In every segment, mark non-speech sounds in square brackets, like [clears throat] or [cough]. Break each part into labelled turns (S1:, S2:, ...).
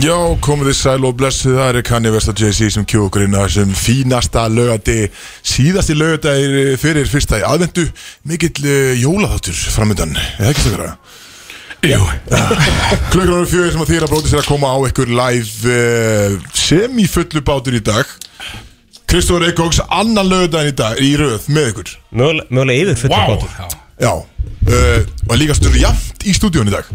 S1: Já, komið þið sæl og blessið, það er Kanye West og Jay-Z sem kjóð okkur inn að þessum fínasta lögadi, síðasti lögadagir fyrir fyrsta í aðvendu, mikill uh, jólaþáttur framöndan, eða ekki stakara?
S2: Jú,
S1: [laughs] Klukkan ára fjögur sem að þýra bróti sér að koma á ykkur live uh, sem í fullu bátur í dag. Kristóður Eikóks, annan lögadagin í dag í röð með ykkur.
S3: Mögulega, mögulega yfir fullt
S2: wow.
S3: bátur
S1: Já, uh, og líka stöður jafnt í stúdíón í dag.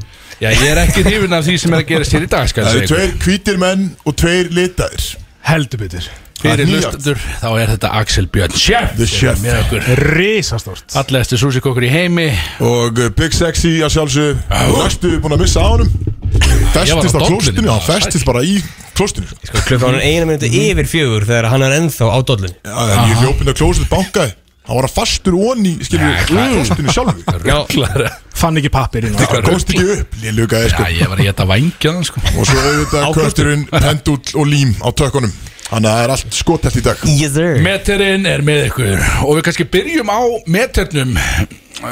S2: Já, ég er ekki hrifin af því sem er að gera sér í dag, skal
S1: Það
S2: ég
S1: eru
S2: segja. ykkur.
S1: tveir hvítir menn og tveir litaðir.
S4: Heldur betur
S1: Það
S2: Fyrir
S1: er nýjast.
S2: lustendur, þá er þetta Axel Björn Chef.
S1: The Chef.
S2: Með okkur.
S4: Rísastort
S2: Allegasti súsikokkur í heimi.
S1: Og uh, Big Sexy að sjálfsög Næstu búin að missa á honum
S2: Ég
S1: Festist
S2: var á
S1: á
S2: dollunni.
S1: klostinu Hann festist bara í klostinu sko.
S3: Sko, Klukkan er eina minúti yfir fjögur þegar hann er ennþá á dollun
S1: Já, En ég hljópin að klostinu bankaði Hann var að fastur onni Skilur
S2: Já,
S1: ja,
S2: klar.
S1: klostinu sjálfu
S2: Rugglar.
S4: Fann ekki pappirinn
S1: Hann komst ekki upp Lélugaði
S2: Já,
S1: sko
S2: ég var í þetta vængjaðan, sko.
S1: Og svo auðvitað kötturinn Pendull og lím á tökkunum Þannig að það er allt skotelt í dag
S3: Yes sir
S2: Meterinn er með ykkur og við kannski byrjum á meternum.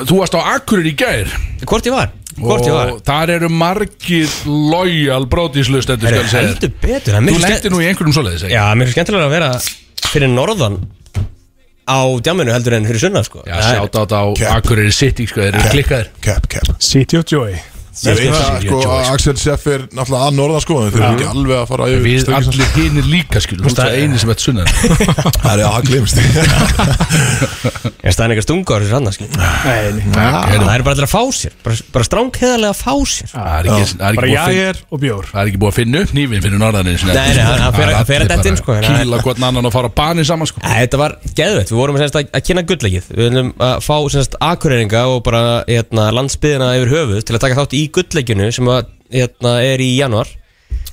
S2: Þú varst á Akureyri í gær
S3: Hvort ég var? Hvort ég var?
S2: og þar eru margir lojal brótislustöndur
S3: Það
S2: skal
S3: er
S2: ég segja. þér.
S3: heldur betur en mér
S2: Þú
S3: finnst
S2: lendi
S3: skemmt-
S2: nú í einhverjum svoleiðis, ekki?
S3: Já, mér finnst skemmtilega að vera fyrir norðan á djáminu heldur en fyrir sunna sko
S2: Já,
S3: Það er-
S2: sjátt á þetta á
S1: Kepp.
S2: Akureyri City, sko, þeir eru klikkaðir.
S1: Cap, cap
S4: City of Joy
S1: Ég veit
S2: Sexy,
S1: það sko
S2: ég, Joy,
S1: að
S2: sko.
S1: Axel Seff er náttúrulega að norða sko en Þeir eru ekki alveg að fara yfir
S2: [laughs] Við
S1: stöngina.
S2: allir hinir líka skilur Þú
S3: það
S2: er eini sem þetta sunnar
S1: Það er að hafa glemst
S3: En staðan ekki að stunga á þessu sanna skil
S4: Nei, nei.
S3: Það er bara allir að fá sér Bara, bara strángheðarlega að fá sér
S2: Það er ekki- það er
S4: Bara
S2: ekki búið að finna-
S4: jægir og bjór
S2: það er ekki búið að finna upp nýfin fyrir norðanin
S3: Nei, nei, hann- hann fer- hann fer að detta inn, sko, en hann-
S2: Kýla hvern annan og fara á bani saman sko
S3: Æ, Þetta var geðveitt, við vorum semst, að, að kynna gullleikið Við viljum að fá semst, akureyringa og bara hérna, landsbyðina yfir höfuð til að taka þátt í gullleikinu sem að, hérna, er í januar
S1: [laughs]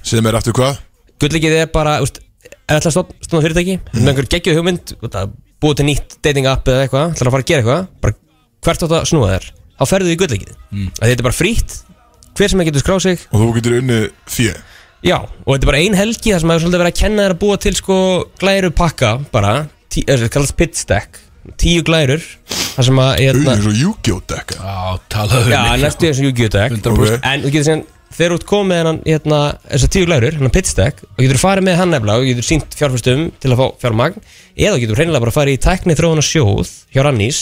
S1: Sem er aftur hvað?
S3: Gullleikið er bara, úst, er alltaf stofn, stofn fyrirtæki mm. með einhver geggjöð hugmynd, þú veit að búið til nýtt dating app eða eitthvað, ætlar að fara að gera eitthvað bara hvert átt að snúa þér þá ferðu í gullleikið, mm. þetta er bara frítt hver sem er getur skráð sig
S1: Og þú getur unnið fjö
S3: Já, og þetta er bara ein helgi þar sem hefur svolítið verið að kenna þér að búa til sko glæru pakka bara, tí, er, kallast pit stack tíu glærur þar sem að
S1: Unnið
S3: hérna,
S1: er svo Yu-Gi-Oh dekka
S2: Já, talaðu
S3: já,
S2: við mig
S3: næstu þessu Yu-Gi-Oh! deck
S2: 100%
S3: en þú getur síðan, þegar þú ert komið með hennan hérna, þessar tíu glærur, hennan pit stack og getur farið með hann nefnilega og getur sínt fjárfæstum til að fá fjármagn eða þú getur reynilega bara farið í tækni þróuna sjóð hjá Rannís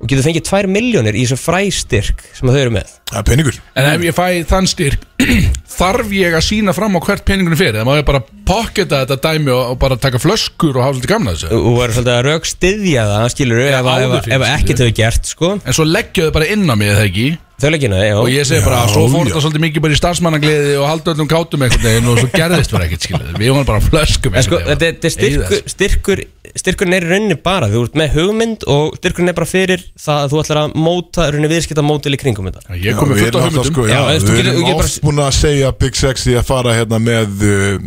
S3: og getur fengið tvær miljónir í þessu fræstyrk sem þau eru með
S1: Það er peningur
S2: En ef ég fæ þann styrk [clears throat] Þarf ég að sína fram á hvert peningunum fyrir Það má ég bara pocketa þetta dæmi og, og bara taka flöskur og hafa svolítið gamla þessu
S3: og verður svolítið að rauk það, skilur ef,
S2: áður
S3: ef, ef,
S2: fyrir,
S3: ef ekkert hefur gert, sko
S2: En svo leggja þau bara inn á mig eða ekki
S3: Þau leggina, já
S2: Og ég segi bara
S1: Já,
S2: Svo fór
S1: já.
S2: þetta svolítið mikið bara í starfsmannagliði Og halda öllum kátum einhvern veginn Og svo gerðist bara ekkert skilur Við varum bara á flöskum
S3: En sko,
S2: einhvern
S3: þetta
S2: veginn.
S3: er- þetta er styrkur, styrkur, styrkurinn er í rauninni bara, þú ert með hugmynd og styrkurinn er bara fyrir það að þú ætlar að móta, í rauninni viðskipta mótil í kringum þetta.
S2: Ég kom með fullt á hugmyndum
S1: sko, já,
S3: Já, veist, þú
S1: Við
S3: getur-
S1: erum
S3: þú getur bara-
S1: oft búin að segja Big Sexy að fara hérna með uh,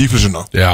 S1: dýflisuna
S2: Já,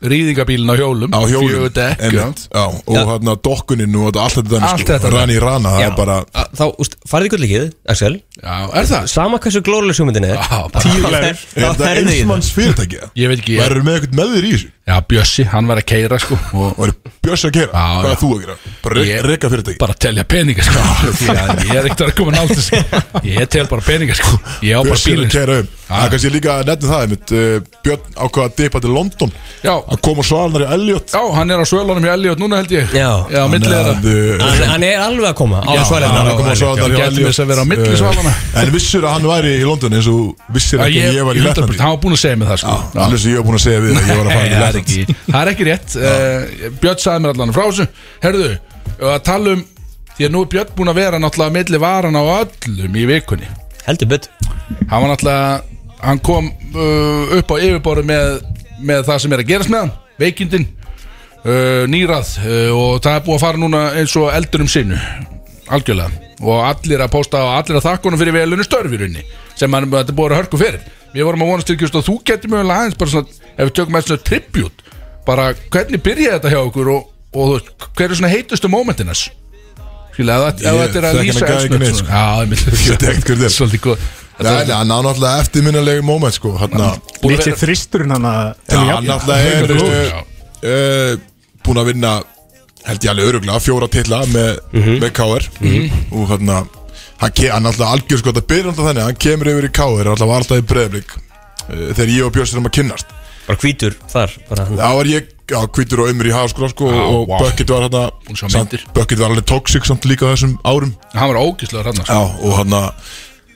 S2: rýðingabílinn á hjólum
S1: á hjólum
S2: Fjögur dekk,
S1: einmitt, já, og
S3: Já.
S1: hérna dokkuninn og þetta- allt þetta dæmi,
S2: Allt
S1: sko,
S2: þetta dæmi.
S1: Rani Rana, það
S3: Já.
S1: er bara
S3: Að- Þá, úst, farið í gullíkið, Axel,
S2: já. já, er það?
S3: sama hversu glórulegs hugmyndin er,
S2: Já, bara-
S3: tíu
S4: glærur.
S1: Er
S3: þá
S1: þetta
S3: ferðu í það.
S1: einsmanns fyrirtæki?
S2: Ég veit ekki, ég-
S1: Verður með eitthvað með þér í þessu?
S2: Já, Bjössi, hann var að keira sko og
S1: Og er Björns að gera?
S2: Já,
S1: Hvað
S2: já.
S1: er þú að gera? Bara
S2: Ég-
S1: re- reka fyrirtæki?
S2: bara að telja peninga sko Því að Ég er ekkert að koma nátt þessu Ég tel bara peninga sko Ég á bara
S1: Björns er
S2: bílinn
S1: að
S2: sko.
S1: kæra um Það er kannski líka að nefna það einmitt, uh, Björn ákvað að dipa til London
S2: Já.
S1: Að koma svalnari Elliot
S2: Já, hann er á svölunum í Elliot núna held ég
S3: Já.
S2: Já, á milli
S1: Þannig
S2: þeirra
S1: að, uh,
S3: Hann, hann er alveg að koma á
S2: Já,
S1: hann er að koma
S3: svælega.
S1: á svalirnar
S2: Já,
S1: hjá
S2: gæti
S1: Elliot.
S2: þess að vera á milli
S1: Eh,
S2: svalanna.
S1: En vissur að hann væri í London eins og vissir
S2: Já,
S1: ekki að ég var í
S2: 100%
S1: Lettlandi
S2: Hann var búin að segja mig það sko Já.
S1: Allir sem ég var búin að segja við þér að ég var að
S2: Nei,
S1: fara í
S2: [laughs] það
S1: Lettlandi
S2: er ekki Það er ekki rétt uh, Björn sagði mér allan frá þessu Herðu, að tala um Því að nú er Björn búin að vera náttúrulega milli varan á öllum í vikunni
S3: Heldur bytt.
S2: Hann var náttúrulega Hann kom uh, upp á yfirborðu með, með það sem er að gerast með hann Veikindin uh, Nýrað uh, Og það er búið að fara núna eins og eldur um sinu Algjörlega Og allir að pósta og allir að þakka honum fyrir velunum störf í rauninni Sem hann, þetta er búið að vera hörku fyrir Við vorum að vonast til kjöst að þú getur mögulega aðeins bara svona, Ef við tökum aðeins svona tribut Bara hvernig byrjaði þetta hjá okkur Og, og þú veist, hver er svona heitustu mómentinnas Skilja, ef þetta- ef
S1: Ég
S2: þetta er að
S1: þekki
S2: lýsa
S1: hann ekki neitt,
S2: svona. Já, ég myndi
S1: [laughs] Ég veit ekkert hver þetta er.
S2: Svolítið góð
S1: Nei, nei, hann á náttúrulega eftirminnilegi moment sko Hann
S2: Búin að
S4: Lítið
S2: vera-
S4: þristurinn hann að
S1: Já, hann náttúrulega er
S2: Haukur,
S1: uh,
S2: já.
S1: uh, Búin að vinna Held ég alveg öruglega fjóra titla Með,
S2: Mhm.
S1: með KR Og hérna Hann, ke, hann alltaf algjör sko, það byrja alltaf þannig að Hann kemur yfir í KR, alltaf var alltaf í breyðblik eh, þegar ég og Björns erum að kynnast
S3: bara hvítur þar bara.
S1: þá var ég já, hvítur og ömur í háskóla sko,
S2: Já,
S1: og
S2: vá.
S1: Bökkit var hérna
S2: Búin að sjá
S1: samt-
S2: myndir.
S1: Bucket var alveg toxic samt líka á þessum árum
S2: Hann var sko. ógislega rannar
S1: já, og hérna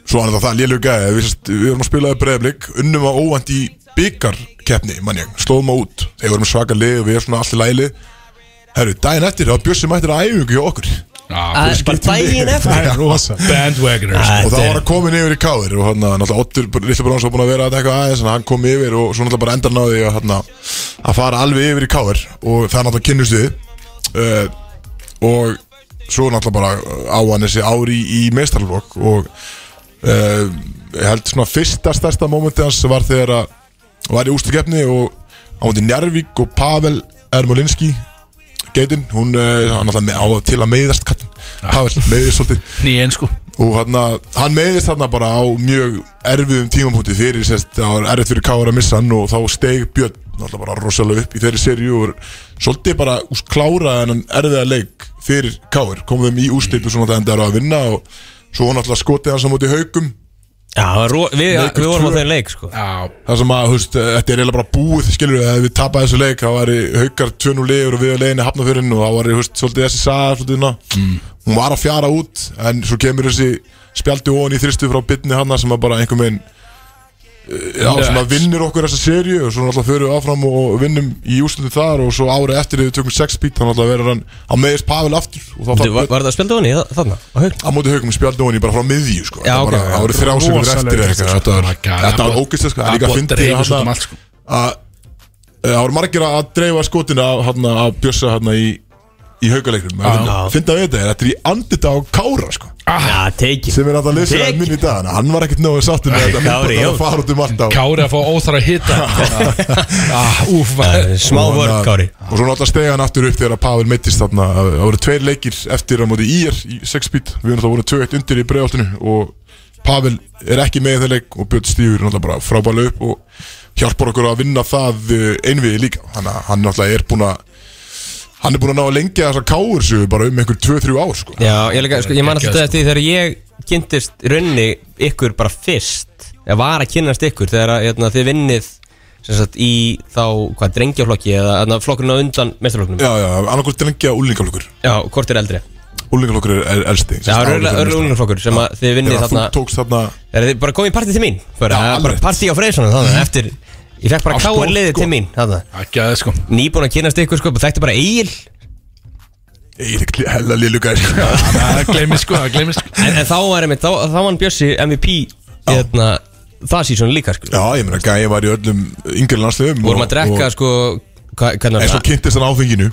S1: svo hann er það lélug gæði við, sérst- við vorum að spila í breyðblik unnum að óvænt í byggarkeppni mann ég, slóðum að út þegar vorum svaka lið og við erum svona allir læli Herru, daginn eftir, þá bjössi mættir að æfingu hjá okkur
S3: Að- bara daginn eftir
S4: Það er rosa
S2: Bandwagoners
S1: Og það var að koma inn yfir í káðir Og hann, náttúrulega, Ottur, Lillu Bróns var búin að vera að eitthvað aðeins En hann kom yfir og svo náttúrulega bara endar náði að, hann, að fara alveg yfir í káðir Og það náttúrulega kynnust við uh, Og svo náttúrulega bara eh, á hann þessi ári í, í meistarlokk Og uh, ég held svona fyrsta stærsta momenti hans var þegar að Var í ústakefni og á hundi Njarvík og Pavel Ermolinski Geitin, hún, uh, hann náttúrulega með- á það til að meiðast kallinn Pavel, meiðist svolítið
S2: Nýjen sko
S1: og hann, hann meðist þarna bara á mjög erfiðum tímapunkti fyrir sérst, það var erfitt fyrir Kára að missa hann og þá steig Björn náttúrulega bara rosalega upp í þeirri seríu og var svolítið bara úst, klára en erfiða leik fyrir Káir komum þeim í úrslit og svona það endaði á að vinna og svo hann náttúrulega skotið hans á móti haukum
S3: Já, það var ro- við,
S1: Leikur
S3: við vorum á
S1: tvö.
S3: þeim leik sko.
S2: Já,
S1: þar sem að, húst, þetta er eiginlega bara búið skilur við, ef við tapaði þessu leik þá var haukar 2-0 liður og við að leiðinni hafnafjörinn og þá var, húst, svolítið þessi saga svolítið, mm. hún var að fjara út en svo kemur þessi spjaldi ofan í þristu frá bytni hanna sem að bara einhver megin Já,
S2: Nuts.
S1: sem að vinnir okkur þessa serju og svo náttúrulega förum við áfram og vinnum í úslutu þar og svo árið eftir þegar við tökum sex bít þá náttúrulega verður hann að meðist Pavel aftur og þá
S3: Þú,
S1: þarf
S3: var, var það að spilda honni þarna? á Hauk?
S1: að móti haugum spjaldi ofan í bara frá miðju sko.
S3: Já,
S1: Þetta
S3: ok,
S1: bara-
S3: ok.
S1: það voru þrjá sekundur
S4: Rosalega
S1: eftir eða eitthvað.
S4: íslenskt.
S1: þetta var,
S2: það
S1: þetta var
S2: bara-
S1: ógist sko.
S2: það
S1: það er líka
S2: bara
S1: fyndið
S2: dreifist út um
S1: þarna-
S2: allt, sko.
S1: að eh, það voru margir að dreifa skotin að, hann, að bjössa hann í, í haugaleiknum
S3: Já.
S1: finna við þetta, er, þetta er í andita á Kára sko,
S2: Ah.
S3: Já, tekin
S1: sem er alltaf leysið
S3: Tek.
S1: minn í dag, þannig að hann var ekkert náðu sáttur með þetta, hann
S3: Kári,
S1: bara
S3: já.
S1: að fara út um allt á
S2: Kári að fá óþara að hita ah, Úf, var-
S3: Smá
S1: Og hann
S3: vörð,
S1: að-
S3: Kári
S1: og svo náttúrulega stegi hann aftur upp þegar að Pavel meittist þarna, að- það voru tveir leikir eftir á móti ír í 6 bít, við erum alltaf voru 2-1 undir í bregðoltinu og Pavel er ekki með í þeir leik og Björn Stífur er náttúrulega bara frábæla upp og hjálpar okkur að vinna það eh, einvið líka, hann, hann náttúrulega er búin að hann er búin að ná að lengja þessar káur sem við bara um einhver 2-3 ár sko.
S3: Já, ég, líka, sko, ég man
S2: Geggjað,
S3: alltaf eftir því þegar ég kynntist í rauninni ykkur bara fyrst eða var að kynnast ykkur þegar að, hérna, þið vinnið sem sagt, í þá hvað, drengjaflokki eða hérna, flokkurinn á undan mestarflokknum já.
S1: Já, já, annarkvöld lengja úlingaflokkur
S3: hvort er eldri
S1: úlingaflokkur er, er elsti
S3: Já, það eru örlunarflokkur sem að þið vinnið
S1: Þegar þú
S3: þarna
S1: tókst þarna
S3: er þið bara komið í partí til mín bara,
S1: Já,
S3: já, bara
S1: alveg. Mhm.
S3: partí á Freyrsson þannig eftir ég fekk bara
S2: Á
S3: káar
S2: stórt,
S3: liðið
S2: sko.
S3: til mín þannig
S2: Ekki aðeins sko
S3: nýbúin að kynnast ykkur sko bara þekkti bara Egil
S1: Ég er ekki hella lillugæð
S3: [laughs]
S2: Það glemist sko, það glemist sko
S3: en, en þá var einmitt þá, þá var hann Bjössi MVP hérna, það síðan líka sko
S1: Já, ég meina gæði var í öllum yngri landsliðum og-
S3: vorum að
S1: og-
S3: drekka sko hva,
S1: En
S3: hvernig var
S1: svo
S3: það?
S1: kynntist hann áfenginu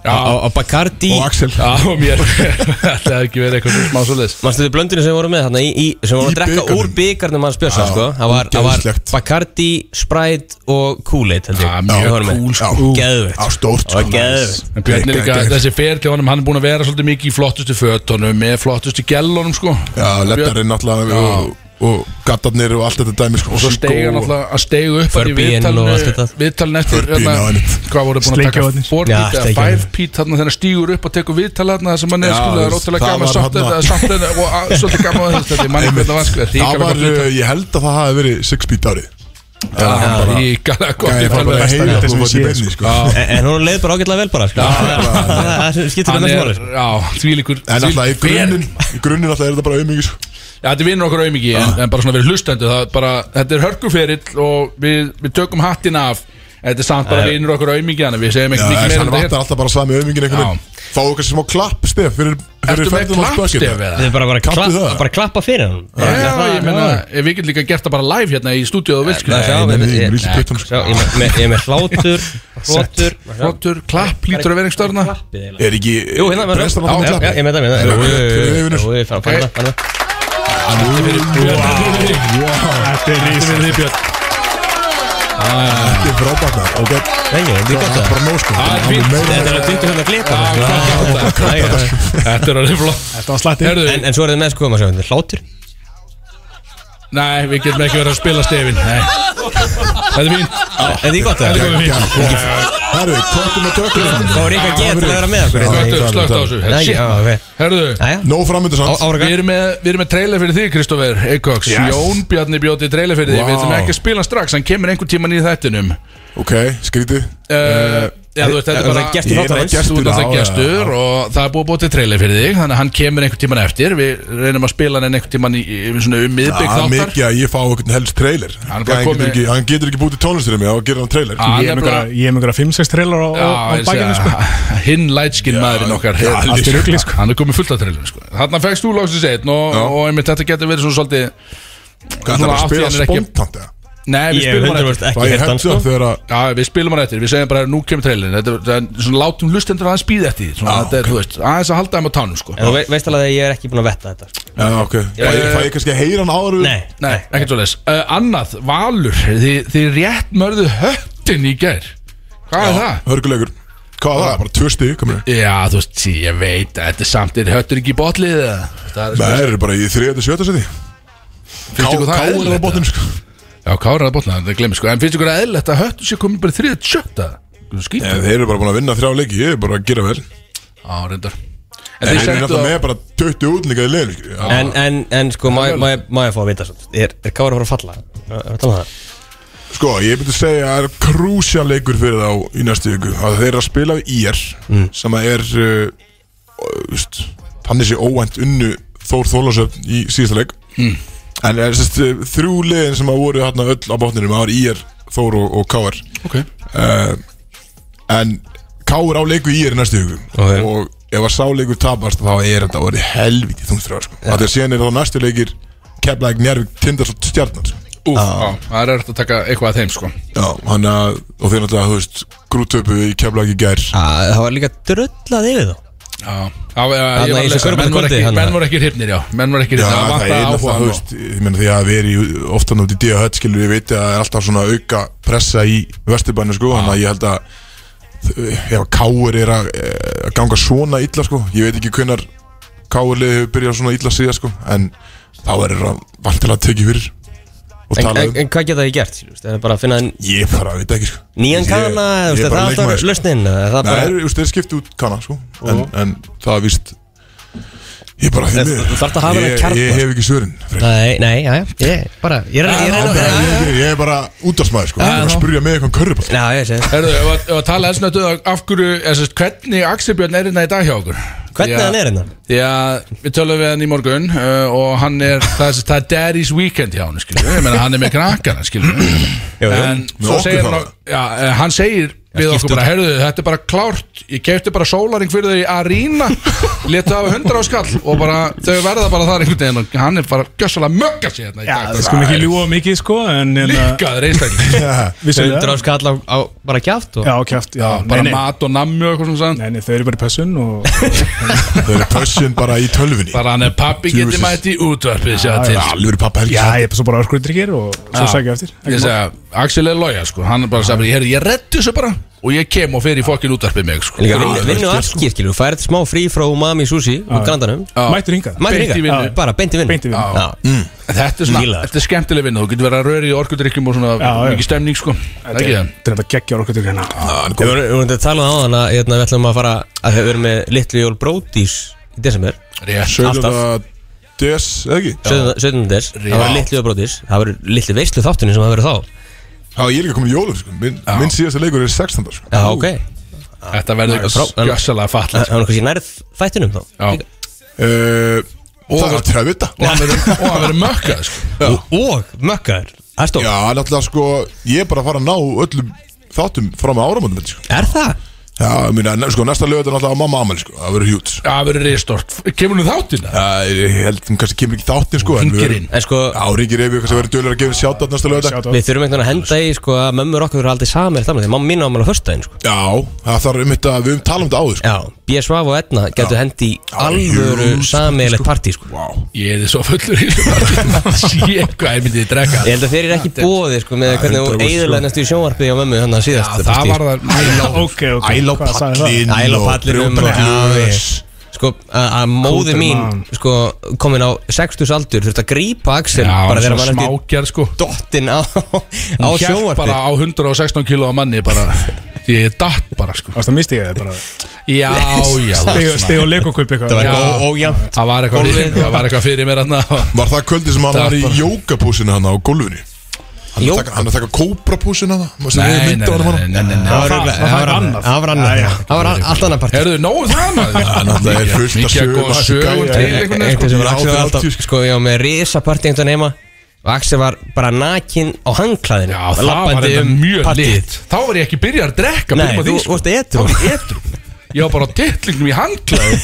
S2: Já,
S3: á, á Bacardi
S1: Og Axel
S2: já, og mér [laughs] Það er ekki verið eitthvað smá svoleiðis
S3: Manstu þið blöndinu sem voru með þarna í, í, sem
S1: Í
S3: voru að drekka
S1: bikarnum.
S3: úr byggarnum hans Bjössa
S1: Já,
S3: sko. það, var, það var
S1: ógeðslegt.
S3: Bacardi, Sprite og Kool-Aid held ég.
S2: Já, mjög
S3: Það voru með.
S2: cool, sko.
S1: Já.
S3: Geðveikt.
S1: Á stórt
S3: Það var geðveikt.
S2: En Björn er líka, þessi ferli á honum, hann er búin að vera svolítið mikið í flottustu fötunum með flottustu gellunum sko
S1: Já, lettarinn náttúrulega og, og gattarnir og allt þetta dæmi sko,
S2: Og svo steig hann alltaf að steigu upp að í
S3: Furby inn
S2: viðtalinu-
S3: og allt þetta.
S2: Viðtalinu eftir
S1: Furby inn
S2: hérna,
S1: á henni.
S2: Hvað voru búin að taka
S4: Sleikjavarnir.
S3: Já,
S2: 4 pít eða
S3: sleikjavarnir.
S2: 5 pít þarna þannig að stígur upp og tekur viðtal þarna sem hann er
S1: Já,
S2: skilur
S1: veist,
S2: rótulega
S1: það
S2: gaman
S1: var
S2: samt
S1: þarna-
S2: þetta samt þetta og að- svolítið gaman að þetta ég manni hvernig það var sko
S1: Það var,
S2: ríkalega
S1: uh, ég held að það hafi verið 6 beat árið
S2: gott ríkalega gott um
S1: Gæði
S2: viðtal
S1: fara bara að
S2: við hann.
S1: heyra
S4: viðtal
S1: þú
S4: sem
S1: varst í
S4: ég sé,
S1: beinni sko
S3: En, en hún leið bara ágætlega vel bara sko. Það skiptir
S2: Hann
S3: með þessu
S2: er,
S3: máli sko.
S2: já, þvílíkur
S1: En alltaf í
S2: þvílíkur-
S1: grunninn Í grunninn alltaf er þetta bara auðmyggi sko
S2: Já, þetta er vinnur okkur auðmiki en, en bara svona verið hlustandi það, er bara, Þetta er hörkuferill og við, við tökum hattin af Þetta er samt bara vinnur okkur auðmiki Þannig að við segjum
S1: Já,
S2: ekki mikið
S1: en
S2: meira
S1: hann
S2: um
S1: vantar
S2: þetta
S1: alltaf bara sami auðmyggin einhvern
S2: Já.
S1: veginn Fáðu kannski smá klapp stef fyrir
S2: hér Ertu
S1: um
S2: með klappstef
S3: Þið
S2: eða?
S3: er bara, bara,
S1: Kanntu
S3: kla,
S1: það?
S3: bara klappa fyrir hann
S2: Já, ég meina, ef við getum líka gert það bara live hérna í stúdíu og vilskjöld
S3: Sjá,
S1: Nei, nei, ég
S3: ég-
S1: er lítið
S3: ég-
S1: puttan
S3: sjá, ég með- með- ég er með hlátur Hlátur
S2: Flottur, klapp, lítur að vera einhver störna
S3: Klappið eiginlega.
S1: Er ekki
S3: Jú, hérna með
S1: Brestan að
S3: Já,
S1: það
S3: já, Ég með það, ég með það
S1: Jú,
S3: Jú, jú,
S1: jú,
S3: jú,
S1: jú,
S3: jú,
S1: jú.
S3: jú, fann- fann það, fann það.
S4: Þetta er rís
S1: Þetta er frábært maður, ok?
S3: Nei, nei, þetta er gott
S1: Það er
S3: það
S1: bara nóg sko
S2: Það
S1: Það
S2: er
S1: er
S2: fínt.
S1: meira-
S3: Þetta er að 20 hérna flipa
S2: Þetta
S3: Já, já, já.
S2: er alveg flott
S4: Þetta var slatti
S2: Herðu,
S3: En, en svo er þið með sko, maður sjá, þetta er hlátur
S2: nei, við getum ekki verið að spila stefin Nei. Þetta er fín
S3: Er því gott
S1: Það
S3: það?
S1: er ekki- Herru, köttum og tökum
S3: Þá er eitthvað að gera til að vera með okkur
S1: Já,
S2: Slögt
S1: já,
S2: á
S1: já.
S2: þessu
S3: Nei,
S2: Shit,
S3: já,
S2: maður.
S3: ok.
S2: Herðu
S3: Jæja,
S1: Nóg framöndu samt
S3: ára
S2: Við erum, með, við erum með trailer fyrir því, Kristoffer Eikoks
S1: Yes.
S2: Jón Bjarni bjóti trailer fyrir því
S1: Vá.
S2: Við ætlum ekki að spila hann strax, hann kemur einhver tíman í þættinum uh,
S1: Ok, skrítið
S2: Já, þú veist, þetta er bara
S3: Gert
S1: Ég
S3: í
S1: er
S3: þáttarins.
S1: ekki að-
S2: Þú
S1: Gestur,
S2: ert alltaf
S1: já,
S2: gestur og það er búið að búið til trailer fyrir þig Þannig að hann kemur einhvern tíman eftir Við reynum að spila hann einhvern tíman í, í, í svona um miðbygg
S1: Það er
S2: þáttar
S1: mikið að ég fá einhvern helst trailer
S2: Hann
S1: Hann
S2: er bara
S1: getur
S2: komið-
S1: ekki, hann getur ekki búið til tónlistur um mig og gera hann trailer
S2: Ah,
S4: Ég er með
S2: nefnilega-
S4: einhverja- ég er með einhverja 5-6 trailer á, á, á
S2: Já, ég
S4: bakinu
S2: sé
S4: sko.
S2: að [laughs] Hinn lætskin maðurinn okkar
S1: já,
S2: er-
S1: allt í
S4: rugli, sko.
S2: Hann er komið fullt af trillum sko. Þarna fegst þú loksins einn og,
S1: Já.
S2: og einmitt þetta getur verið svona svolítið
S1: Hvað er það
S2: svona
S1: bara að
S2: átti
S1: spila
S2: hann er ekki-
S1: spontant eða?
S2: Nei, við
S3: Ég hef
S2: spilum hann
S3: 100%
S2: eftir
S1: Það
S3: ekki
S1: er
S3: hitt hann
S1: hendur
S3: sko
S1: það þegar að
S2: Já, við spilum hann eftir, við segjum bara nú kemur trailin Þetta er- þetta er svona látum lustendur aðeins býð eftir því. svona,
S1: Já,
S2: þetta er, þú veist, aðeins að halda þeim á tánum sko.
S3: En þú ve- veist alveg að ég er ekki búin að vetta þetta sko.
S1: Já, ok Fæ
S2: ég-
S1: ég- fæ ég kannski að heyra hann áður
S3: Nei,
S2: Nei, ekkert svo leis uh, Annað, Valur, þið, þið rétt mörðu höttin í gær Hvað er það?
S1: Hörgulegur Hvað var það? Bara tvö stík komur
S2: Já, þú veist, ég veit að þetta er samt er höttur ekki í botlið eða? Það er
S1: Nei, það eru bara í þriðjöndu sjötta seti
S2: Finnst ykkur það
S1: Káður á
S2: eðlilegt,
S1: botnum sko
S2: Já, Kára að botla, það glemir sko En finnst ykkur að eðlætt að höttu sé komin bara þriðið sjötta?
S1: Nei,
S2: Skýta
S1: Þeir eru bara búin að vinna þrjá leiki Ég er bara að gera vel
S2: Á, reyndar En
S1: En
S2: þið
S1: þeir eru
S2: sendu
S1: náttúrulega
S2: á
S1: með bara 20 útlíka í liðinu skilju. Já.
S3: en, en, en sko, má, má, má ég fá að vita svo Er, er Kára að fara að falla? Er, er að tala um það?
S1: Sko, ég myndi segja að það er krúsja leikur fyrir þá í næstu viku að þeir eru að spila við IR sem að er uh, veist, þannig sé óvænt unnu Þór Þólasöfn í síðasta leik en er sérst uh, þrjú liðin sem að voru hérna öll á botninum það var IR, Þór og, og KR
S2: Ok
S1: uh, en KR á leiku IR í næstu viku
S3: Ok.
S1: og ef að sá leikur tapast þá er þetta orðið helviti þungströðar sko. ja. þegar síðan er það næstu leikir Keflæk, Njárvík, Tindars og Stjarnar sko.
S2: Úf, á, það er eftir að taka eitthvað að þeim sko
S1: Já, hann að, og þeir náttúrulega, þú veist, grúttöpu í keflagi gær
S3: Á, Það var líka drullað yfir þá
S2: Já, já, já,
S3: Þarna
S2: ég
S3: í þessu
S2: var að lesa Menn voru
S3: körfuboltakvöldi,
S2: ekki,
S3: hann-
S2: menn voru ekki hrifnir, já Menn voru ekki
S1: Já,
S2: hrifnir, það
S1: það er
S2: vantaði
S1: einn að
S2: áhuga
S1: það, þú veist, ég meina því að vera í oftan út í D.A. Hött, skilur, ég veit að það er alltaf svona auka pressa í vesturbænum, sko, þannig að ég held að ef að Káur er að eh, að ganga svona illa, sko, ég veit ekki hvenar Káur liðið hefur byrjað svona ná síðan, sko, en þá er það vantilega að tekið fyrir og
S3: En,
S1: tala
S3: en,
S1: um,
S3: en hvað geta ég gert? skilur, veist, Er það bara að finna
S1: ég bara veit ekki, sko
S3: nýjan
S1: Ég-
S3: kana?
S1: ég
S3: þú
S1: er
S3: veist, Er
S1: bara
S3: það alltaf
S1: leikmaður, sko.
S3: lausnin? eða er það
S1: Nei,
S3: bara-
S1: þeir- þú veist, þeir skiptu út kanna, sko en, en það er víst Ég bara
S3: Þú-
S1: því miður.
S3: þú þarft að hafa
S1: Ég-
S3: þennan kjarna,
S1: Ég hef ekki svörin
S3: Nei, nei, já, já, ég bara, ég reyna, ég reyna
S1: Ég ég- ég er bara útdagsmaður, sko Ég er bara að spurja með eitthvað um körruball
S3: Já, ég segi það
S2: Herðu, ef að- ef að tala elsnötu af hverju, eða sérst, hvernig Axel Björn er hérna í dag hjá okkur?
S3: Hvernig
S2: Því að-
S3: hann er hérna?
S2: Því að við tölum við hann í morgun uh, og hann er, það er, það er Daddy's Weekend hjá hann, skilju, ég meina hann er með krakkana, skilju
S4: [clears throat]
S3: jú.
S2: En
S1: Með
S2: svo
S1: okkur
S2: segir
S1: þá?
S2: hann, ok- já, eh, hann segir við okkur bara, herðu, þetta er bara klárt ég kefti bara sólaring fyrir þau í
S4: [laughs]
S2: Arena letu af 100 á skall og bara, þau verða bara þar einhvern veginn og hann er bara gjössalega mögga sér hérna í dag
S4: Við skulum ekki ljúa mikið sko En hérna,
S2: Líkaður einstaklega
S4: við séum
S3: Undur á
S4: það
S3: skall á, á bara kjátt og
S4: Já, kjátt, já,
S2: sko. Bara
S4: nei, nei,
S2: mat og nammi og eitthvað svona sann
S4: nei, nei, þau eru bara í pössun
S2: [laughs]
S4: og
S1: Þau eru pössin bara í tölvunni
S2: Bara hann er pappi geti
S1: Jesus.
S2: mætt í útvarpið sjá
S4: Já,
S2: til
S4: já.
S1: Alveg eru pappa helgi
S4: Já, ég er svo bara örskur drikkir og svo
S2: Já.
S4: sækja eftir
S2: Ég
S4: Ekki mál.
S2: segja, Axel er loja sko Hann er bara að segja, ég, heyrðu, ég reddi þessu bara Og ég kem og fer í fokkin útvarpið mig sko
S3: Líka
S2: Já,
S3: vinnu- vinnu allskir, skilur, þú færið smá frí frá umami sushi og grandanum
S4: Mættur hingað
S3: Mætir
S2: Beint í
S3: hingað,
S2: vinnu.
S3: bara beint í vinnu
S4: Beint í vinnu.
S3: Já. Mm,
S2: Þetta er svona,
S3: Fíla.
S2: þetta er skemmtileg vinna Þú getur verið að röri í orkudrykkjum og svona
S4: Já, já.
S2: Mikið stemning sko Það er ekki það
S4: Þetta er þetta geggja orkur drikkir hérna
S3: Við vorum við vorum að tala um áðan að hérna, við ætlum að fara að við erum með litlu jól bródís í desember,
S2: Rétt,
S1: Söðan DS, eða ekki?
S3: 17. des það var litlu jól bródís, það var litlu veislu þáttunni sem það verið þá
S1: Já, ég er líka komin í jólum, sko Minn, minn síðasta leikur er 16. sko
S3: Já, ok,
S2: þetta verður
S3: frá- en-
S2: gjössalega
S3: það
S2: falla
S3: það var kannski nærð þættinum þá
S2: Já.
S3: líka.
S1: Eh,
S2: Og-
S1: Það er til að vita
S2: Og hann verður- og hann verður mökkað sko
S3: Og- Og mökkaður, það er stór
S1: Já, náttúrulega, sko Ég er bara að fara að ná öllum þáttum fram að áramöndum, sko
S3: Er það?
S1: Já, ég meina, sko, næsta lögut er náttúrulega að mamma amal, sko Það verður hjút
S2: Já, það verður reyðstort Kemur nú þáttinn það?
S1: Ég held, hún kannski kemur ekki þáttin, sko en við
S2: Hringir
S1: verðum-
S2: inn.
S3: En sko,
S1: Já, ringir ef við kannski verður dölur að gefa sjátt næsta lögut
S4: Sjátt á
S3: við þurfum einhvern veginn að henda í sko, að mömmur okkur eru aldrei samir þannig að mamma mín á ámæli á föstudaginn sko.
S1: Já, það þarf um þetta, við höfum talað um þetta áður sko.
S3: Já, B. Svav og Edna getur hendi í alvöru
S1: jú, sko,
S3: sameiglegt partí sko.
S2: Ég er þið svo fullur í [laughs] þessu Sér hvað ég myndið drekka
S3: Ég held að þeir eru ekki bóði sko, með hvernig
S1: 100%
S3: hún
S1: sko.
S3: eiðurlega næstu í sjónvarpið á mömmu þannig að
S2: Já,
S3: síðast
S2: Það var það
S4: [laughs] Ok, ok
S1: Æla á
S4: hvað sagði það?
S1: pallinn
S3: Æla á pallinum og- Já, við- um Sko, að að móði
S4: Kútur
S3: mín
S4: maður.
S3: sko, komin á 60 aldur þurfti að grípa Axel
S2: Já,
S3: bara þegar
S2: svona
S3: maður er
S2: smákjær sko
S3: dottin á, á
S2: Hún hélt
S3: sjónvarpið
S2: bara á 116 kilo á manni bara Því ég datt bara sko
S4: Ást að misti ég það bara
S2: Já, já það var
S4: Stig-
S2: svona-
S4: Stig og leik og kaup
S3: Það
S4: eitthvað
S3: var
S4: Já.
S3: eitthvað ójæmt
S2: Það var eitthvað fyrir, það var eitthvað fyrir mér þarna
S1: Var það kvöldi sem hann
S2: Það
S1: var í
S2: bara-
S1: jókapúsinu hann á gólfinu? Hann er
S3: Jó.
S1: að taka- hann er að taka kóprapúsinu hann Má sem við
S2: Nei, nei,
S1: mynda honum
S2: nei,
S1: hann
S2: nei, nei, nei.
S3: Það var örugglega- það var annað Það var annað Það var allt annað part
S2: Herðu, nógu um það maður
S1: Það náttúrulega er fullt af
S2: Mikið að góða
S1: sögum,
S2: sögum
S1: gæja,
S2: til
S1: gæja.
S2: einhvern veginn, sko.
S3: Eitthvað sem var
S1: Ég
S3: Axel
S1: átti
S3: alltaf
S1: 80,
S3: Sko, ég var með risa partí einhvern heima Og Axel var bara nakin á hangklæðinu
S2: Já, það var
S3: labbandi
S2: þetta
S3: um
S2: mjög
S3: partíið.
S2: lit Þá var ég ekki byrjað að drekka
S3: Nei,
S2: byrjum að
S3: þú
S2: því, sko.
S3: vorst edru
S2: Þá var ég edru Ég var bara á tittlingnum í hanglaði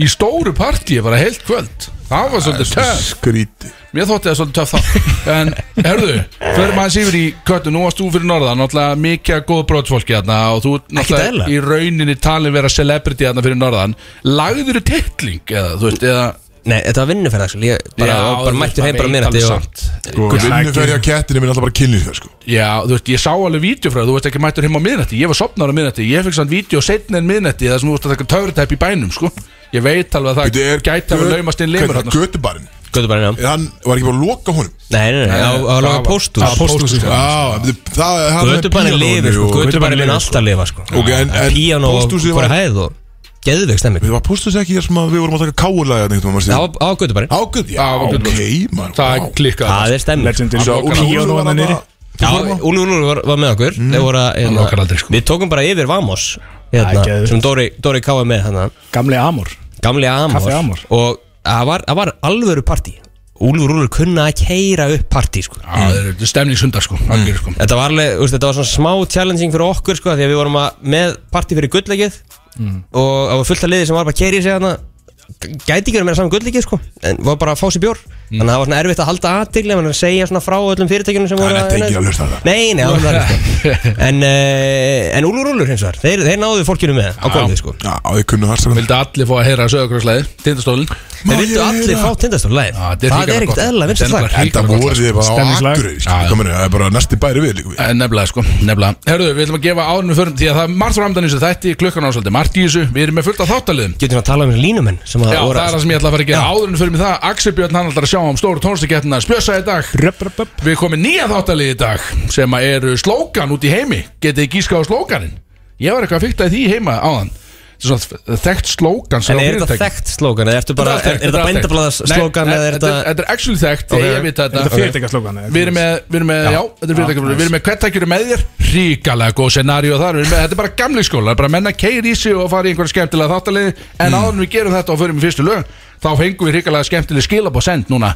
S2: Í stóru partíi, bara heilt kvöld Það var svolítið töf
S1: Skríti
S2: Mér þótti það svolítið töf þá En, herðu, fyrir maður sýfur í köttu Nú varst þú fyrir norðan, náttúrulega mikið af góð brotsfólki þarna Og þú ert náttúrulega
S3: eðlilega.
S2: í rauninni talin vera celebrity þarna fyrir norðan Lagður þú tittling, eða, þú veist, eða
S3: Nei, þetta var vinnuferð Axel Ég bara,
S2: Já,
S3: var bara
S2: þú
S3: mættur
S2: veist,
S3: heim
S2: maður
S3: bara
S2: veit
S3: minnati
S2: alveg
S3: og
S2: samt.
S1: Vinnuferja kettinu minn er alltaf bara kynlýsferð sko
S2: Já, þú veist, ég sá alveg vídeofræð, þú veist ekki mættur heim á miðnætti Ég var sopnar á miðnætti, ég fikk sann vídeo setna en miðnætti Það sem þú veist að taka töfratæp í bænum, sko Ég veit alveg að
S1: Þetta
S2: það
S1: er-
S2: gæti að laumast inn limur
S1: Hvernig,
S2: sko. hann
S1: Götubarinn
S3: Götu bara
S1: Er hann, var ekki bara að loka honum?
S3: Nei, nei, nei, á- á að laga
S4: Það var
S3: pósthús
S4: pósthús
S1: Já, það- það hann er
S3: Götu bara
S1: píanóinu
S3: lifir, sko
S1: og-
S3: Götu bara minn
S4: lifir,
S3: alltaf lifa, sko
S1: Ok, en- en
S3: Píano og
S1: pósthúsið
S3: hverja
S1: var-
S3: hæð og Geðveik stemming
S1: Við var póstus ekki þar sem að við vorum að taka káulæði að neitt
S3: Á á Götu bara
S1: Ágöð, já,
S2: Já, á Götu-
S1: ok, mann
S2: Það klikkað
S3: Það er stemming
S4: Legendary
S1: Svo Úlfur
S4: Píónu
S1: var
S4: hann
S1: þarna-
S4: nýri
S3: Já, Úlfur Úlfur var, var með okkur mm. voru, að,
S2: Hann okkar aldrei, sko.
S3: Við tókum bara yfir Vamos hérna,
S4: Æ, geðvikt.
S3: sem Dóri, Dóri K. var með hana.
S4: Gamli Amor
S3: Gamli Amor,
S4: Kaffi Amor.
S3: Og það var, það var alvöru partí Úlfur Úlfur kunna að keira upp partí sko.
S2: Það er stemningshundar, sko, algjör, sko
S3: Þetta var alveg, úst, þetta var svona smá challenging fyrir okkur sko, Því að við vorum að, með partí fyrir gullleikið
S2: Mhm.
S3: Og það var fullt af liði sem var bara að keira í sig hana Gæti ekki verið meira saman gullleikið sko, En var bara að fá sér bjór
S2: Mhm.
S3: Þannig að það var svona erfitt að halda aðtigli En að segja svona frá öllum fyrirtækjunum sem voru
S1: Hann er ekki
S3: hérna-
S1: að hlusta á það
S3: Nei, nei, alveg verið
S2: [laughs]
S3: sko En, uh, en Úlur Úlur hins vegar Þeir, þeir náðu fólkinu með á gólfið sko
S1: Já, ég kunnu það strax
S2: Vildi allir fá að heyra sögurkvæðslæði, tindastólin
S1: Má
S3: Þeir vildu
S1: ég
S3: allir
S1: heyra?
S3: fá tindastól leið
S2: Já, þetta er
S3: Það
S2: hrikalega
S3: er ekkert
S2: gott.
S3: eðla vinst
S2: Þetta er
S3: slag
S2: lag.
S1: Enda voru þið bara á
S4: Stemningslag.
S1: Akureyri skilur,
S2: Já, já.
S1: hvað meinaru, Það er bara næsti bæri við líka við
S2: En Nefnilega sko, nefnilega Herðu, við ætlum að gefa áðunum förum Því að það er margt framdann í þessu þætti, klukkan ásöldi Margt í þessu, við erum með fullt af þáttaliðum
S3: Getum við að tala um þessi línumenn sem að
S2: Já, það
S3: voru
S2: er það sem ég ætla að fara að gera áðurinn fyrir mig það Axel Björn hann ætlar að sjá um stóru tónstakettna Spjösa í dag
S4: Röp, röp, röp
S2: Við komum með nýja þáttalið í dag sem að eru slókan út í heimi Getið þið gíska á slókanin? Ég var eitthvað að fykta í því heima áðan Þetta er svona þekkt slókan sem
S3: En
S2: á
S3: er þetta
S2: fyrirtækjum.
S3: þekkt slókan eða ertu bara,
S2: allt
S3: er,
S2: þekkt,
S3: er þetta
S2: allt þekkt.
S3: bændablaðas slókan
S2: Nei,
S3: eða er
S2: þetta
S3: þetta
S2: Þetta er actually þekkt, ég veit
S4: Er
S2: þetta
S4: þetta fyrirtækjaslógan? eða?
S2: Við erum með, við erum með, já, þetta er fyrirtækjum
S4: Já,
S2: Við erum með hvert tækjur með þér, ríkalega góð scenaríu þar Við erum með, þetta er bara gamli skóla, bara menna keir í sig og fara í einhverja skemmtilega þáttaliði En mm. áður en við gerum þetta og förum í fyrstu lög Þá fengum við ríkalega skemmtilega skilab og send núna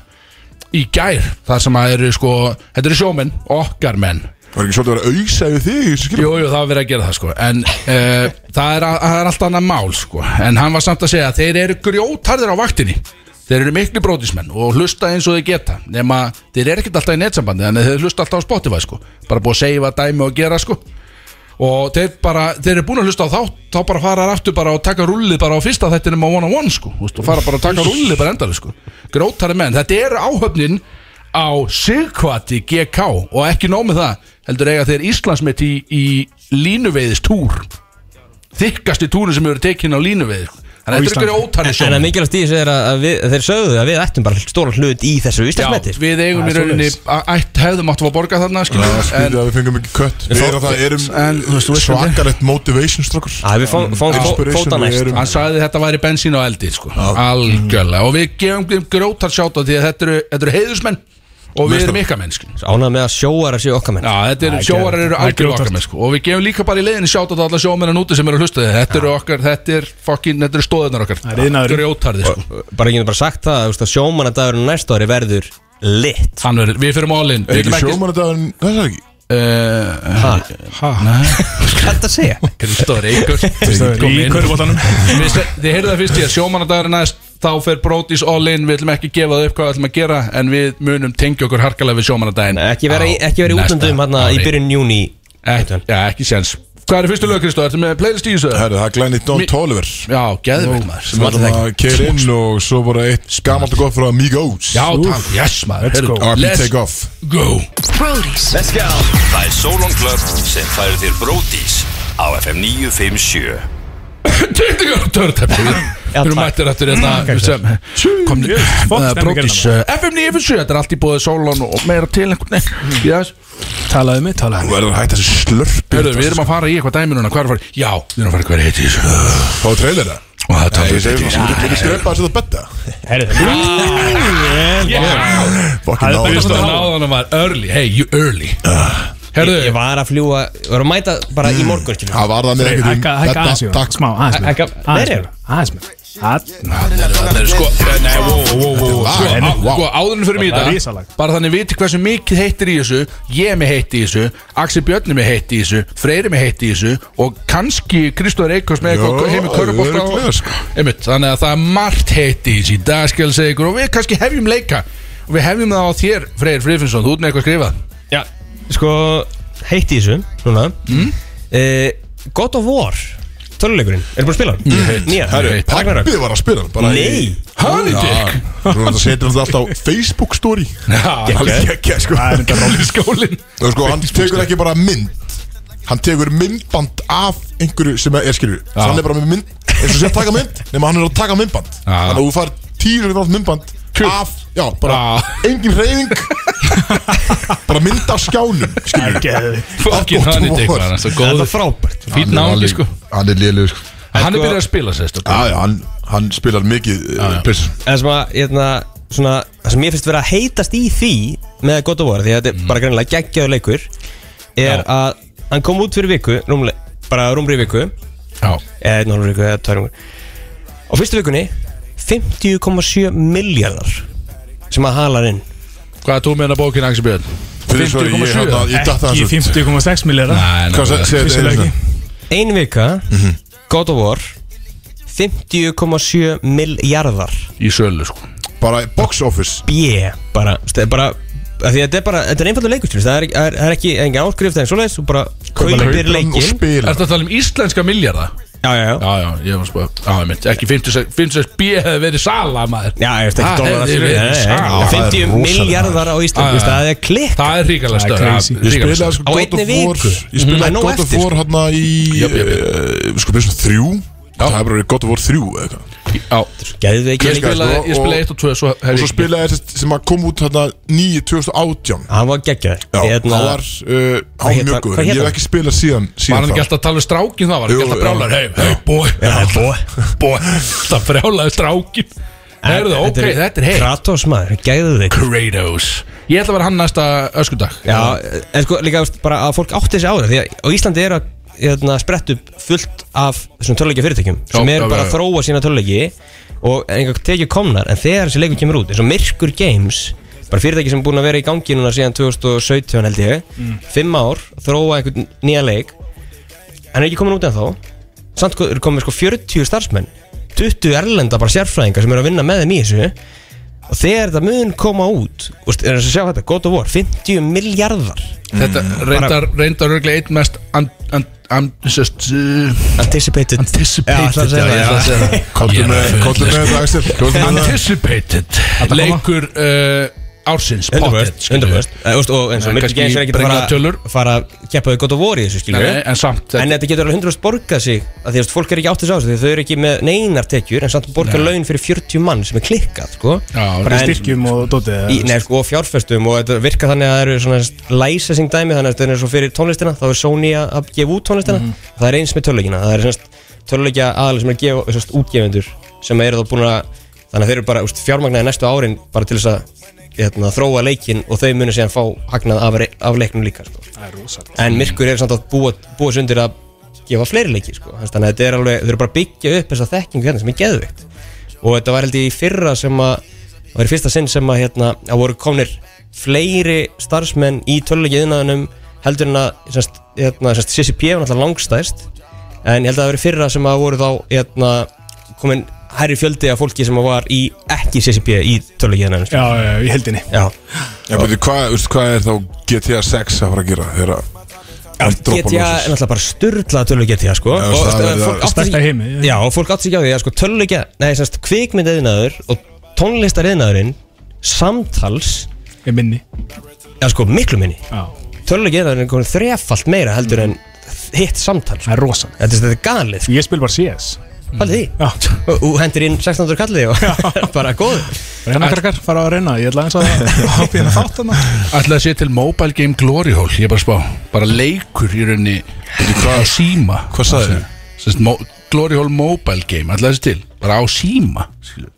S2: Í gær, það sem að eru sko, þetta eru sjómenn, okkar menn
S1: Var ekki svolítið að vera auðsa yfir þig í þessu skilur?
S2: Jú, jú, það var verið að gera það sko En uh, það, er, að- það er allt annað mál sko En hann var samt að segja að þeir eru grjótarðir á vaktinni Þeir eru miklu brótismenn og hlusta eins og þeir geta Nefna þeir eru ekkert alltaf í netsambandi En þeir hlusta alltaf á Spotify sko Bara búið að seifa dæmi og gera sko Og þeir bara, þeir eru búin að hlusta á þátt Þá bara fara aftur bara og taka rullið bara á fyrsta þættinum á one on one sko Vistu, Og fara bara að taka rullið bara endalega sko Grótarði menn, þetta eru áhöfnin á Sigvati GK Og ekki nóg með það, heldur eiga þeir Íslandsmet í, í línuveiðistúr Þykkasti túrin sem eru tekin á línuveiði sko. Þannig að þetta
S4: Íslandi.
S2: eru ótarði
S3: En að mikilvægt í þessu er að, að við, þeir sögðu að við ættum bara stóran hlut í þessu Íslandsmeti
S2: Já, við eigum
S4: Það
S2: í
S4: er
S2: rauninni
S4: svoleiðis.
S2: að- ætt hefðum áttu að borga þarna skilur,
S1: Já,
S2: en,
S1: skilur að við fengum ekki kött Við erum, það,
S2: en, þú veist, þú
S1: erum
S2: veist hvernig. Ah.
S1: svakalegt motivation strókur
S3: Að við fáum fá, fóta
S1: Inspiration, við
S3: næst
S1: erum
S2: Hann sagði þetta væri bensín á eldi sko. Algjörlega Og við gefum þeim grótar sjátt á því að þetta eru, þetta eru heiðusmenn Og við erum ykkar menn sko.
S3: Ánað með að sjóara séu okkar menn
S2: Já, þetta eru
S4: Það er
S2: sjóarar
S4: geðvægt.
S2: eru
S4: Það er
S2: algjör okkar
S4: grjótart.
S2: menn sko. Og við gefum líka bara í leiðinni sjátt á alla sjómennan úti sem eru að hlusta því Þetta eru okkar, þetta er fucking, þetta eru stóðunar okkar
S4: Það er iðnaðurinn.
S2: Grjótarði sko.
S3: Bara ekki bara sagt það, þú veist, að sjómanadagurinn næsta ári verður lit
S2: Hann verður, við fyrir málinn
S1: Er ekki sjómanadagurinn, það er ekki
S2: uh,
S3: Hvað er
S2: [laughs]
S3: þetta að segja?
S2: Kristóður Eikur
S4: Kristóður
S2: Kom
S4: í
S2: inn.
S4: körfuboltanum.
S2: Við se- Þið heyrðu það fyrst í að sjómanadagur er næst Þá fer Brodís all in, við ætlum ekki að gefa það upp hvað við ætlum að gera En við munum tengja okkur harkalega við sjómanadaginn
S3: Ekki vera, í- ekki vera í
S2: Næsta
S3: útlandum hérna í
S2: ári. Eh,
S3: byrjun júni
S2: Ekki, já, ekki séns Hvað er fyrstu lög, Kristóð? Ertu með playlist í þessu?
S1: Herru, það er glænið Don
S2: Mi-
S1: Tolliver
S2: Já, geðveikt maður
S1: sem ætlum að keira inn og svo bara eitt gamalt og gott frá Migos
S2: Já, takk, yes maður
S4: Let's
S2: Heyrðu,
S4: go.
S1: RP
S2: Let's
S1: Take Off
S2: go
S5: Brody's
S6: Það er Solon Club sem færir þér bródís á FM 957
S2: Tindingar törtæppi Við erum mættir eftir
S3: Mm.
S2: þetta sem kom
S4: Yes, fuck, stemmi
S1: hérna.
S2: Brodís eh,
S1: Mm.
S4: gerðina
S2: FM 957, þetta er allt í bóði Solon og meira til einhvern veginn Yes
S4: Talaðu mig,
S1: Þú
S4: talaðu mig
S1: verður að hætta þessu slörpi
S2: Hörðu, við erum að fara í eitthvað dæmi núna Hvað er að fara? í? Já, við erum að fara í hverja heiti þessu
S1: Fá trailera
S2: Og það um
S1: Nei,
S2: talaði
S1: ég segi það Þú getur skrepa þessu það betta um Fucking
S2: Þú veist
S1: náðist
S2: að
S1: það
S2: náðan var early Hey, you early
S3: Ég, ég
S2: Herðu,
S3: var að fljúa, ég var að mæta bara
S2: Mm.
S3: í morgun skilur.
S1: Það var það með einhverjum
S4: Hækka hækka aðeins
S1: Þetta,
S4: meira.
S1: takk
S4: Smá, aðeins meira.
S3: Hækka-
S4: Aðeins
S3: meira?
S4: meira. Aðeins meira. Að-
S2: það er sko Nei, wow, wow, wow
S1: lag.
S2: Sko, á-
S1: Vá.
S2: sko, áðurinn fyrir mig
S4: Það er
S2: í
S4: risalag.
S2: þetta Bara þannig viti hversu mikið heitir í þessu Ég er með heitt í þessu Axel Björn er með heitt í þessu Freyri er með heitt í þessu Og kannski Kristóður Eikos með
S1: Já,
S2: eitthvað Heimi
S1: örugglega,
S2: Körbótt
S1: sko.
S2: Einmitt, þannig að það er margt heitt í þessu Í dag skal ég segja ykkur Og við kannski hefjum leika Og við hefjum það á þér, Freyr Friðfinnsson Þú ert með eitthvað skrifað
S3: Já, sko, heitt í þessu núna mm? God of War, töluleikurinn Erum búin að spila hann? Mm. Nýja,
S1: Herru,
S3: Ragnarök
S1: pappið var að spila hann bara í-
S3: Nei.
S2: Honey
S1: Já,
S2: dick.
S1: Þú veist að setja hann alltaf á Facebook story
S2: Já,
S1: Alveg geggja, sko
S4: Það er þetta
S2: Rolli skólin
S1: Og sko, hann tekur ekki bara mynd Hann tekur myndband af einhverju sem er skilur Hann er bara með mynd eins og sé að taka [laughs] mynd Nefnum hann er að taka myndband Þannig að þú fær tíu gráð myndband Af, já, bara engin reyðing [laughs] Bara mynd af skjánum skilur
S4: Geðvikt.
S2: Fucking
S1: gott
S2: honey dick
S1: vor.
S2: var hann svo
S3: Það
S2: góður
S3: er frábært
S2: Fýtt náðingi sko
S1: Hann er lélugur sko
S2: Hann er
S3: sko-
S2: byrjað að spila sérst
S1: Já, já, hann, hann spilar mikið uh, pers
S3: Það sem að, hérna, svona Það sem ég finnst vera að heitast í því Með God of War, því að þetta er bara greinlega geggjaður leikur Er að Hann kom út fyrir viku, rúmle, bara rúmri viku
S2: Já
S3: Eða einn og hálfur viku, eða tvær viku Á fyrstu vikunni 50,7 miljardar Sem að halar inn
S2: Hvað er þú meina bókin Axel Björn?
S1: Fyrir svo ég,
S2: 50,7
S1: hérna, ég datt það
S4: Ekki 50,6 millera
S2: Nei,
S1: Hvað
S2: nei,
S1: se- segir þetta
S4: Vissulega
S1: einu
S4: ekki
S1: sinni?
S3: Ein vika God of War 50,7 miljardar
S2: Í sölu sko
S1: Bara box office
S3: B bara, ste- bara af Því að þetta er bara, þetta er einfaldur leikur skilur, það er, það er, það er ekki engin áskrift eða svoleiðis og bara kaupir
S1: hann og
S3: leikin
S1: spila
S2: Ertu að tala um íslenska milljarða?
S3: Já, já, já
S2: Já, já, ég var spöð Já, ég mynd Ekki 56 56 B hefði verið sala maður
S3: Já, ég veist ekki
S2: Það
S3: dólar
S2: hefði
S3: fyrir
S2: verið
S3: nei, nei,
S2: sá-
S3: nei.
S1: Já, það er
S3: 50
S1: rosalega.
S3: miljardar á
S2: Já, já.
S3: Íslandi, það er klikk
S2: Það er ríkala
S4: Það er
S2: stöð
S4: crazy.
S1: Ég spilaði sko
S3: Á
S1: God
S3: einni
S1: of War
S3: viku.
S1: Ég
S3: Mhm. Það er
S1: spilaði
S3: nóg
S1: God of
S3: eftir,
S1: War
S3: sko.
S1: hérna í
S2: Jöp, jöp, jöp.
S1: eh, Sko byrjum þrjú Það hefur verið God of War þrjú eða eitthvað
S2: Já
S3: Gæðu ekki
S2: Ég
S1: Ég skal-
S3: leikur
S2: spilaði Ég
S1: og-
S2: spilaði 1 og 2 Svo
S1: Og
S2: hefði
S1: svo spilaði þetta sem að kom út hérna 9 2018
S3: Hann var geggjað
S1: Já, það
S3: Hérna-
S1: var uh,
S3: Hvað
S1: Há
S3: hét hann?
S1: mjög góður
S3: Hvað hét
S1: Ég hef
S3: hann?
S1: ekki spilað síðan
S2: Var hann
S1: síðan
S2: ekki alltaf að tala um strákin það? Var hann ekki
S1: Jú,
S2: alltaf
S1: já.
S2: brjálar Hey, hey, boy Hey, boy [laughs] Boy Það brjálaði strákin Herðu, ok, þetta er heitt
S3: Kratos maður, gæðu þig
S2: Kratos Ég ætla að vera hann næsta öskundag
S3: Já, en sko líka veist, bara að fólk átti þessi ára því að á Íslandi er að hérna, sprett upp fullt af þessum töluleikja fyrirtækjum sem
S2: Já,
S3: eru
S2: já,
S3: bara
S2: já,
S3: að
S2: já.
S3: þróa sína töluleiki og einhver tekið komnar en þegar þessi leikur kemur út, eins og Myrkur Games bara fyrirtæki sem er búin að vera í gangi núna síðan 2017 held ég
S2: Mm.
S3: fimm ár, þróa einhvern nýja leik hann er ekki komin út en þá samt ko- eru komin sko 40 starfsmenn 20 erlenda bara sérfræðingar sem eru að vinna með þeim í þessu og þegar þetta mun koma út og st- er þess að sjá þetta, God of War, 50 miljardar
S2: Þetta
S3: Mm.
S2: reyndar Reyndar örglega einn mest and- and- and- sest, uh,
S3: Anticipated Já, ætlaði að
S2: Anticipated
S3: segja það, ég ætlaði að segja það.
S1: Kottum með Kottum með þetta Eh, Axel Kottum með þetta
S2: Anticipated Leikur uh, ársins
S3: Undarvöst, undarvöst Eh, Og eins og Myrkir
S2: Nei, kannski
S3: Gens er ekki að
S2: brenga tölur.
S3: fara- fara að keppa við God of War í þessu skilur
S2: Nei, en samt
S3: En þetta getur alveg 100% borgað sig að Því að fólk er ekki áttið sá þessu því að Þau eru ekki með neinar tekjur En samt borga laun fyrir 40 mann sem er klikkað sko.
S2: Já,
S4: Bara í
S3: En-
S4: styrkjum og
S3: í,
S4: dótið
S3: nei, sko, og fjárfestum og þetta virkar þannig að það eru svona licensing dæmi þannig að þetta er svo fyrir tónlistina þá er Sony að- að gefa út tónlistina það er eins með töluleikina það er töluleikja aðal sem er að gefa semast, útgefendur sem eru þá búin að þannig að þeir eru bara úst, fjármagnaði næstu árin bara til þess að hérna, þróa leikin og þau munu síðan fá hagnað af, re- af leiknum líka sko.
S4: Það er rosalega
S3: en myrkur er samt að búa, búa sundir að gefa fleiri leiki sko. þannig að þetta er alveg, þau eru bara að byggja upp þessa þekkingu hérna sem er geðvikt og þetta var held ég í fyrra sem að það var í fyrsta sinn sem að hérna að voru komnir fleiri starfsmenn í tölulegiðinaðunum heldur en að semst, hérna, semst, CCP var náttúrulega langstæst en ég held að það hafi verið fyrra sem að voru þá hérna, komin hærri fjöldi af fólki sem að var í ekki CCP í tölulegiðinaðunum
S4: Já, já, já, í heldinni
S3: Já.
S1: Já, betur, hvað veistu, hvað er þá GTA 6 að fara að gera Þegar að hann droppar
S3: GTA er
S1: loksins?
S3: náttúrulega bara styrlað töluleik GTA sko
S1: Já, það
S3: og, veist,
S1: verður það
S3: fólk átti sig-
S4: stærsta í heimi, já.
S3: Já og fólk átti sig ekki á því að sko töluleikja Nei, semst kvikmyndaiðnaður og tónlistariðnaðurinn samtals
S4: Ég minni
S3: Já sko miklu minni
S4: Já,
S3: Töluleikjaðurinn er komin þrefalt meira heldur en hitt samtals
S4: það er rosalega
S3: Þetta er, þetta er galið sko,
S4: Ég spil bara CS
S3: haldið því
S4: Já,
S3: Og og hendir inn 1600 kallið og [laughs] bara góður
S4: Reyna krakkar, fara á að reyna Ég ætla eins að [laughs] hoppa inn að þátt hana
S2: Ætla að sé til Mobile Game Glory Hole Ég er bara að spá Bara leikur í rauninni Á síma
S1: Hvað sagðirðu?
S2: Sest, mo Glory Hole Mobile Game Ætla að sé til Bara á síma skilur.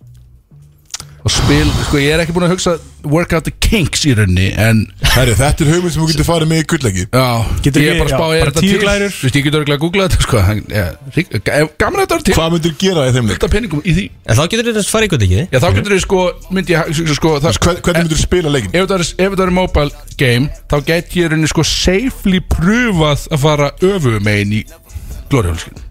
S2: Og spil Sko ég er ekki búin að hugsa Work out the kinks í rauninni En
S1: Herri, þetta er hugmynd sem þú getur farið með í gulleggi
S2: Já
S4: Getur
S2: Ég
S4: ekki-
S2: er bara að
S4: já,
S2: spá er
S4: bara
S2: þetta
S4: tíu
S2: til?
S4: glærur.
S2: Þú veist ég getur örgulega að googla þetta sko en, ja, hrik- ef- Gaman að þetta er til
S1: Hvað myndir gera í þeim leik?
S2: Þetta peningum í því
S3: En þá getur þetta farið ykkur ekki
S2: Já þá getur þið sko Myndi ég sko það,
S1: Hvern- Hvernig myndir spila leikin?
S2: ef það er, ef það er mobile game þá get ég í rauninni sko safely pröfað að fara öfum einn í glóriálskinn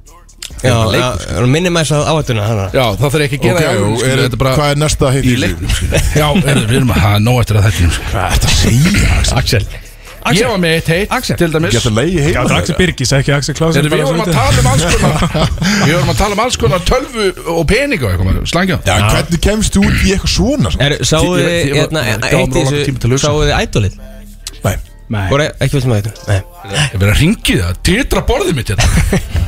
S3: Já, já, minni maður svo áhættuna hana
S2: já það þarf ég ekki
S1: Ok,
S2: að gera það
S1: og
S2: skilur,
S1: er-
S2: þetta er bara
S1: Hvað er næsta hitt
S2: í leiknum sko. skilur. já er, við erum að hafa nóg eftir að þetta skilur.
S1: Hvað er þetta að segja?
S4: Axel
S2: ég var með eitt heitt til dæmis
S1: Geta leiði
S4: Já,
S1: heima
S4: þetta er Axel Birgis, ekki Axel Klausen
S2: Þegar við vorum að tala um alls konar Við vorum að tala um alls konar tölvu og pening og eitthvað maður, slangja
S1: Já, hvernig kemst þú út í eitthvað svona? sko? svona?
S3: Er, sáu
S2: Ég-
S3: þið,
S2: ég- ég-
S3: hérna,
S2: ég- ég- ég-
S3: eitt í
S2: ég- ég- tíma til
S3: þessu,
S2: að hugsa.
S3: sáu þið ædolið?
S1: Nei,
S4: Nei,
S3: Voru e- ekki fylgst með ædolið? Nei.
S2: Ég verið að ringi það, titra borðið mitt hérna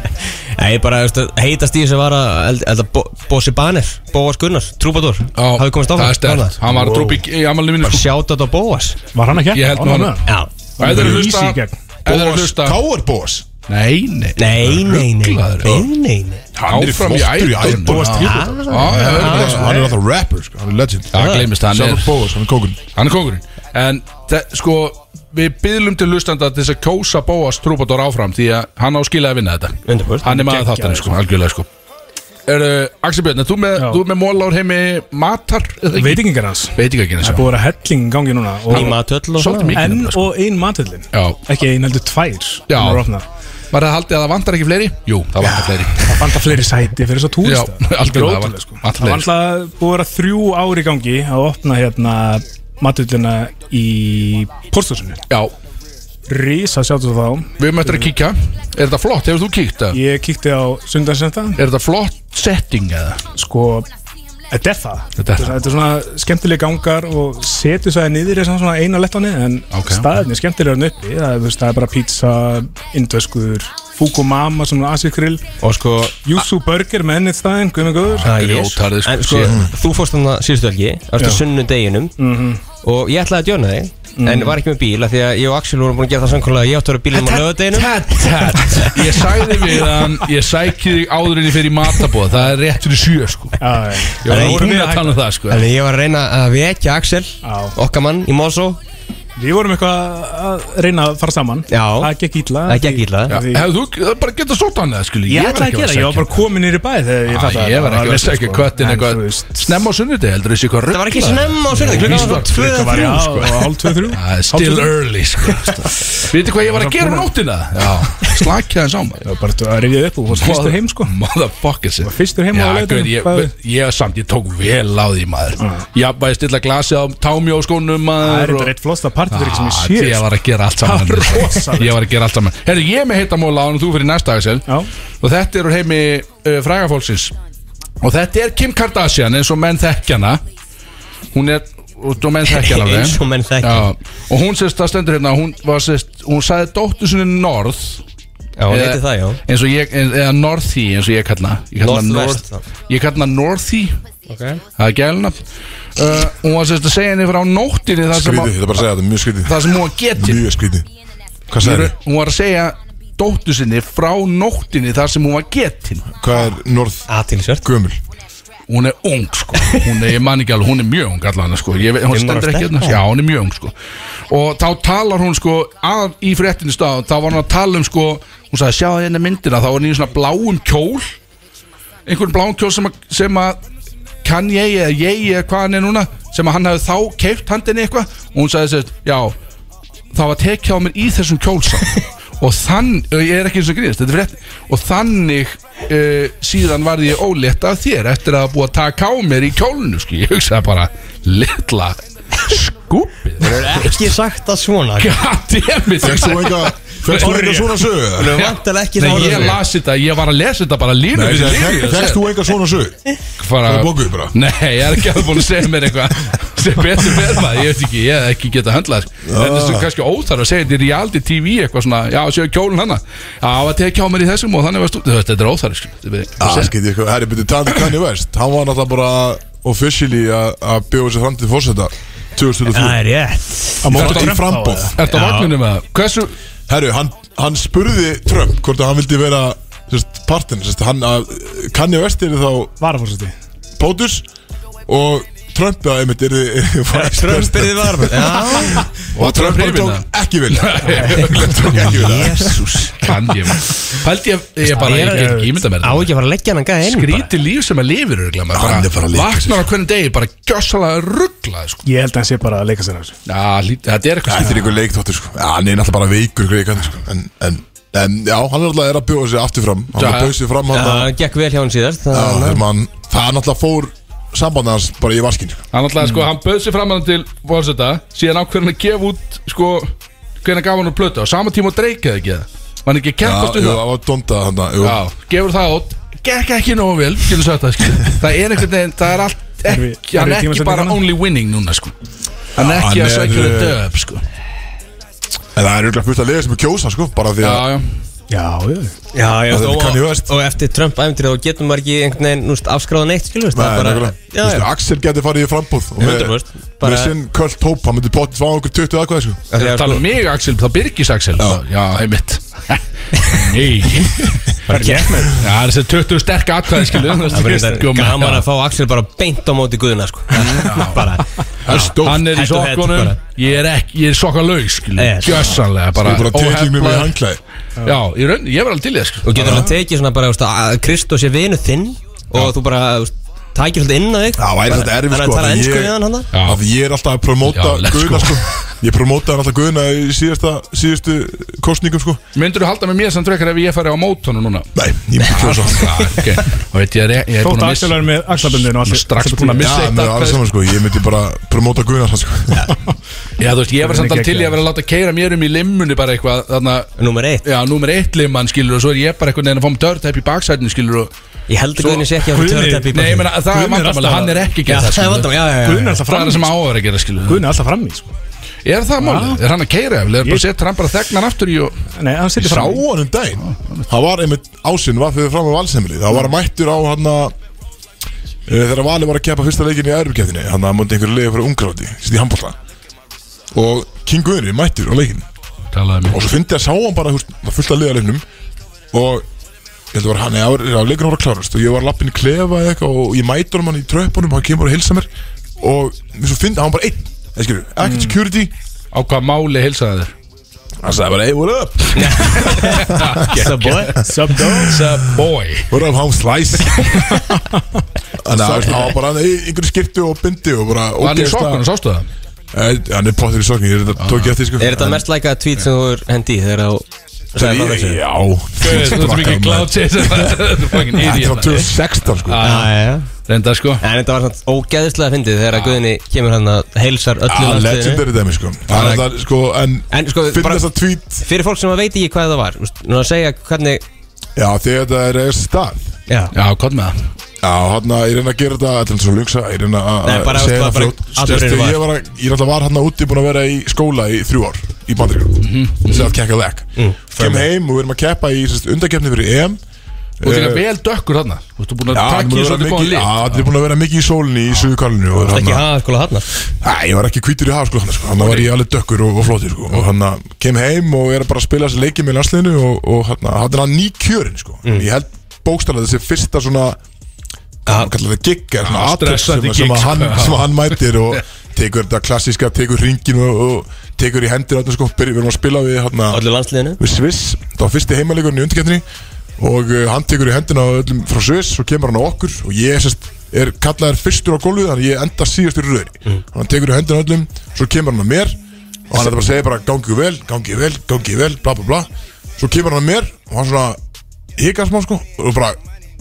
S3: Nei, ég bara, veist, heitast í þessu var að, held- held að Bo- Bossi Baner, Bóas Gunnars, Trúbador, hafið komast áfram.
S2: Það er stert, hann var að drópi í amalni mínu sko
S3: Sjátat á Bóas.
S4: var hann ekki?
S2: Ég held nú hann-
S3: Já.
S2: Ef þeir eru að hlusta-
S4: Easy í gegn.
S2: ef þeir eru að hlusta
S1: Káar Bós
S2: Nei, nei
S3: Nei, nei, nei,
S2: Ruglaður.
S3: nei, nei, nei.
S1: Hann er
S2: Áfram í
S1: flottur í
S2: ædolinu.
S1: ædolinu.
S2: Já.
S1: Já,
S3: Já,
S2: Já, já,
S1: Hann er-
S2: já,
S1: hann er alltaf rapper, sko, hann er legend
S2: Já, gleymist hann er
S1: Sjálfur Bós, hann er kókun
S2: Hann er kongurinn En þe- sko Við byðlum til hlustanda til þess að kjósa Bóas Trúbador áfram Því að hann á skilja að vinna þetta
S3: 100%.
S2: Hann er maður þáttan sko Algjörlega sko Er, uh, Axel Björn, er þú með,
S4: Já.
S2: þú ert með mólár heimi matar?
S4: Veitingar hans Það
S2: Veit ekki ekki sko.
S4: er
S2: eins
S4: búið að vera helling í gangi núna og-
S3: Í matöll og
S2: Svolítið
S3: svona.
S2: mikið
S4: Enn
S2: nefnilega, sko.
S4: og ein matillin
S2: Já.
S4: Ekki ein heldur tvær
S2: Já.
S4: Hún er opnað.
S2: Var það haldið að það vantar ekki fleiri? Jú, það vantar fleiri
S4: Það vanda fleiri sæti fyrir þess
S2: Já,
S4: að túrista
S2: [laughs] algjörlega það
S4: Grótalegt,
S2: vantar
S4: sko.
S2: sko. vantar
S4: Það var
S2: fleiri
S4: alltaf búið að vera þrjú ári í gangi að opna hérna matullina í pósthúsinu
S2: Já,
S4: Rísa sjáttu þá
S2: við möttum að kíkja Er þetta flott? Hefur þú kíkt það?
S4: Ég kíkti á sundansenda
S2: Er þetta flott setting eða?
S4: Sko, þetta er það
S2: Þetta er það.
S4: Þetta er svona skemmtilega gangar og setu sæði niður í svona eina lettáni en
S2: Ok.
S4: okay. staðinni skemmtilega en uppi það, er, þú veist, það er bara pizza, indveskur Fukumama, svona asikrill
S3: Og sko,
S4: Yuzu Burger með ennit staðin, guðmur góður
S3: það er
S2: Grjótarðið, sko,
S3: En sko, þú fórst hann það síðustu helgi, eftir sunnudeginum,
S2: Mhm.
S3: og ég ætlaði að djóna þig, en var ekki með bíl, af því að ég og Axel vorum búin að gera það samkvæmlega að ég átti að vera bílum á lögadeginum.
S2: Ég sagði við hann Ég sæki þig áður en ég fer í matabóð Það er rétt fyrir sjö sko Ég
S4: Já, já.
S2: var
S3: Nei,
S2: búin
S4: við
S2: að
S4: að
S2: tala um það sko
S3: Þannig ég var að reyna að vekja Axel,
S4: Já.
S3: okkar mann í Mosó,
S4: Við vorum eitthvað að reyna að fara saman
S3: Já.
S4: Það gekk illa
S3: Það gekk illa.
S2: Já,
S4: Því-
S2: Hefðu þú það bara getað sótt hann eða skilji
S4: Ég ætlaði að gera, ég var bara komin nýri bæ þegar ég
S2: Ah, Ég,
S4: fatt að sko.
S2: ég var ekki að sækja köttin eitthvað
S4: Snemma
S2: Snemma á sunnudegi heldur þessi eitthvað
S3: það var ekki
S2: ruglað?
S3: snemma á sunnudag,
S2: Víst
S3: klukkan var
S2: var-
S3: tvö
S2: klukkan
S3: eða
S2: var-
S4: Já,
S3: þrjú.
S2: sko.
S4: og hálf tveið þrjú
S2: Það er Still early
S4: [laughs]
S2: sko Viti hvað ég var að gera um nóttina? Já, slakja þess á maður
S4: Það var bara að rifja upp og fórst fyrstur heim sko
S2: Motherfuckers
S4: Var fyrstur heim á
S2: Já,
S4: leiðinni,
S2: gauð, ég,
S4: hvað er?
S2: ég, ég samt, ég tók vel á því maður Já, bara ég stilla glasi á támi á skónum maður
S4: Það er
S2: og-
S4: eitthvað eitt flosta partydrykk sem
S2: Ah,
S4: ég sé
S2: Ég
S4: sko.
S2: var að gera allt saman
S4: Það var rosalegt.
S2: Ég var að gera allt saman Herru, ég er með hittamóla án og þú fyrir næsta aðeins
S4: Já.
S2: Og þetta eru heimi uh, frægafólksins Og þetta er Kim Kardashian eins og menn þekkjana Hún er og og menn þekkjana alveg.
S3: Eins og menn þekkja.
S2: Já, Og hún sérst að stendur hérna Hún, var, sérst, hún sagði dóttur sinni Norð
S3: Já,
S2: Eh,
S3: hún heiti það, já.
S2: Eins og ég, eh, eða Northy eins og ég kalla hana. Ég kalla hana
S3: Northwest,
S2: North- Ég kalla hana Northy
S3: Okay.
S2: Það er gælna uh, Hún var sérst að segja henni frá nóttinni Það sem,
S1: Skrítið,
S2: að-
S1: þetta er bara að segja þetta, mjög skrítið
S2: það sem hún var getið
S1: Mjög skrítið Hvað
S2: Ég
S1: sagði
S2: er- hún var að segja dóttu sinni frá nóttinni þar sem hún var getin
S1: Hvað er norð
S3: Aðtilsvert.
S1: gömul?
S2: hún er ung sko hún er, ég man ekki alveg, hún er mjög ung allan sko. ég, veit- hún
S3: Fimm ára
S2: stendur ekki
S3: stelpa.
S2: hérna já, hún er mjög ung sko og þá talar hún sko að, í fréttinu stað þá var hún að tala um sko hún sagði sjá hérna myndina þá var hún í svona bláum kjól einhvern bláum kjól sem að, sem að kann ég eða ég eða hvað hann er núna sem að hann hefði þá keipt handinni eitthvað og hún sagði þess að já það var tekið á mér í þessum kjólsam og þann, ég er ekki eins og grínast þetta er frétt, og þannig uh, síðan varði ég ólétt af þér eftir að hafa búið að taka á mér í kjólnu skil, ég hugsaði bara, litla skúpið
S3: Ekki sagt það svona.
S2: goddammit
S1: Fegst þú
S2: ég
S1: eitthvað Fegst þú eitthvað svona sög? eða?
S3: Vantalega ekki þá orðið.
S2: las þetta, ég var að lesa þetta bara línu
S1: Nei,
S2: fyrir línu
S1: fegst þú eitthvað svona sög?
S2: fara
S1: Það er bókuð bara
S2: Nei, ég er ekki alveg búin að segja mér eitthvað sem betur fyrir maður, ég veit ekki, ég hef ekki getað höndlað sko. en þessu er kannski óþar að segja þetta í reality TV eitthvað svona, já, séu kjólinn hana já, það tekja á mér í þessum og þannig var stúd þetta er óþar, sko Þetta er-
S1: um Það skrítið eitthvað Herri, byrju, Tandy Kanye West Hann var náttúrulega bara officially að að bjóða sér fram til fórseta 2004
S3: er rétt
S1: Í fram- í
S4: Trump þá,
S1: frambóð
S4: eða?
S2: Ertu á vagninu með það? Hversu?
S1: Herru, hann, hann spurði Trump hvort að hann vildi vera sérst, partinn, sérst, hann að kanni vestir þá
S4: Varafórseti
S1: POTUS og Trump að einmitt er [laughs]
S3: Trump er þið varm Já,
S1: og Trump bara
S2: hrifinn af.
S1: tók ekki vilja Hann tók ekki vilja
S3: jésús
S2: Kann ég maður Pældi ég, ég bara, ég get ekki ímynda mér
S3: Á ekki að fara að leggja hann gæði inn bara.
S2: Skríti líf sem að lifir örugglega, maður
S1: Hann er bara að leika
S2: Vaknar á hvernig degi, bara gjössalega rugglað sko.
S4: Ég held að hann sé bara að leika sér af þessu
S2: Já, lít- þetta er eitthvað
S1: Þetta er einhver leikþóttur sko Já, hann er náttúrulega bara veikur greikann sko en, en, en já, hann er náttúrulega er að bjóða sig aftur fram Hann
S2: Já,
S1: er að bjóða sig fram hann
S3: Já,
S1: að
S3: það gekk vel hjá hann síðast
S1: Já,
S3: það-
S1: þegar mann- Það er náttúrulega fór samband hans bara í vaskin sko.
S2: Hann alltaf, sko, hann bauð sér fram hann til Volseta, síðan ákveðin að gefa út Sko, hvernig gaf hann úr plötu Á sama tíma og dreikaði ekki það Var hann ekki að
S1: Já,
S2: keppast
S1: jú,
S2: um það
S1: það var dónda hann að jú.
S2: Já, gefur það át Gekk ekki nógu vel, getur sagt það skil Það er einhvern veginn, það er allt
S4: Erfi-
S2: ekki, Hann er
S4: erfið
S2: ekki bara
S4: tímasetning
S2: only winning núna sko Hann er
S1: hann
S2: ekki að
S1: er,
S2: sækja
S1: eh,
S2: þetta upp sko
S1: En það er auðvitað fullt að liða sem er kjósa sko Bara því
S2: Já,
S1: að
S2: já
S4: Já, já
S3: Já, já,
S1: Það er
S3: og,
S1: Kanye West.
S3: og eftir Trump æfndir þá getum maður ekki einhvern veginn núst, afskráða neitt, skilur
S1: Nei, nákvæmlega.
S3: já,
S1: Þú veist,
S3: já,
S1: Axel geti farið í frambúð og með,
S3: 100%, bara-
S1: með sinn kvöld hóp hann myndi bótt svá okkur 20 aðkvæði sko.
S3: Af því að,
S2: Það tala
S3: sko,
S2: um mig Axel, það byrgis Axel Já, já heimitt Nei Bara gett með Já, það er þessi 20 sterk atkvæði skilu
S3: Það verður
S2: sko,
S3: þetta gaman að fá Axel bara beint á móti guðuna sko. [laughs] bara,
S1: Það er stórt
S2: Hann er í
S3: Head to head
S2: sokkunum
S3: bara.
S2: Ég er ekki, ég er sokkalaug skilu
S3: Yes.
S2: Gjössanlega
S1: Ég
S2: bara
S1: er bara að tekið mér með
S2: óheflaður.
S1: handklæði
S2: Já, í raun, ég var alveg til í það sko
S3: og getur hann tekið svona bara þú veist, að Kristus er vinu þinn og þú bara þú veist, tækir svolítið inn á þig
S1: Það væri þetta erfið
S3: þannig
S1: sko
S3: að tala
S1: en
S3: ennsku
S1: ég-
S3: við hann hann það?
S2: Já.
S1: Af því ég er alltaf að promóta
S2: Já, let's
S1: Guðna
S2: go.
S1: sko Ég promóta hann alltaf Guðna í síðasta, síðustu kostningum sko
S2: Myndur halda með mér samt frekar ef ég fari á mót honum núna?
S1: Nei, ég myndi kjósa hann
S2: Já, ok
S1: [laughs]
S2: Og veit ég er, ég er búin
S4: Þótt
S2: að
S4: Axel
S2: missa
S4: er með axlaböndinu
S2: Ég er strax búin að
S1: Já,
S2: missa eitt
S1: með alveg
S2: atkvæði
S1: saman sko, ég myndi bara promóta Guðna hann sko
S2: Já, þú veist, ég var samt alveg til í
S4: Geggjað.
S2: að vera að láta keira mér um í limmunni bara eitthvað Þannig
S3: Númer eitt,
S2: já, númer eitt limman skilur og svo er ég bara einhvern veginn að fá mig törtæp í baksætinu skilur og
S3: ég held að
S2: Svo-
S3: Guðni sé ekki að fara
S4: Guðni-
S3: törutæpi
S2: Nei, ég meina, það er
S4: Guðni er
S2: vandamáli,
S4: alltaf-
S2: hann er ekki að gera
S3: það
S2: það
S3: er
S2: skilur.
S3: vandamál, já, já, já,
S4: Guðni er
S2: Það
S4: alltaf
S2: er
S4: frammi
S2: það sem á
S4: sko.
S2: að vera að gera skilur
S4: Guðni er alltaf frammi sko.
S2: Er það máli? Er hann að keira? Er bara að setja hann bara þegnar aftur í og
S4: Nei, hann
S1: Ég
S4: sittir
S1: sá
S4: frammi
S1: hann um daginn Það var einmitt ásinn var fyrir fram á valsemli Það var mættur á hann að eh, Þegar Valur var að kepa fyrsta leikin í Erbjörnkefninni Þannig að hann múndi einhverju leiði frá Ungarátti Sitt í handbólta Og King Guðni mættur á leikin
S2: talaði
S1: Og
S2: mér
S1: svo fyndi að sá hann bara húst, var fullt að liða leiknum Og ég held að var hann Já, já, leikunum var að klárast Og ég var lappin í klefa eða eitthvað Og ég mætur hann í tröppunum Og hann kemur að hilsa mér Og mér svo fyndi hann var bara einn Það skilur, ekkert security
S2: Á hvað máli heilsaði þér?
S1: Hann sagði bara, hey, what up?
S4: Sub dog
S2: The boy
S1: What up, how
S2: [laughs]
S1: slice? Þannig að veist, hann var bara í einhverju skiptu og bindi Og bara
S2: Var hann í
S1: ógeðslega-
S2: sokkunum, sástu það?
S1: Eh, Hann er pottur í sokkun, ég er þetta tók ég eftir sko
S3: Er þetta
S1: En-
S3: mest læka tweet sem þú er hendi í þegar þú
S1: Þegar
S3: sagði
S1: ég-
S3: frá þessu?
S1: Já
S2: Þú veist, þú ert
S1: Brakkaði
S2: mikið
S1: maður.
S2: cloud [laughs] hérna. Ah, chaser Þetta er fucking
S1: Þetta var
S2: idiot
S1: 2016 sko
S3: Já, já, já.
S2: Reynda sko
S3: En þetta var svona ógæðislega fyndið þegar að Guðni kemur hann að heilsar öllum
S1: Ah,
S3: landsliðinu.
S1: Legendary dæmi sko Það er það sko En,
S3: En, sko, bara-
S1: Finnast það tweet
S3: Fyrir fólk sem að veit ekki hvað það var þú veist, Núna að segja hvernig
S1: Já þegar þetta er eða stað
S3: Já,
S2: Já, hvað með það?
S1: Já hann að ég reyna að gera þetta Þetta er alltaf svo lungsa Ég reyna að
S3: Nei, bara-
S1: að segja
S3: bara-
S1: það
S3: bara-
S1: fljótt
S3: alveg
S1: Sérstu,
S3: reyna var.
S1: Ég var að Ég alltaf var hann að úti Búin að vera í skóla í þrjú ár Í bandryggur
S3: Mhm,
S1: Þess að kekka legg Kem heim og við erum að keppa í Undakefni fyrir EM
S2: Þú ert
S1: Eh,
S2: líka vel dökkur þarna Þú ert búin að
S1: Já, hann
S2: takk í
S1: er búinn að vera
S2: svolítið góðan
S1: mikið- já,
S2: lið
S1: hann er búin að vera mikið í sólinni í Suðukalinu og hérna-
S3: ekki
S1: hann-
S3: hafa skóla hann
S1: Nei, ég var ekki kvítur í hafa sko hann sko Hann var ég alveg dökkur og, og flottur sko Og hann að kem heim og er bara að spila þessi leiki með landsliðinu Og, og hann að hann ný kjörin sko Ég held bókstælega þessi fyrsta svona Hvað maður kallar það gig er svona
S2: Ah,
S1: atvik sem,
S2: stressandi
S1: sem,
S2: gig,
S1: að hann,
S2: sko.
S1: sem að hann mætir og tekur þetta klassíska, tekur ringin og, og tekur í hendir átna sko, byrjum við erum að spila við hann
S3: Öllu landsliðinu
S1: við Sviss það var fyrsti heimalegurinn í undirkjöndinni og uh, hann tekur í hendina á öllum frá Sviss og kemur hann á okkur og ég sest, er kallaður fyrstur á gólfið þannig að ég enda síðastur í röðinni hann tekur í hendina á öllum, svo kemur hann á mér og hann er bara að segja bara gangi vel, gangi vel, gangi vel, bla bla bla svo kemur hann á mér og hann svona hikar smá sko og bara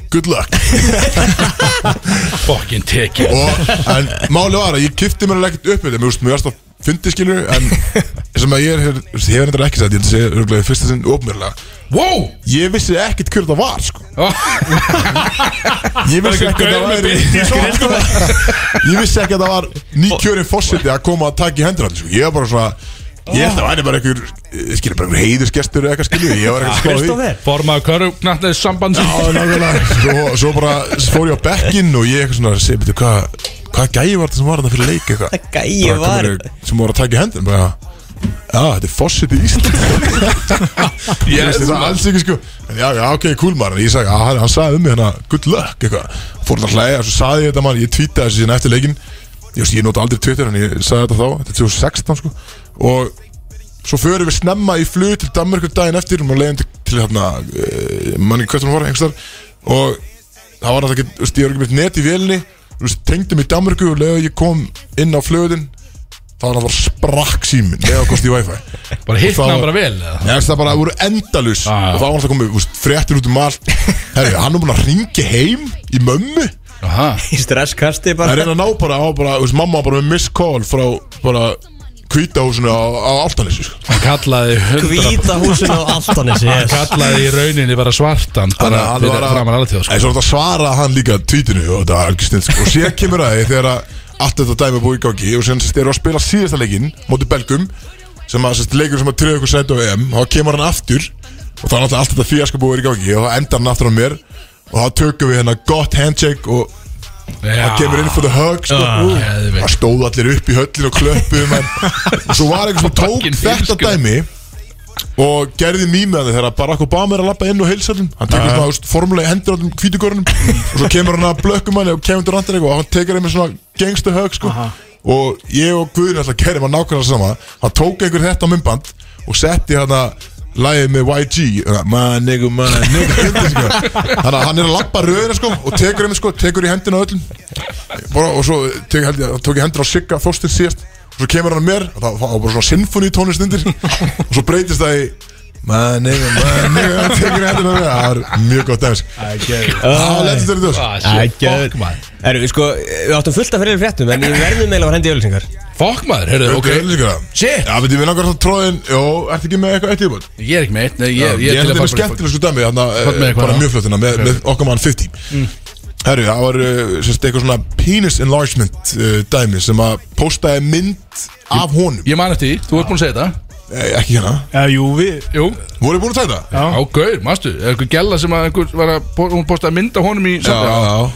S1: good luck
S2: Fucking tekið
S1: og, en máli var að ég kipti mér alveg ekkert upp við þetta, mér veist, mér varst að fyndi skilur en sem að ég er, ég hef þetta ekki sagt ég held að segja örugglega í fyrsta sinn opmjörlega
S2: Wow
S1: Ég vissi ekkert hver það var sko. [laughs] Ég vissi ekkert að það væri [laughs] Ég vissi ekkert að það var nýkjörin fósiti að koma að taka í hendur hann sko. Ég var bara svona Ég held að það væri bara einhver, eh, skilur bara einhver heiðursgestur eða eitthvað skilur Ég var eitthvað að spá því
S3: Kristófer
S2: Formaðu körfugnattneið samband
S1: Já, nákvæmlega svo, svo bara fór ég á bekkinn og ég eitthvað svona að segja, betur, hvað hvað gæi var þetta sem var þetta fyrir leik eitthvað
S3: Gæi
S1: Bara
S3: var-
S1: kominu- Sem voru að taka í hendin bara Já, þetta er fósitt í [laughs] Ísland Ég veist þetta alls ekki sko En já, já, ok, cool maður En ég sagði, að hann sagði um mig hérna Good luck, eitthvað Fór hann að hlæja, svo sagði ég þetta maður Ég tweetaði þessi síðan eftir leikinn Ég veist, ég nota aldrei Twitter En ég sagði þetta þá, þetta er 2016 sko Og svo förum við snemma í flug til Danmörkur daginn eftir og leiðum til, til hérna uh, manni hvert hún var, einhverstar og það var alltaf ekki, þú veist, ég var ekki með net í vélinni þú veist, tengdum í Danmörku og leiðum ég kom inn á flugutinn þá var alltaf sprakk síminn með ákost í Wi-Fi
S2: Bara
S1: Og
S2: hittna
S1: það-
S2: hann bara vel eða?
S1: Ég veist það bara voru endalus
S2: Ah.
S1: og þá var alltaf komið, þú veist, fréttir út um allt herri, hann er búin að ringi heim í mömmu
S2: Aha
S3: Í stresskasti
S1: Það er
S3: bara
S1: einn að ná bara, á bara, þú veist, mamma var bara með miss call frá bara kvítahúsinu á, á Altanissu sko.
S2: Hann kallaði hundra
S3: Hvíta húsin á Altanesi
S2: Hann kallaði í rauninni bara svartan bara
S1: Þannig að hann
S2: fyrir
S1: var að-
S2: framan sko. alveg til
S1: Nei, svo er þetta að svara hann líka tweetinu og þetta er ekki snill sko. og
S2: [laughs]
S1: sér kemur að því þegar að allt þetta dæmi er búið í gangi og sem þeir eru að spila síðasta leikinn móti Belgum sem að sérst, leikur sem að treða ykkur sæti á EM og þá kemur hann aftur og þá er náttúrulega allt þetta fíaska búið í gangi og þá endar hann aftur á mér og þá tökum við hérna gott handshake og
S2: Það
S1: hann kemur inn for the hug sko,
S2: Ah,
S1: ú,
S2: geðveikt.
S1: það stóð allir upp í höllin og klöppuðum
S2: [laughs]
S1: en svo var einhver sem tók
S2: Fucking
S1: þetta
S2: fískur.
S1: dæmi og gerði mýmiðan þegar Barack Obama er að lappa inn og heilsa þeim hann tekur svona uh. formulega hendur á þeim kvítugörnum og svo kemur hann að blökkum hann og kemur til randir og hann tekur einhver svona gangsta hug sko. og ég og Guðin alltaf gerðum að nákvæmlega sama hann tók einhver þetta á myndband og setti hann að Læðið með YG uh, My nigga, my nigga [laughs] undir, sko. Þannig að hann er að lappa röðina sko, Og tekur einmitt sko, tekur í hendina á öllum bara, Og svo tek, held, ég- tók ég hendur á Sigga Þorstins síðast Og svo kemur hann að mér Og það var bara svona sinfoni tónist undir Og svo breytist það í My nigga, my nigga hann Tekur í hendina á mér Það var mjög gott dæmis Það letið þetta þess
S2: Fokk Ah, maður
S3: Erum við sko, við áttum fullt af fyrir fréttum En við verðum eiginlega að fara hendi í ölsingar
S2: Fokk maður, heyrðu,
S1: Ok,
S2: ok
S1: líka það
S2: Shit,
S1: Já, veit ég vil langar að tróðin Jó, ertu ekki með eitthvað eitt íbúin?
S2: ég er ekki með eitt Nei,
S1: Já,
S2: ég,
S1: Ég
S2: ég er
S1: held þetta
S2: til að
S1: með
S2: fara bara-
S1: skemmtileg sko dæmi hérna,
S2: Hvað með
S1: eh,
S2: eitthvað, Mm.
S1: bara
S2: já?
S1: mjög fljótt hérna með, með okkar mann 50 Herru, það var eh, sérst, eitthvað svona penis enlargement uh, dæmi sem að postaði mynd af honum
S2: Ég man eftir, því, þú ert búin að segja þetta
S1: eh, ekki hérna,
S4: Já, jú, við
S2: Jú,
S1: voru búin að taka það?
S2: á gaur, mastu Er einhver gæla sem að einhver var að po- Hún postaði mynd á honum í
S1: já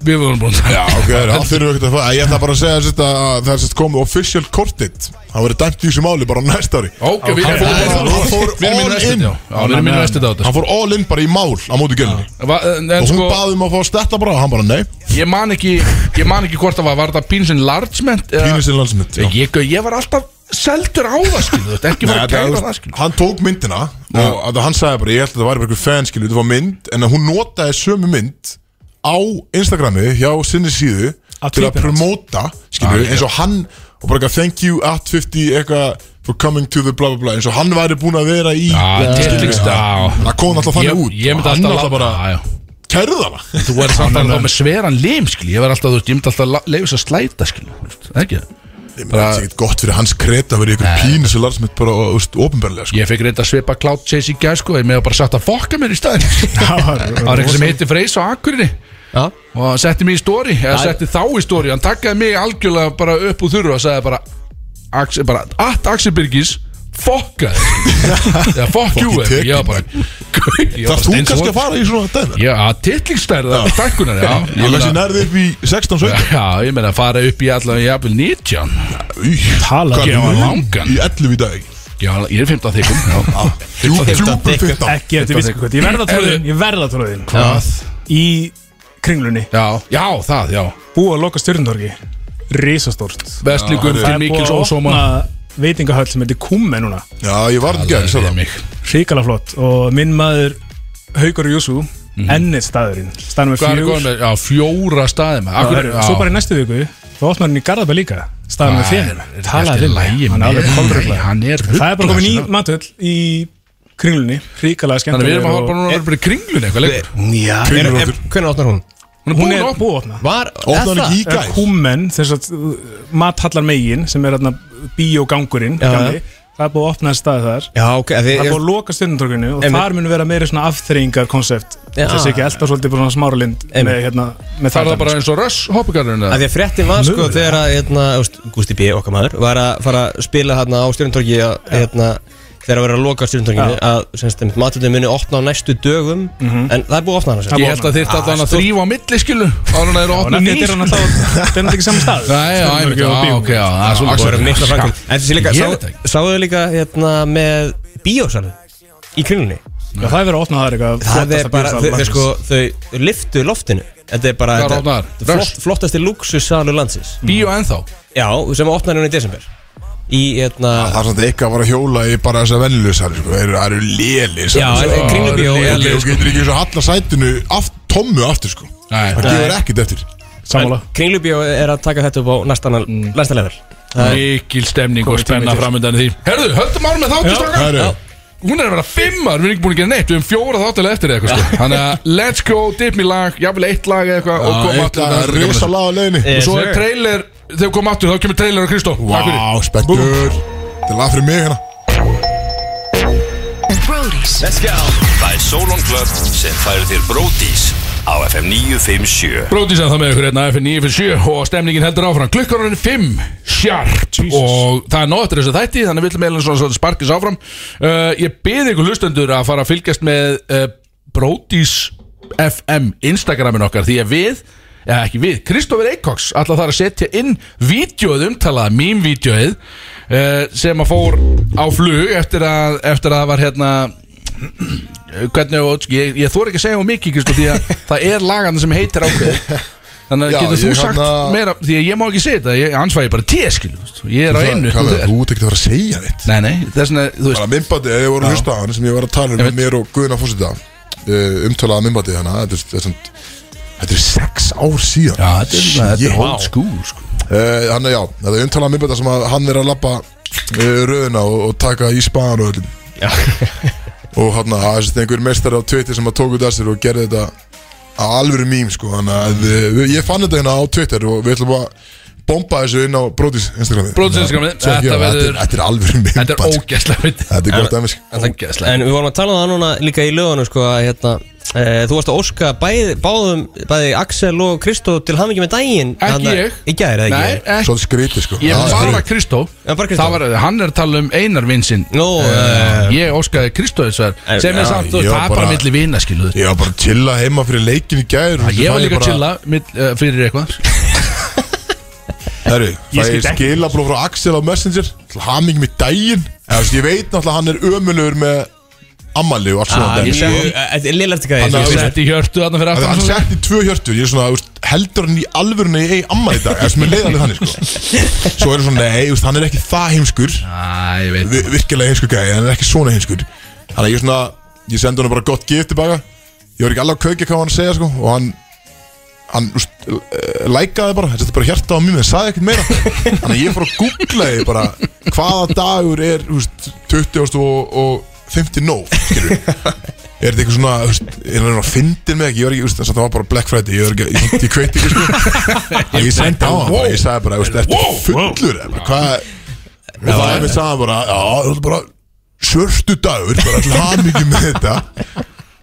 S2: Við vorum búin að
S1: Já, ok, það er allt eru ekkert að fara Ég ætla bara að segja sérst, að það er sérst komið official court date Það verið dæmt í þessu máli bara á næsta ári
S2: Ok, við
S1: Hann fór- hann fór
S2: Við
S1: all
S2: erum minn vestið,
S1: in.
S2: já Já, Við erum minn vestið á þetta
S1: Hann fór all in bara í mál á móti gælunni
S2: Va- En en
S1: Og hún
S2: sko,
S1: baði um að fá að stetta bara og hann bara nei
S2: ég man ekki Ég man ekki hvort það var, var þetta pínsin largement
S1: Penis enlargement já.
S2: Ég, ég var alltaf seldur á það skil Þú veist, ekki
S1: Nei,
S2: fara að
S1: þetta,
S2: kæra
S1: þú
S2: það
S1: veist,
S2: skil
S1: hann tók myndina og að hann sagði bara, ég held að það væri bara einhver fanskil þetta var mynd, en að hún notaði sömu mynd á Instagrami hjá sinni síðu
S4: Að
S1: til að
S4: tvíbera.
S1: promóta
S2: Ah,
S1: skilur, eins og hann og bara eitthvað thank you at 50 eitthvað for coming to the bla bla bla eins og hann væri búin að vera í
S2: Já, tiltingst Já
S1: það kom alltaf
S2: Ég,
S1: þannig út
S2: ég myndi
S1: hann
S2: alltaf
S1: alltaf bara
S2: Já, já.
S1: kærðana
S2: Þú væri samt alveg þá með sveran lim skil Ég var alltaf, þú veist, ég myndi alltaf leifis að slæta skil þú veist, Það er ekki það
S1: það er ekkert gott fyrir hans kreta að vera í ykkur pínu sem larsmitt bara ofinbarlega
S2: Ég fekk reynda að svipa Cloud Chase í gær sko Ég með bara satt að fokka mér í staðin
S1: [laughs]
S2: Það var eitthvað sem heiti Freys á Akurinni
S3: Já
S2: Og hann setti mig í stóri Eða
S3: Æ.
S2: setti þá í stóri Hann takkaði mig algjörlega bara upp úr þurru Og sagði bara, Axel, bara At Axel Birgis Fokka
S1: [laughs]
S2: þig." Eða fokk jú
S1: Fokki tekinn.
S2: Ég var bara ég var bara
S1: það þú
S2: steinsvot.
S1: kannski að fara í svona dæmi
S2: Já, titlingstærða Takkunar, já Ég
S1: ég lesi
S2: meina-
S1: nærði upp í 16 17
S2: Já, ég meina að fara upp í allavega jafnvel 19
S1: Í,
S4: Tala
S1: hvað
S4: ekki
S1: er
S4: á
S1: nú?
S2: langan.
S1: Í 11 í dag
S2: Já, ég er 15 þykum Já,
S1: Djúb- Djúpur 15
S4: Ekki eftir vissi hvað Ég verða tróðin Ég verða tróðin
S2: Hvað?
S4: Í kringlunni
S2: já, já það, já
S4: Búið að loka stjórnundorgi Rísastórt
S2: Vestlíkum
S1: Já,
S2: til Mikils Ósóma
S4: veitingahöll sem heitir Kumme núna
S1: Já, ég var ekki að
S2: Það
S1: segja
S2: er
S1: það
S2: mig
S4: Ríkala flott Og minn maður Haugur Júsú Ennir staðurinn Staðnum
S2: Mhm.
S4: með
S2: Hvað er
S4: fjögur
S2: góðan með, já, fjóra staði með
S4: Það er- Svo bara í næstu viku Þá opnar hann í Garðabæ líka Staðnum með fjögur Talaði við mig Hann er alveg kolrugla
S2: Hann er
S4: Það er bara komin í
S2: ruglaður.
S4: matöll í kringlunni Ríkala skemmt
S2: Þannig að við erum að horfa bara núna bara í kringlun eitthvað lengur
S1: Kringlu
S3: Hvernig
S1: áttur
S3: opnar hún?
S2: Hún er
S4: Hún
S2: búin
S4: er
S2: að opna
S4: búið að opna
S3: Var, er
S1: Opnaði hann
S3: það?
S1: ekki í gær
S4: uh, Kúmen, þess að matthallar megin sem er hérna bíógangurinn
S3: Já,
S4: gamli, það er búið að opna einn stað þar
S3: Já, ok, að
S4: það
S3: þið
S4: er búið að loka stjórnumtorkinu og
S3: Einmitt.
S4: þar mun vera meiri svona afþreyingar konsept
S3: Já.
S4: þessi ekki elda svolítið bara svona smáralind með,
S3: Einmitt.
S4: hérna,
S2: Það
S4: með
S2: er það
S4: þáttunum,
S2: bara eins og röss hoppugarðurinn
S3: að
S2: eða?
S3: því að fréttin var sko þegar að hérna, úst, Gusti B. okkar maður var að fara að spila hérna á stjórntorki hérna, þegar að vera að loka stjórntorkinu að semst, matutin muni opna á næstu dögum en það er búið að opna hana
S4: Það
S3: sem.
S4: er
S2: Ég held að þyrfti
S3: Ah,
S2: allan að
S3: stórt.
S2: þrýfa á milli skilu Ára það eru
S4: sko.
S2: opnið
S4: En
S2: ný
S4: þetta er hann
S2: skilu.
S4: að þá þetta er hann ekki saman
S2: [laughs]
S4: stað
S2: Nei, já, einmitt, já,
S4: Stjörnumtorgið og
S2: ok, já,
S4: bíómynd.
S2: það er svona
S3: og eru mikla framkvæm
S2: Ska-
S3: en þessi líka,
S2: Ég
S3: sá,
S2: veit það ekki.
S3: sáu þau líka hérna, með bíósalu í kringlunni
S4: Já, það er verið að opna það
S3: það
S4: eitthvað
S3: er
S4: flottasta
S3: bara, þau,
S4: bíósal
S3: þau,
S4: landsins.
S3: sko, þau liftu loftinu þetta er bara
S2: Hvað
S3: þetta-
S2: opnaðar?
S3: þetta er
S2: Rush?
S3: flott, flottasti luxussalu landsins
S2: Bíó ennþá
S3: já, sem opnar núna í desember í hérna
S1: Það er svona eitthvað að vara að hjóla í bara þessa vennilusar sko. Það eru- það eru lélis
S3: Já, en en
S1: sko.
S3: Kringlubíó
S1: Og
S3: er
S1: þú
S3: alveg sko,
S1: getur ekki eins og halla sætinu aft, Tommu aftur sko Það
S2: Nei,
S1: gefur ekkert eftir
S4: sammála
S3: Kringlubjó er að taka þetta upp á næsta mm. næsta level
S2: mikil stemning og
S4: Komið tími
S2: spenna
S4: til.
S2: framöndan í því Herðu, höldum árum með þáttu strákar
S1: Herru,
S2: Hún er að vera fimmar, við erum ekki búin að gera neitt Við erum fjóra þáttilega eftir eða eitthvað sko. Þannig að let's go, dip mig lag, jafnvel eitt lag eða eitthvað Og
S1: Það
S2: koma
S1: eitt
S2: aftur
S1: að
S2: með þetta gamla.
S1: risa laga leiðinni
S3: Eh,
S2: Og svo er
S3: Sure.
S2: trailer, þegar koma aftur þá kemur trailer á Kristó Takk fyrir.
S1: Vá, spenntur Það er lag fyrir mig hérna
S5: Brody's
S6: Það er Solon Club sem færir þér Bródís á FM 957
S2: Bróðins að það með ykkur hérna FN 957 og stemningin heldur áfram klukkar hann 5 sharp og það er nóg eftir þessu þætti þannig við viljum meðlega svona, svona sparkis áfram uh, ég beði ykkur hlustendur að fara að fylgjast með uh, Bróðis FM Instagramin okkar því að við eða ekki við, Kristoffer Eikóks alltaf þar að setja inn vídjóð umtalaða mím-vídjóið uh, sem að fór á flug eftir að, eftir að það var hérna hvernig og sko, ég, ég þor ekki að segja á mikið Kristó, því að
S1: [laughs]
S2: það er lagana sem heitir ákveð
S1: Já,
S2: þannig að getur þú
S1: ég
S2: sagt
S1: hérna-
S2: meira því að ég má ekki segja þetta, ég- annars fæ ég bara tíð skilu, þú veist, ég er á
S1: Það-
S2: einu
S1: hvað
S2: þú
S1: er-
S2: veist.
S1: Þú ert ekki að fara að segja þitt
S2: nei, nei, þess vegna, þú
S1: Bara
S2: veist
S1: minnbandi, ef ég voru að hlusta á hann sem ég var að tala um
S2: Ég
S1: með
S2: veit.
S1: mér og Guðna eh, Fósita umtalaða minnbandi hana hérna, þetta er- þetta er svona- þetta er sex ár síðan
S2: já, þetta er, þetta
S1: Shit.
S2: er old school sko.
S1: Eh, Hann er já, þetta er umtalaða minnbandi sem að hann er að labba uh, röðina og, og taka í spaðan og öllum [laughs] og hann að það er sem einhver mestar á Twitter sem að tóku þetta að sér og gerði þetta að alvöru mím sko þannig að eh, ég fann þetta hérna á Twitter og við ætlum að bomba þessu inn á Brodís Instagramið
S2: Brodís Instagramið,
S1: Þannig að-
S2: þetta
S1: Þetta
S2: verður-
S1: er- þetta er alvöru mím
S2: þetta er
S1: bara.
S2: ógæslega fyndið.
S1: Þetta er gott sko. aðeins
S2: Þetta er ógæslega
S3: En við vorum að tala um það núna líka í lögunum sko, að, hérna, e, Þú varst að óska bæð, báðum bæði Axel og Kristó til hamingi með daginn
S2: Ekki
S3: þarna-
S2: ég.
S3: Í gær, eða
S2: nei,
S3: ekki
S2: ekki
S1: Svolítið skrítið sko
S2: Ég
S1: Það er
S2: var bara
S1: skrítið.
S2: Kristó
S3: Já, bara Kristó.
S2: Það var, Hann er að tala um Einar vinsinn
S3: Nú,
S2: Eh, Ég óskaði Kristó þess
S3: Eh,
S2: að Sem er
S1: já,
S2: samt, þú
S1: ég
S2: veist,
S1: var
S2: það er bara
S1: bara-
S2: milli vina skiluðu
S1: Ég var bara að chilla heima fyrir leikin í gær
S2: Ég var líka að chilla mitt, uh, fyrir eitthvað
S1: Herru,
S4: Ég
S1: það
S4: skil
S1: er
S4: ekki.
S1: skilablóð frá Axel á Messenger Til haming með daginn Eða, þú veist, Ég veit náttúrulega að hann er ömulur með Ammali
S2: Ah,
S1: og allt svona
S3: Ég
S1: dæmi, sko.
S3: segi- Þetta er liðlega eh, eftir hvað
S1: Hann
S3: ég
S1: er-
S3: segi.
S2: Sett í hjörtu þarna fyrir
S1: Það er
S2: aftan
S1: hann sett í tvö hjörtur Ég er svona, þú veist, heldur hann í alvörunni í eigin ammali í dag Það sem er leiðanlega þannig sko.
S2: [laughs]
S1: Svo er það svona, nei, þú veist, hann er ekki það heimskur
S2: Æ, ég veit
S1: Vi- Virkilega heimskur gæði, hann er ekki svona heimskur Þannig að ég er svona, ég sendi hann bara gott gif tilbaka Ég var ekki alveg að kaukja hvað hann að segja sko, Og hann hann úst, uh, lækaði bara, þetta er bara hjarta á mjög en sagði ekkert meira, þannig að ég fór að googla þið bara, hvaða dagur er úst, 20. og, og 50. nóf, skilur er þetta eitthvað svona, úst, er það að fyndin mig ekki, ég var ekki, úst, það var bara Black Friday ég, var ekki, ég, ég kveit ekki, sko Þannig að ég sendi á hann, bara, ég sagði bara, úst, ertu fullur, eða hvað og það er mér sagði bara, já, það er bara svörstu dagur, bara til hamingi með
S2: [laughs]
S1: þetta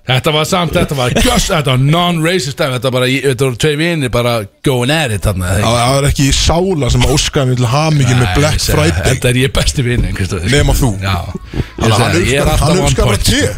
S2: Þetta var samt, þetta var just, þetta var non-racist dæmi, Þetta var bara, þetta voru tvei vinir bara going at it þarna eða ekki?
S1: það það er ekki sála sem að óskaði mér til hamingi með
S2: Nei, ég
S1: Black
S2: segi,
S1: Friday
S2: Þetta er ég besti vinir, Kristofur
S1: Nema þú.
S2: sko. Já Ég
S1: Þannig að
S2: segi, ég er
S1: hann er
S2: alltaf one
S1: uppskar að
S2: point
S1: tíu
S3: Já,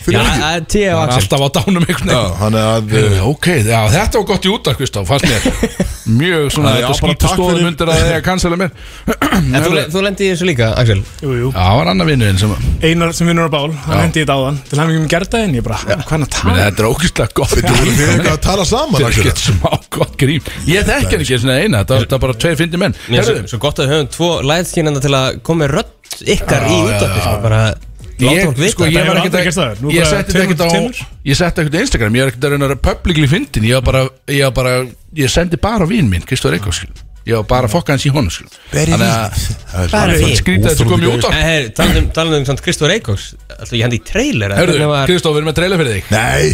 S1: Fyrir ekki
S3: það er T.A. og
S2: Hann er
S3: Axel
S2: alltaf á dánum einhvern
S1: Já,
S2: veginn
S1: hann er að
S2: Heyrðu, Ok, já, þetta var gott í útar, Kristof, fannst mér Mjög svona,
S1: Já, já,
S2: þetta
S1: bara
S2: skýta
S1: takk fyrir-
S2: stóðum undir að það er að cancela mér
S3: En þú, þú lendi í þessu líka, Axel
S4: jú, jú.
S2: Já, var annar vinurinn sem að-
S4: Einar sem vinnur á bál, hann hendi ég þetta á þann Til hann ekki með gerðdæðin, ég bara, hvað er hann
S2: Meni,
S4: að tala? um?
S2: Þetta er ógeðslega gott
S1: Þú voru fyrir eitthvað að tala saman
S2: Þetta er
S1: Axel.
S2: ekkert smá gott grím Ég þekki hann ekki svona eina, þetta þetta var bara tvei fyndi menn
S3: Mér
S2: Heyrðu,
S3: er svo gott að við höfum tvo læðskynanda til að koma með rödd ykkar í útarpi sko, bara láta fólk
S2: Ég,
S3: vita
S2: sko, ég var
S4: Þetta hefur
S2: ekkert
S4: aldrei gerst áður.
S2: að
S4: Nú
S2: Ég
S4: bara
S2: setti þetta
S4: tveimur
S2: ekkert á
S4: tveimur.
S2: Ég setti ekkert á Instagram Ég var ekkert að reyna að publicly fyndin Ég var bara Ég, var bara, ég sendi bara á vin minn Kristóður Eikó skil Ég var bara að fokka hans í honum skil
S1: Very
S2: Þannig
S1: neat.
S2: að
S1: Það er
S3: Bara
S1: svona
S3: í.
S2: Skrítið að þetta kom í útvarp
S3: En hey, talandi um, talandi um samt Kristóður Eikóks Alltaf ég hendi í trailer að
S2: Hörðu,
S3: hvernig var-
S2: Kristóð, við erum að treyla fyrir þig
S1: Nei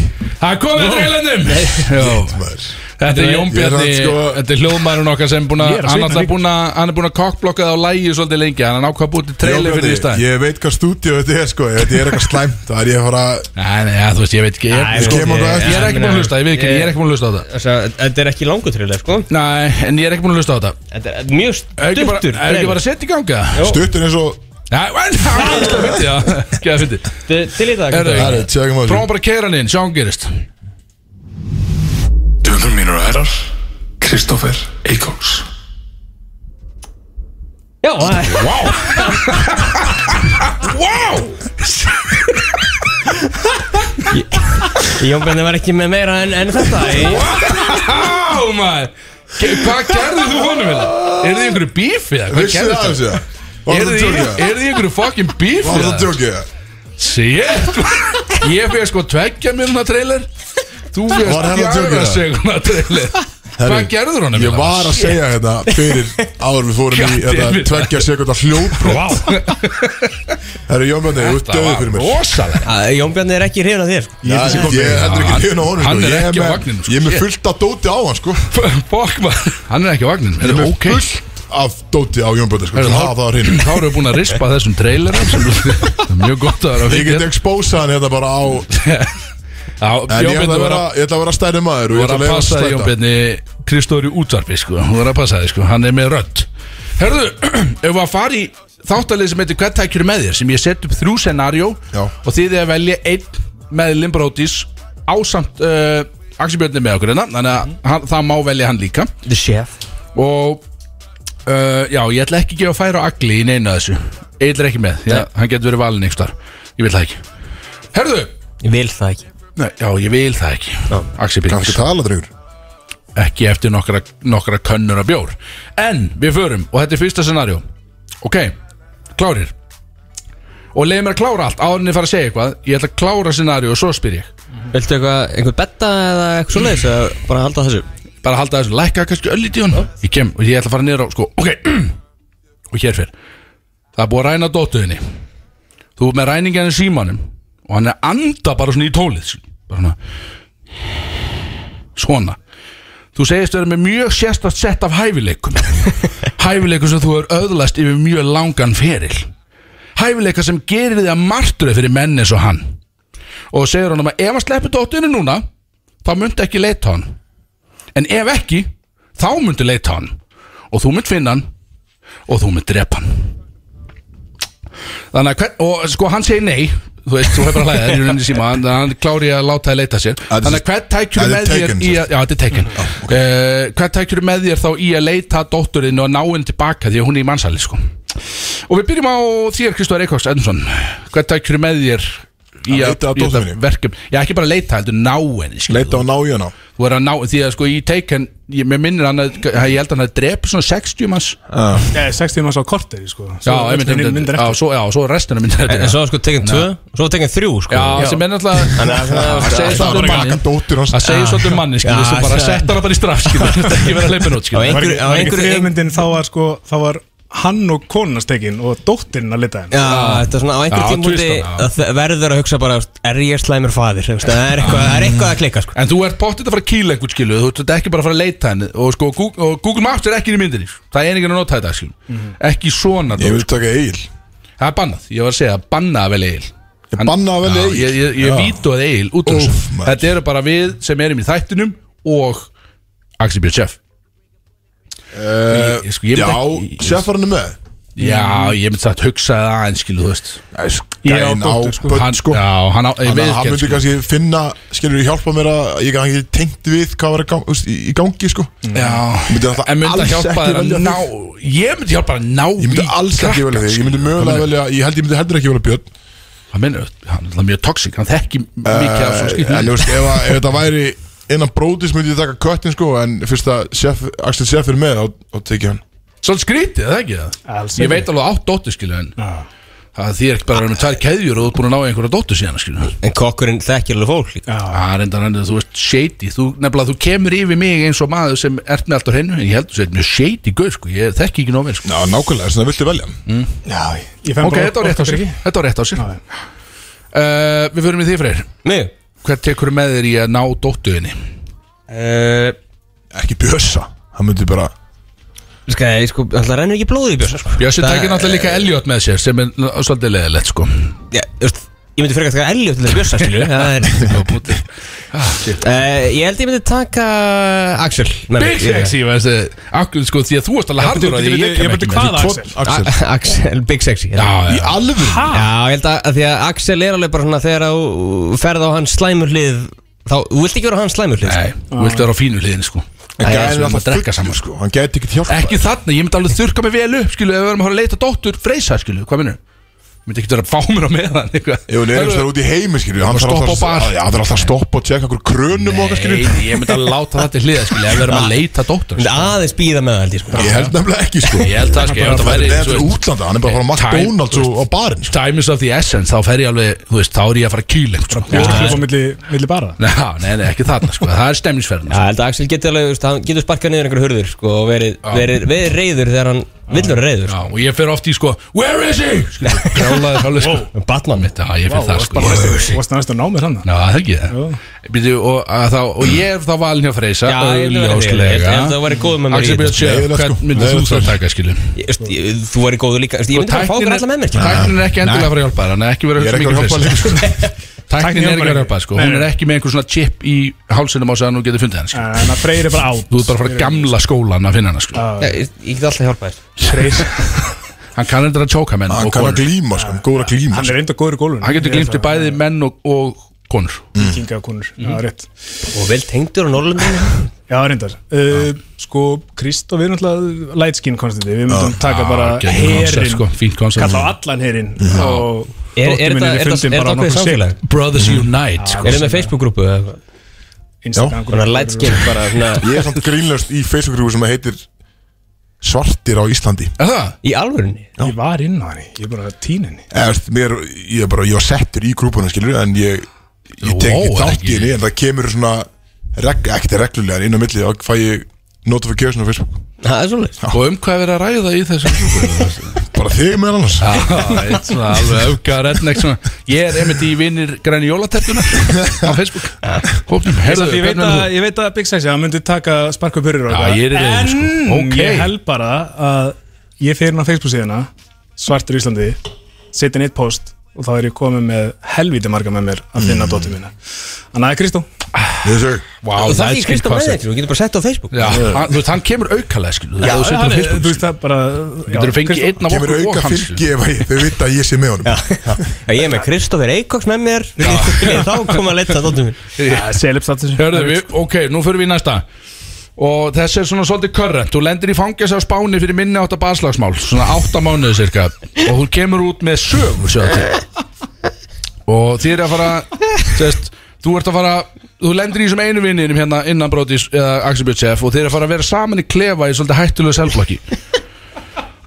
S2: Það komið að treylandum
S1: maður.
S2: Þetta er Jón
S1: Ég er
S2: Bjarni,
S1: samt sko-
S2: þetta er hljóðmærun okkar sem búin
S4: Ég
S2: að,
S4: er
S2: hann
S4: að svitna
S2: alltaf
S4: líka.
S2: búin að, hann er búin að kokkblokkað á lægi svolítið lengi, hann er nákvæm búin til trailer fyrir því í stæðin.
S1: Ég veit hvað stúdíu þetta er sko Ef Þetta er eitthvað slæmt Það er ég að fara
S2: Nei, nei, ja, þú veist, ég veit ekki, ég,
S4: Nei,
S2: sko,
S1: ég-
S2: ég,
S1: ég-
S2: er ekki búin að hlusta, ég veit ekki,
S3: Ég-
S2: ég er ekki búin að hlusta á það.
S3: Þess að- eh, Þetta er ekki langur trailer sko
S2: Nei, en ég er ekki búin að hlusta á það.
S3: Þetta er mjög
S2: Er ekki bara,
S3: stuttur
S2: er ekki bara að setja í ganga?
S1: Stuttur eins og
S2: Nei, en það er alltaf fyndið, já, ekki að fyndið.
S3: Til til í dag
S2: Er það
S1: Herru, tjögum á þessu.
S2: Prófum bara að keira hann inn, sjá hann gerist.
S5: Döður mínur og herrar, Kristófer Eikóks.
S3: Já, [laughs] það er-
S2: Wow!
S3: Jón Bjarni var ekki með meira en, en þetta Í-
S2: Wow, maður! Ge- Hvað gerðið þú honum hérna? Er þið einhverju bífið? Hvað
S1: Vissu
S2: gerðið
S1: það
S2: það?
S1: þessu Var
S2: Er
S1: það
S2: þið
S1: tjókið
S2: er þið einhverju fucking beef
S1: Var
S2: við
S1: það
S2: það?
S1: tjókið
S2: Sétt Ég fyrir sko tveggja mínuna trailer Þú fyrir
S1: Var hann að
S2: fjögra
S1: djóka?
S2: seguna trailer Hvað gerður hann
S1: Ég var að segja þetta
S2: [laughs]
S1: fyrir áður við fórum í
S2: God damn
S1: þetta
S2: it.
S1: tveggja sekundar hljóðbrot [laughs] Herru Jón Bjarni, þú ert
S2: Þetta
S1: döður
S2: var
S1: fyrir mér
S2: rosalega
S3: Að Jón Bjarni er ekki hrifin af þér sko.
S1: Já, Ég ég heldur ekki hljóðin á honum
S2: Hann
S1: sko.
S2: er
S1: Ég
S2: ekki á
S1: með-
S2: vagninum, sko.
S1: Ég er
S2: Shit.
S1: með fullt af dóti á hann sko
S2: Fokk maður Hann er ekki á vagnin Er
S1: Ég er
S2: það
S1: með
S2: ok?
S1: fullt af dóti á Jón Bjarni sko
S2: Heyrðu,
S1: sem hafa það á hreinu.
S2: Þá erum við búin að rispa þessum trailerum sem [laughs] Það er mjög gott að vera að
S1: Ég get expósa hann hérna bara á
S2: Já,
S1: En ég
S2: Jón
S1: ætla að
S2: Bjarni var
S1: vera,
S2: að
S1: ég ætla að vera stærri maður og ég
S2: var
S1: ætla að
S2: að
S1: leiða honum
S2: passa
S1: að
S2: því Jón
S1: slæta.
S2: Bjarni Kristóri útvarpi sko Hún var að passa því sko Hann er með rödd Herðu, [clears throat] ef við að fara í þáttalið sem heitir Hvað tækjur með þér sem ég set upp þrjú scenarjó
S1: Já.
S2: og þið er að velja einn meðlum brótis ásamt uh, Axel Björn er með okkur hérna þannig að hann, það má velja hann líka
S3: The Chef
S2: og uh, já, ég ætla ekki að gefa færa á agli í neina þessu Egil er ekki með, já, hann getur verið valin einhvers þar ég vil það ekki Herðu,
S3: Ég vil það ekki
S2: Nei, já, ég vil það ekki Axel Björn
S1: Kannski tala drengur
S2: ekki eftir nokkra, nokkra könnur af bjór en við förum og þetta er fyrsta scenarjó ok, klárir og leið mér að klára allt áðurinn ég fara að segja eitthvað ég ætla að klára scenarjó og svo spyr ég
S3: Viltu eitthvað, einhver betta eða eitthvað svo leiðis eða bara halda þessu
S2: bara halda þessu, lækka kannski öllítið í hún ég kem og ég ætla að fara niður á sko, ok, [clears throat] og hér fyrr það er búið að ræna dóttuðinni þú ert með ræninginu símanum og hann er að anda bara svona í tólið skilur. bara svona svona þú segist vera með mjög sérstast sett af hæfileikum hæfileikum sem þú er öðlast yfir mjög langan feril hæfileika sem gerir þig að martröð fyrir menn eins og hann og segir honum að ef hann sleppur dóttuðinni núna þá myndi ekki leita á hann en ef ekki þá myndi leita á hann og þú mynd finna hann og þú mynd drepa hann Þannig að hvern, og sko hann segir nei Þú veist, þú hefur bara hlæðið, hann er í síma Þannig að hann klári að láta þið leita sér
S1: Þetta er-
S2: Þannig að hvern tækjur
S1: Þetta er
S2: með þér
S1: taken,
S2: í að, Já, þetta er tekin
S1: Mm. Ah,
S2: uh, Hvern tækjur með þér þá í að leita að dótturinn og ná henni tilbaka því að hún er í mannsæli sko. Og við byrjum á þér Kristóður Eikóks Edmundsson Hvern tækjur með þér í
S1: Að leita að
S2: að, í þetta
S1: dóttur minni?
S2: verkefni Já, ekki bara leita, heldur ná henni skilur
S1: Leita á ná í hana
S2: þú er að ná, því að sko í Taken ég, mér minnir hann að, að ég held að hann að drepa svona 60 manns já,
S4: Nei, 60 manns á korteri sko Svo
S2: einmitt,
S4: myndir-
S2: einmitt,
S4: myndir
S2: já,
S4: eftir
S2: svo, já, svo restina myndir
S3: En en
S2: þetta
S3: svo var sko tekin tvö og svo var tekin þrjú sko
S2: já, sem er náttúrulega að segja
S1: Það
S2: svolítið
S1: var
S2: um
S1: ekki
S2: mannin
S1: að dóttur hans
S2: að segja svolítið um mannin, skilur,
S3: Já,
S2: sem bara
S3: það-
S2: setta hann bara í straff, skilur, þetta er ekki verið að leipin út,
S3: Á
S2: skilur
S4: Var
S3: einhverju
S4: ekki-
S3: á
S4: var ekki
S3: einhverju- ein-
S4: þriðmyndin þá var sko Þá var hann og konunast tekin Og dóttirinn að lita henn
S3: Já, þetta er svona á
S2: Já,
S3: einhverjum tímúti
S2: tvistan, já.
S3: verður að hugsa bara er ég slæmur faðir það er eitthvað, það er eitthvað að klikka sko.
S2: en þú ert bóttið að fara að kýla einhvern, skilur þú ert ekki bara að fara að leita henni og sko, Google, og Google Maps er ekki í myndinni sko. það er einingin að nota þetta, skilur ekki svona,
S1: Mhm. Ég
S2: dót.
S1: vil taka Egil
S2: það er bannað, ég var að segja banna að velja eil
S1: Ég banna að velja
S2: Já,
S1: Egil
S2: Ég, ég, ég
S1: Já.
S2: vítóð Egil út úr
S1: Úff,
S2: þessu
S1: maður.
S2: Þetta eru bara við sem erum í þættinum og Axel Björn Sjöf ég- ég- sko, ég myndi
S1: Já,
S2: ekki- ég-
S1: sérfarinn er með Mm.
S2: Já, ég myndi sagt hugsa það aðeins skilu, þú veist
S4: Ég á
S1: Gæinn á
S4: dóttur, sko.
S1: börn
S2: hann,
S1: sko
S2: Já, hann á, ég
S1: Þannig
S2: veit
S1: að hann
S2: ekki
S1: myndi
S2: sko.
S1: kannski finna, skilur, hjálpa mér að ég kann ekki tengt við hvað var að gang- þú veist, í í gangi sko
S2: Mm. Já,
S1: myndi alltaf
S2: en myndi
S1: alls
S2: að hjálpa
S1: ekki
S2: þér að
S1: velja
S2: ná Ég myndi hjálpa þér að ná
S1: Ég myndi
S2: í sko.
S1: alls ekki
S2: krakkann,
S1: velja þig, ég myndi
S2: skilurðu.
S1: mögulega velja, ég held ég myndi heldur ekki velja Björn
S2: Hann minnur, hann er alltaf mjög toxic Hann þekki mikið af svona
S1: Eh,
S2: skýtum
S1: En þú veist, ef að- ef þetta væri innan brótis myndi ég taka köttin sko En fyrst að chef, Axel Sef er með þá- þá tekið hann
S2: Svolítið skrítið, er það ekki það?
S4: Alls
S2: Ég
S4: ekki.
S2: veit alveg átt dóttu skilu en það þýr ekki bara að vera með tvær keðjur og þú ert búin að ná í einhverja dóttu síðan skilu
S3: en kokkurinn þekkir alveg fólk líka
S4: Já,
S2: Já, reyndar hann, þú ert shady þú, Nefnilega, þú kemur yfir mig eins og maður sem ert með allt á hreinu En ég heldur þú sért mjög shady guð, sko Ég þekki ekki nóg vel, sko
S1: Já, nákvæmlega, þess vegna viltu velja hann
S4: já Ég fenn
S2: Ok, þetta var rétt á sér Þetta var rétt á sér uh, Við förum í því freyr
S3: mig
S2: Hvert tekur með þér í að ná dóttuðinni?
S3: uh,
S1: ekki bjösa hann myndi bara
S3: Ska, ég, sko, alltaf rennur ekki blóði í bjösa sko.
S2: Bjössi
S3: Það-
S2: tækir náttúrulega líka Elliot með sér sem er ná- svolítið leðilegt sko
S3: Já, þú veist, Ég myndi frekar taka Elliot til að [laughs] bjösa skilju Það er Eh, Ég held ég myndi taka uh, Axel með mér.
S2: Big sexy veist, eh, Akkur sko því að þú varst alveg hardur á því ég kem ekki með.
S4: hvaða Axel?
S1: Axel
S3: A- [laughs] Axel, Big Sexy
S2: Já,
S3: Já,
S1: í
S2: já,
S1: alveg
S3: Já, ég held að, að því að Axel er alveg bara svona þegar þú ferð á hans slæmur hlið þá, þú vilt ekki vera á hans slæmur hlið sko.
S2: nei, þú vilt vera á fínu liðin sko
S1: en
S3: Æ,
S1: gæðin
S2: svona
S1: er alltaf
S2: að drekka
S1: fullur,
S2: saman.
S1: sko. hann gæti ekkert hjálpa
S2: Ekki þarna, ég myndi alveg þurka mig vel upp skilu, ef við verðum að fara að leita dóttur freysa skilu, hvað minnur? Myndi ekki vera að fá mér á meðan eitthvað.
S1: ef hún er einhvers vegar út í heimi skilju hann
S2: Bara
S1: þarf
S2: stoppa á
S1: alltaf
S2: bar.
S1: að- já, hann þarf alltaf að stoppa og tjekka okkur krönum og okkur
S2: Nei,
S1: skilju
S2: ég myndi alveg láta það til hliða skilu, ef við verðum að leita dóttur
S3: Myndi
S2: sko.
S3: aðeins býða með það held ég sko
S1: ég held nefnilega ekki sko
S2: Ég held það sko, ég
S1: hann
S2: held að
S1: færi
S2: væri
S1: með
S2: þú
S1: til
S2: veist,
S1: útlanda hann er bara að fara á
S2: Time,
S1: McDonalds og á barinn sko.
S2: Time is of the essence, þá fer ég alveg, þú veist, þá er ég að fara kýlengt sko.
S4: Þú veist hljópa milli, milli bara
S2: Nei, [laughs] nei, nei, ekki þarna sko, það er stemningsferðin
S3: Já, ég held að Axel getur alveg, þú veist, hann getur sparkað niður einhver hurður sko og verið, verið, verið reyður þegar hann vill vera reyður
S2: Já, og ég fer oft í sko Where is he? Sko,
S3: [laughs]
S2: Grálaði sálega sko Batman mitt, já, ég fer það sko Ég-
S4: Þú varst næst að ná mér hann
S2: Já, það er ekki það Býtu, og, að þá, og ég er þá valin hjá Freysa
S3: Já, ég held að það væri- ég held- ég held að það væri góð með mér í þetta,
S2: Axel Björn
S1: sko.
S2: Sjöf,
S1: Leiðilegt,
S2: hvern
S1: sko.
S2: myndir þú
S1: Leiðilegt,
S2: þá
S1: sko.
S2: taka skilum?
S3: Ég- þú veist, ég- Þú verið góður líka, þú veist, ég myndi bara að fá okkur alla með mér sko. ekki?
S2: Tæknin er ekki endilega að fara að hjálpa þér Hann er ekki verið
S1: ég er
S2: að
S1: ekki að
S2: hugsa
S1: hjálpa líka
S2: mikið Freysa
S1: sko.
S2: [laughs] Tæknin er ekki að
S4: hjálpar
S2: vera hjálpa
S4: ekki.
S2: sko
S4: Nei,
S2: Hún er
S4: nei.
S2: ekki með einhver svona chip í hálsinum á sig að nú getur fundið hann sko
S4: En að Freyr er bara át
S2: Þú ert bara að fara gamla skólan að finna hann sko
S3: Já, Ég ég get alltaf hjálpað þér
S4: Freyr,
S2: Hann kann endur að tjóka menn
S1: hann
S2: og
S1: kann að
S2: konur
S1: glíma sko, hann góður að glíma
S4: hann
S1: sko.
S4: er reynda góður í gólfinu
S2: Hann getur glimt í bæði Mhm. menn og- og konur
S4: Vikinga konur, já, rétt
S3: Og vel tengdur á Norrlundinu [laughs]
S4: Já, reyndar uh, Sko, Kristof er náttúrulega light skin konstanti Við myndum taka bara
S2: Ah, geggjum
S4: herin
S2: koncept, sko, Mhm. Fínt koncept
S4: Kalla á allan herin Og
S3: Er, er
S4: dóttir mín
S3: þetta
S4: er
S3: er þetta-
S4: fundin
S3: er
S4: bara
S3: þetta
S4: nokkuð
S3: okkur
S4: sek.
S3: samfélag?
S2: Brothers Unite sko.
S3: Er þetta með Facebook-grúpu? eða eitthvað?
S4: Instagram
S3: Svona light skin bara, svona,
S1: ég er samt grínlöst í Facebook-grúfi sem heitir svartir á Íslandi
S2: Er það?
S3: í alvörunni?
S4: Ég var inn á henni, ég er bara tín henni
S1: Eða, veist, mér, ég er bara, ég var settur í grúpuna skilur, en ég, ég tek
S2: Vá,
S1: ekki
S2: er
S1: þátt
S2: ekki-
S1: í henni, en það kemur svona reg, ekkert reglulega, en inn á milli þá fæ ég notification á Facebook,
S3: Það er svolítið
S2: Og um hvað er verið að ræða í þessu
S4: [laughs]
S2: grúpu?
S1: bara þig meðal annars
S2: Já, eitt svona alveg auka redneck svona Ég er einmitt í vinnir græni jólatertuna á Facebook Hópnum, herðu,
S4: Ég veit,
S2: hvernig
S4: að,
S2: er þú?
S4: ég veit að Big Sexy, hann myndi taka sparka upp hurrur og
S2: Já,
S4: eitthvað.
S2: ég er í reyði,
S4: En
S2: sko. Ókei.
S4: ég held bara að ég fer inn á Facebook síðana Svartur Íslandi Setja inn eitt post og þá er ég komið með helvítið marga með mér að finna mm. dóttir mína Þannig að Kristó
S1: þessu,
S2: Vá,
S3: Og það er
S2: light
S3: ekki
S2: skin
S3: Kristján með
S2: concept.
S3: þetta, þú getur bara sett á Facebook
S2: Já, hann- þú veist, hann kemur aukalega, skilu Já, þú setur á
S4: hann er-
S2: Facebook
S4: þú veist það bara
S2: Getur þú fengið einn af
S1: kemur
S2: okkur og
S1: auka
S2: hans
S1: fylgi ef að ég- þau vita að ég sé með honum
S3: Já, Ég er með Kristófer Eikoks með mér [laughs] Þá kom að leta dóttum minn
S4: Selipstatus
S2: Hörðu, við, ok, nú fyrir við í næsta Og þessi er svona svolítið körrent Þú lendir í fangjast á spáni fyrir minni átta baslagsmál Svona átta mánuði cirka Og þú kemur út með sögur sjá til. Og þið er að fara sest, Þú ert að fara Þú lendir í þessum einu vinninum hérna innan Brodís eða Axel Björn Sef og þið er að fara að vera saman í klefa í svolítið hættulegu selflokki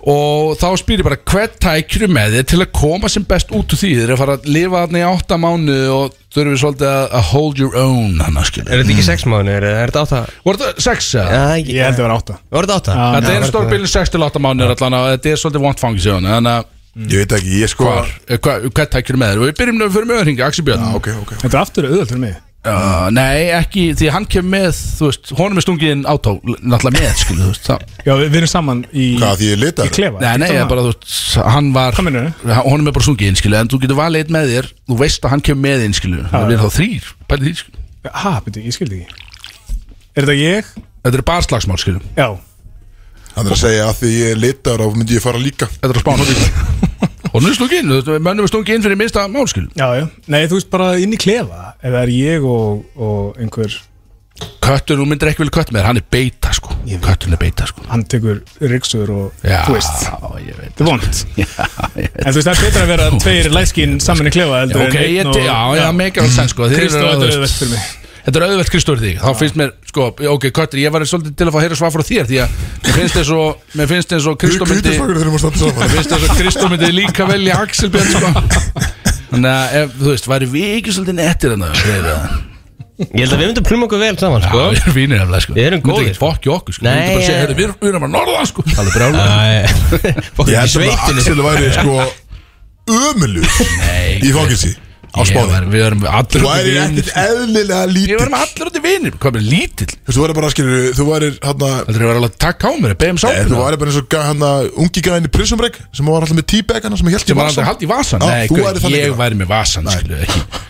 S2: og þá spyr ég bara hvert tækjur með þér til að koma sem best út úr því þið er að fara að lifa þarna í átta mánu og þurfum við svolítið að, að hold your own hann að skilja
S3: Er þetta ekki sex mánuðir, eða er þetta átta?
S2: voru þetta sex eða?
S3: Já, ekki
S4: Ég held að það var átta
S3: Var þetta átta?
S4: Já.
S2: þetta
S4: Nei,
S2: er
S4: það
S2: stórbílinn 6-8 mánuðir allan að þetta er svolítið vant fangis í hann þannig að
S1: ég veit ekki, ég sko
S2: hvar- eh, hva- hvað tækir með þér og við byrjum nú fyrir með öðringi Axi Björn
S1: Já, ok, ok
S4: Þetta er aftur auðvöld fyrir mig
S2: uh, nei ekki því hann kemur með þú veist honum er stungið inn átá náttúrulega með skilu þú veist það
S4: Já, við, við erum saman í
S1: Hvað, því ég er litaður?
S4: Í klefa
S2: Nei, nei, ég er bara, þú veist, hann var
S4: Hvað meinarðu?
S2: hann- Honum er bara sungið inn, skilu En þú getur valið eitt með þér Þú veist að hann kemur með inn, skilu Það verður þá þrýr Pæli því, skilu
S4: Hæ, beti, ég skildi ekki Er þetta ég?
S2: Þetta er bara slagsmál, skilu
S4: Já
S1: hann er að segja að því ég er litar og myndi ég fara líka
S2: Þetta er að spána því Honum er stungið inn, þú veist, mönnum er stungið inn fyrir minnsta mál, skilu
S4: Já, já, nei þú veist bara inn í klefa ef það er ég og, og einhver
S2: Köttur, þú myndir ekki vel kött með þér Hann er beita, sko Kötturinn er beita, sko
S4: hann tekur ryggsur og
S2: Já,
S4: þú veist,
S2: ég veit
S4: þetta er vond
S2: [laughs] Já,
S4: en þú veist það er betra að vera tveir læskin saman í klefa heldur
S2: ok, ég,
S4: einn
S2: te- já, já, megar alls enn, sko Þið
S4: Kristó,
S2: eru
S4: þetta er
S2: þú
S4: auðvelt
S2: veist,
S4: fyrir mig
S2: Þetta er auðvelt Kristóri því Þá finnst mér, sko, ok, Köttur, ég var svolítið til að fá að heyra svar frá þér Því að mér finnst eins og, mér finnst eins og Kristó myndi
S1: hvítisvakur þegar maður standa
S2: Mér
S1: saman
S2: finnst þess að Kristó myndi líka velja Axel Björn sko Þannig að, ef, þú veist, væri við ekki svolítið nettir hann að við
S3: Ég held að við myndum pluma okkur vel saman, sko
S2: erum fínir eflega, sko
S3: Við erum
S2: Myndi
S3: góðir,
S2: ekki
S3: sko.
S2: fokki okkur, sko
S3: Nei,
S2: Nei, myndi bara segja,
S3: eh.
S2: heyrðu, við, erum- við erum að norðan, sko Það er brjálega
S3: Æ, [laughs]
S1: ég
S3: fólk í
S1: held að
S3: sveitinni
S1: Axel væri sko ömulur í fangelsi á á Spáni
S2: var, Við erum
S1: Þú
S2: allir út í
S1: væri
S2: vinir
S1: ekkert eðlilega lítill
S2: Við erum allir út í vinir Hvað með lítill?
S1: Þú væri bara, skilur, þú væri hérna
S2: Aldrei var alveg að taka á mér Beðum
S1: Þú
S2: sápuna
S1: væri bara eins og gæ- hérna ungi gæðin í Prison Break sem var alltaf með T-bag hana sem held
S2: Sem var aldrei haldið í vasan
S1: Já,
S2: Nei,
S1: þú
S2: gaur,
S1: væri þannig
S2: ég
S1: gæi.
S2: væri með vasan skilu, ekki.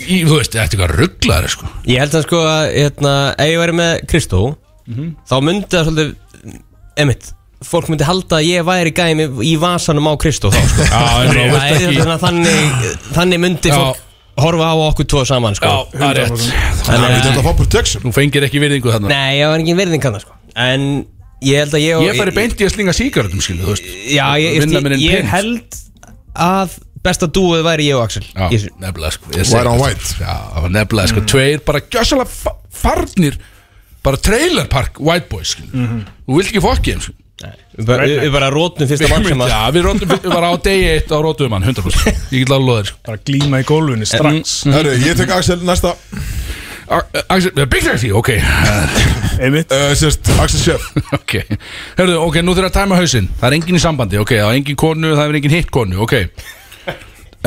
S2: Í, Þú veist, þetta er eitthvað rugglaður sko.
S3: Ég held að sko að hérna, ef ég væri með Kristó
S2: Mhm.
S3: þá myndi það svolítið emitt, fólk myndi halda að ég væri gæmi í vasanum á Kristó þá sko.
S2: [laughs] Já, en þú
S3: Það
S2: veist
S3: er
S2: ekki
S3: þannig að þannig, þannig myndi
S2: Já.
S3: fólk horfa á okkur tvo saman sko.
S2: Já, það er rétt
S1: Það er
S3: Þannig
S1: þetta
S3: að
S1: að fá protection
S2: Þú fengir ekki virðingu þarna
S3: Nei, ég var engin verðing kannar sko. En ég held að ég og-
S2: Ég færi beint í að slinga sígaretum skilu, þú veist
S3: Já, ég, ég,
S2: Vinna mér
S3: ég,
S2: inn pening.
S3: held að besta dúið væri ég og Axel
S2: Já,
S3: Í þessu.
S2: nefnilega sko ég segi
S1: White on
S2: þetta.
S1: white.
S2: Já, nefnilega sko, tveir bara gjössalega fa- farnir bara trailer park white boys sko. Þú vilt ekki fokki þeim sko.
S3: Við bara- Við við bara rótnum fyrsta mann sem að
S2: Já, við rótum, við varum á degi eitt á rótum hann, 100% Ég get alveg þér sko.
S4: bara glíma í gólfunni strax
S1: Herru, ég tek Axel næsta
S2: A- A- Axel, Big Taxi, ok Mm.
S4: einmitt
S1: uh, Sérst, Axel Chef
S2: [laughs] Ok, herðu, ok, nú þurfum við að tæma hausinn Það er engin í sambandi, ok, það er engin konu Það er engin hitt konu, ok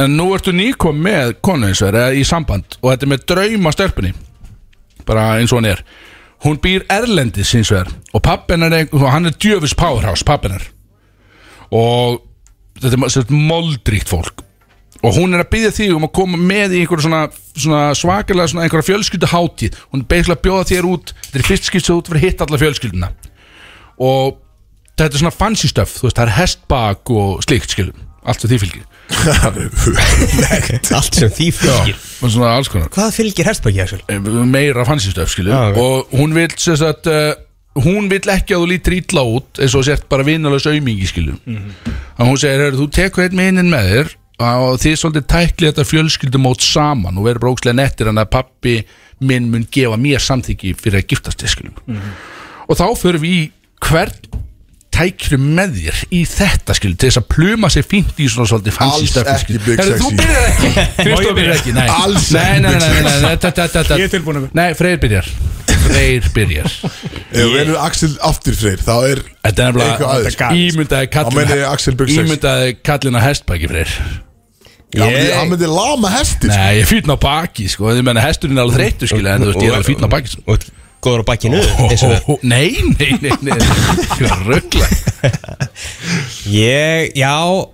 S2: En nú ertu nýkom með konu eins og er eða í samband og þetta er með drauma stelpunni bara eins og hann er Hún býr erlendis eins og er og pappin er, ein- og hann er djöfis powerhouse pappin er og þetta er sérst moldríkt fólk og hún er að byggja þig um að koma með í einhverja svona, svona svakalega svona einhverja fjölskyldu hátíð hún er beigla að bjóða þér út þetta er fyrst skipt sem þú út fyrir að hitta alla fjölskylduna og þetta er svona fancy stuff þú veist, það er hestbak og slíkt skilum allt sem því fylgir
S3: [laughs] allt sem því fylgir
S2: og svona alls konar
S3: Hvað fylgir herstbæki Axel?
S2: eh, meira fancy stuff skilum
S3: Já, ok.
S2: og hún vil sem sagt uh, hún vil ekki að þú lítir ítla út eins og sért bara vinalaus aumingi skilum mm
S1: Mhm.
S2: að hún segir, "Heyrðu, þú tekur einn minnin með þér og þið svolítið tækli þetta fjölskyldumót saman og verður brókslega nettir en að pappi minn mun gefa mér samþyggi fyrir að giftast þér skilum
S1: Mhm.
S2: og þá förum við í hvern tækri með þér í þetta skilum til þess að pluma sig fínt í svona svolítið fancy
S1: Alls
S2: stuff
S1: ekki
S2: skilurðu.
S1: Big
S2: Heyrðu,
S1: Sexy.
S2: þú byrjar ekki, Kristóf byrjar ekki nei.
S1: Alls
S2: nei,
S1: ekki
S2: nei,
S1: Big
S2: nei, nei, nei, þetta- þetta- þetta-
S4: Ég er tilbúinn að-
S2: Nei, Freyr byrjar Freyr byrjar
S1: Ef við erum Axel aftur freyr Þá er
S2: Þetta
S1: Eitthvað
S2: er nefnilega
S1: aðeins.
S2: Ímyndaði
S1: Þá meina ég Axel Big
S2: kallin
S1: Sexy.
S2: Ímyndaði kallin að hestbæki Freyr
S1: Hann myndi- hann myndi lama hesti sko.
S2: Nei, ég er fýtn á baki sko Ég menna hesturinn er alveg þreyttur skilja En þú veist, ég er alveg fýtn á baki sko. Oh.
S3: Og ert góður á bakkinu eins og það.
S2: Ó, Nei, nei, nei, nei Ég var röggla
S3: Ég, já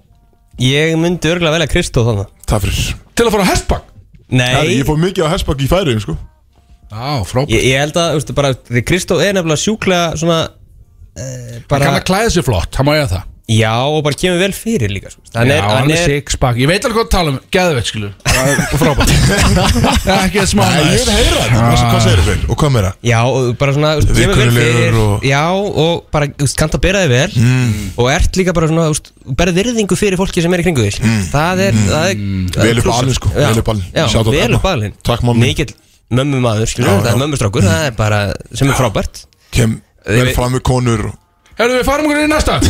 S3: Ég myndi örgulega velja Kristó þannig
S1: Takk fyrir
S2: Til að fara á hestbak
S1: Herru,
S3: Nei,
S1: ég fór mikið á hestbakki í færiðum sko
S2: Á, frábært
S3: ég, ég held að veistu, bara, því Kristó er nefnilega sjúklega svona eh,
S2: Hann
S3: bara,
S2: kann að klæða sér flott, hann má ég það
S3: Já, og bara kemur vel fyrir líka sko. Hann
S2: Já, hann er sixpack, ég veit alveg hvað að tala um Geðveitt, skilu, frábært [laughs] Það er Ekki að smá
S1: Nei, ég vil heyra þetta Hvað-
S2: Ah.
S1: Hvað segir þið Og hvað meira?
S3: Já, og bara svona úst, kemur vel
S1: Vinkonurlegur
S3: fyrir
S1: og-
S3: Já, og bara úst, kannt að bera þig vel
S2: Mm.
S3: Og ert líka bara svona úst, Bara virðingu fyrir fólki sem er í kringu þér
S2: Mm.
S3: Það er, það er
S1: Vel
S3: það er
S1: upp
S3: plúsar.
S1: alinn, sko,
S3: Já,
S1: vel upp alinn.
S3: Já,
S1: Shout out
S3: vel
S1: Emma.
S3: upp alinn
S1: Takk, mamma.
S3: Mikill mömmu maður, skilur
S1: Já,
S3: Það
S1: já.
S3: er mömmustrákur, það er bara Sem er frábært
S1: Kem vel fram með konur og-
S2: Herru, við farum okkur í næsta
S4: [laughs]